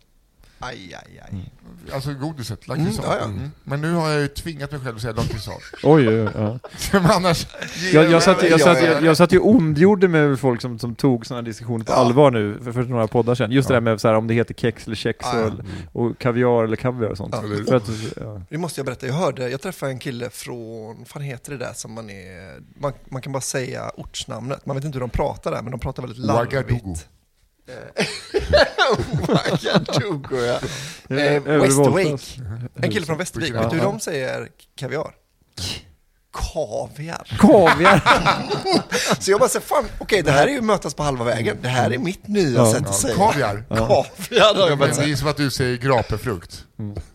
S4: Aj, aj,
S1: Mm.
S4: aj.
S2: Alltså godiset, lakritsal.
S4: Mm, ja, ja.
S2: Mm. Men nu har jag ju tvingat mig själv att säga lakritsal.
S1: Oj, oj, oj. Ja.
S2: Men annars...
S1: Jag, jag, satt, jag, satt, jag, jag satt ju och ondgjorde mig över folk som, som tog sådana diskussioner på allvar nu för, för några poddar sedan. Just det där med så här, om det heter kex eller kex
S4: Ja, ja.
S1: och, och kaviar eller kaviar och sånt.
S4: Ja.
S1: För att, ja.
S4: Det måste jag berätta, jag hörde, jag träffade en kille från, vad fan heter det där som man är, man, man kan bara säga ortsnamnet, man vet inte hur de pratar där men de pratar väldigt larvigt.
S2: Ouagadougou.
S10: Macadogo Eh, ja. Eh, Westerwake. En kille från Västervik. Vet du hur de säger kaviar? Kaviar.
S1: Kaviar!
S10: Så jag bara säger, fan, okej det här är ju mötas på halva vägen. Det här är mitt nya sätt att säga.
S2: Kaviar.
S10: Kaviar har jag
S2: Men
S10: börjat
S2: det
S10: säga.
S2: är som att du säger grapefrukt.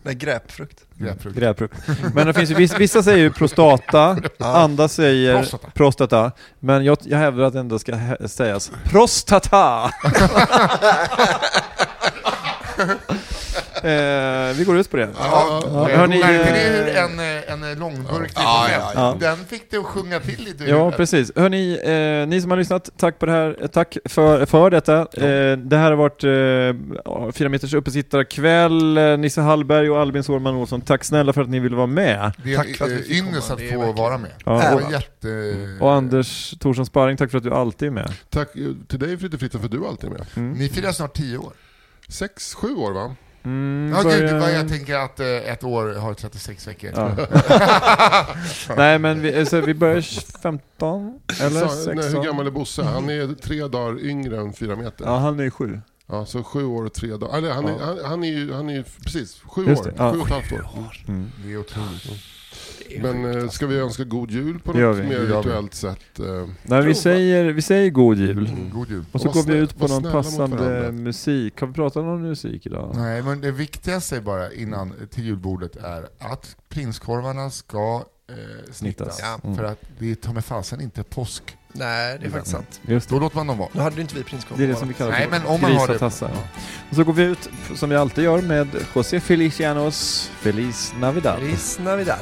S10: Nej, gräpfrukt.
S2: Grapefrukt.
S1: Grävprutt. Men det finns ju, viss- vissa säger ju prostata, andra säger prostata.
S2: Prostata.
S1: men jag, jag hävdar att det ändå ska hä- sägas prostata. eh, vi går ut på det.
S2: Ja,
S1: Ja,
S2: eh,
S1: hörni,
S2: märker
S1: eh,
S2: ni hur en, eh, en eh, långburk till
S4: Ja,
S2: procent?
S4: ja,
S1: ja.
S2: Den fick det att sjunga till lite. i
S1: Ja,
S2: huvudet.
S1: precis. Hörni, eh, ni som har lyssnat, tack, på det här, eh, tack för, för detta. Eh, det här har varit eh, ja, Fyra meters uppesittarkväll. Eh, Nisse Hallberg och Albin Sårman Olsson, tack snälla för att ni ville vara med.
S2: Det
S10: Tack för att
S2: är
S10: vi
S2: en
S10: fick
S2: eh, ynnest
S10: komma.
S2: att
S10: Det är
S2: få
S10: verkligen-
S2: vara med.
S1: Ja,
S2: Det
S1: och,
S2: var jätte...
S1: och Anders Thorsson Sparring, tack för att du alltid är med.
S3: Tack eh, till dig Fritte Fritte för att du alltid är med.
S2: Ni firar snart tio år.
S3: Sex, sju år va?
S1: Mm,
S2: Ja, gud,
S1: börja-
S2: vad jag tänker att eh, ett år har 36 veckor.
S1: Ja. Nej men vi, eh, så vi börjar 15 eller
S3: Sa-
S1: 16?
S3: nej, hur gammal är Bosse? Han är tre dagar yngre än fyra
S1: Ja
S3: meter. Ja.
S1: han är ju sju.
S3: så sju år och tre dagar. Eller, han, är,
S1: Ja.
S3: han, han, är ju, han är ju precis sju
S1: Just
S3: år.
S1: det, ja.
S3: Sju och ett halvt år. Mm.
S2: Det är otroligt.
S3: Men eh, ska vi
S2: alltså.
S3: önska god jul på
S1: Det gör
S3: något
S1: vi.
S3: mer
S2: Det gör vi.
S3: rituellt sätt? eh,
S1: Nej vi säger, vi säger god jul.
S2: God jul.
S1: Och så
S3: Och
S1: går
S3: Mm. var
S1: vi
S3: snä-
S1: ut på
S3: var
S1: någon
S3: snälla mot varandra.
S1: passande musik. Har vi pratat om musik idag?
S2: Nej, men det viktigaste bara innan till julbordet är att prinskorvarna ska eh, snittas.
S10: Ja.
S1: Mm.
S2: För att det är ta mig fasen inte påsk.
S10: Nej, det är faktiskt sant.
S1: Just det.
S2: Då låter man dem vara.
S10: Nu hade ju inte vi prinskorv.
S1: Det är det som vi kallar
S2: Nej,
S1: för
S2: men om man har det-
S1: grisatassar. Och så går vi ut, som vi alltid gör, med José Felicianos Feliz Navidad.
S10: Feliz Navidad.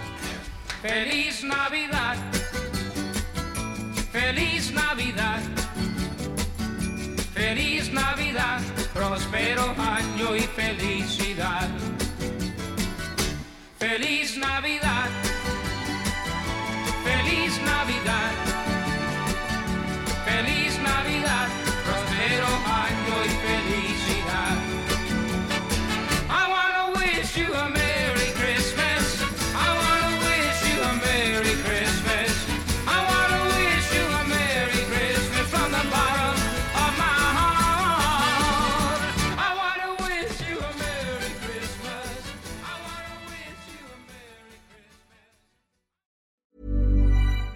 S11: Feliz Navidad, feliz Navidad, feliz Navidad, próspero año y felicidad. Feliz Navidad, feliz Navidad, feliz Navidad, próspero año y felicidad. I wanna wish you a Merry Christmas. I wanna wish you a Merry Christmas. I wanna wish you a Merry Christmas from the bottom of my heart. I wanna wish you a Merry Christmas. I wanna wish you a Merry Christmas.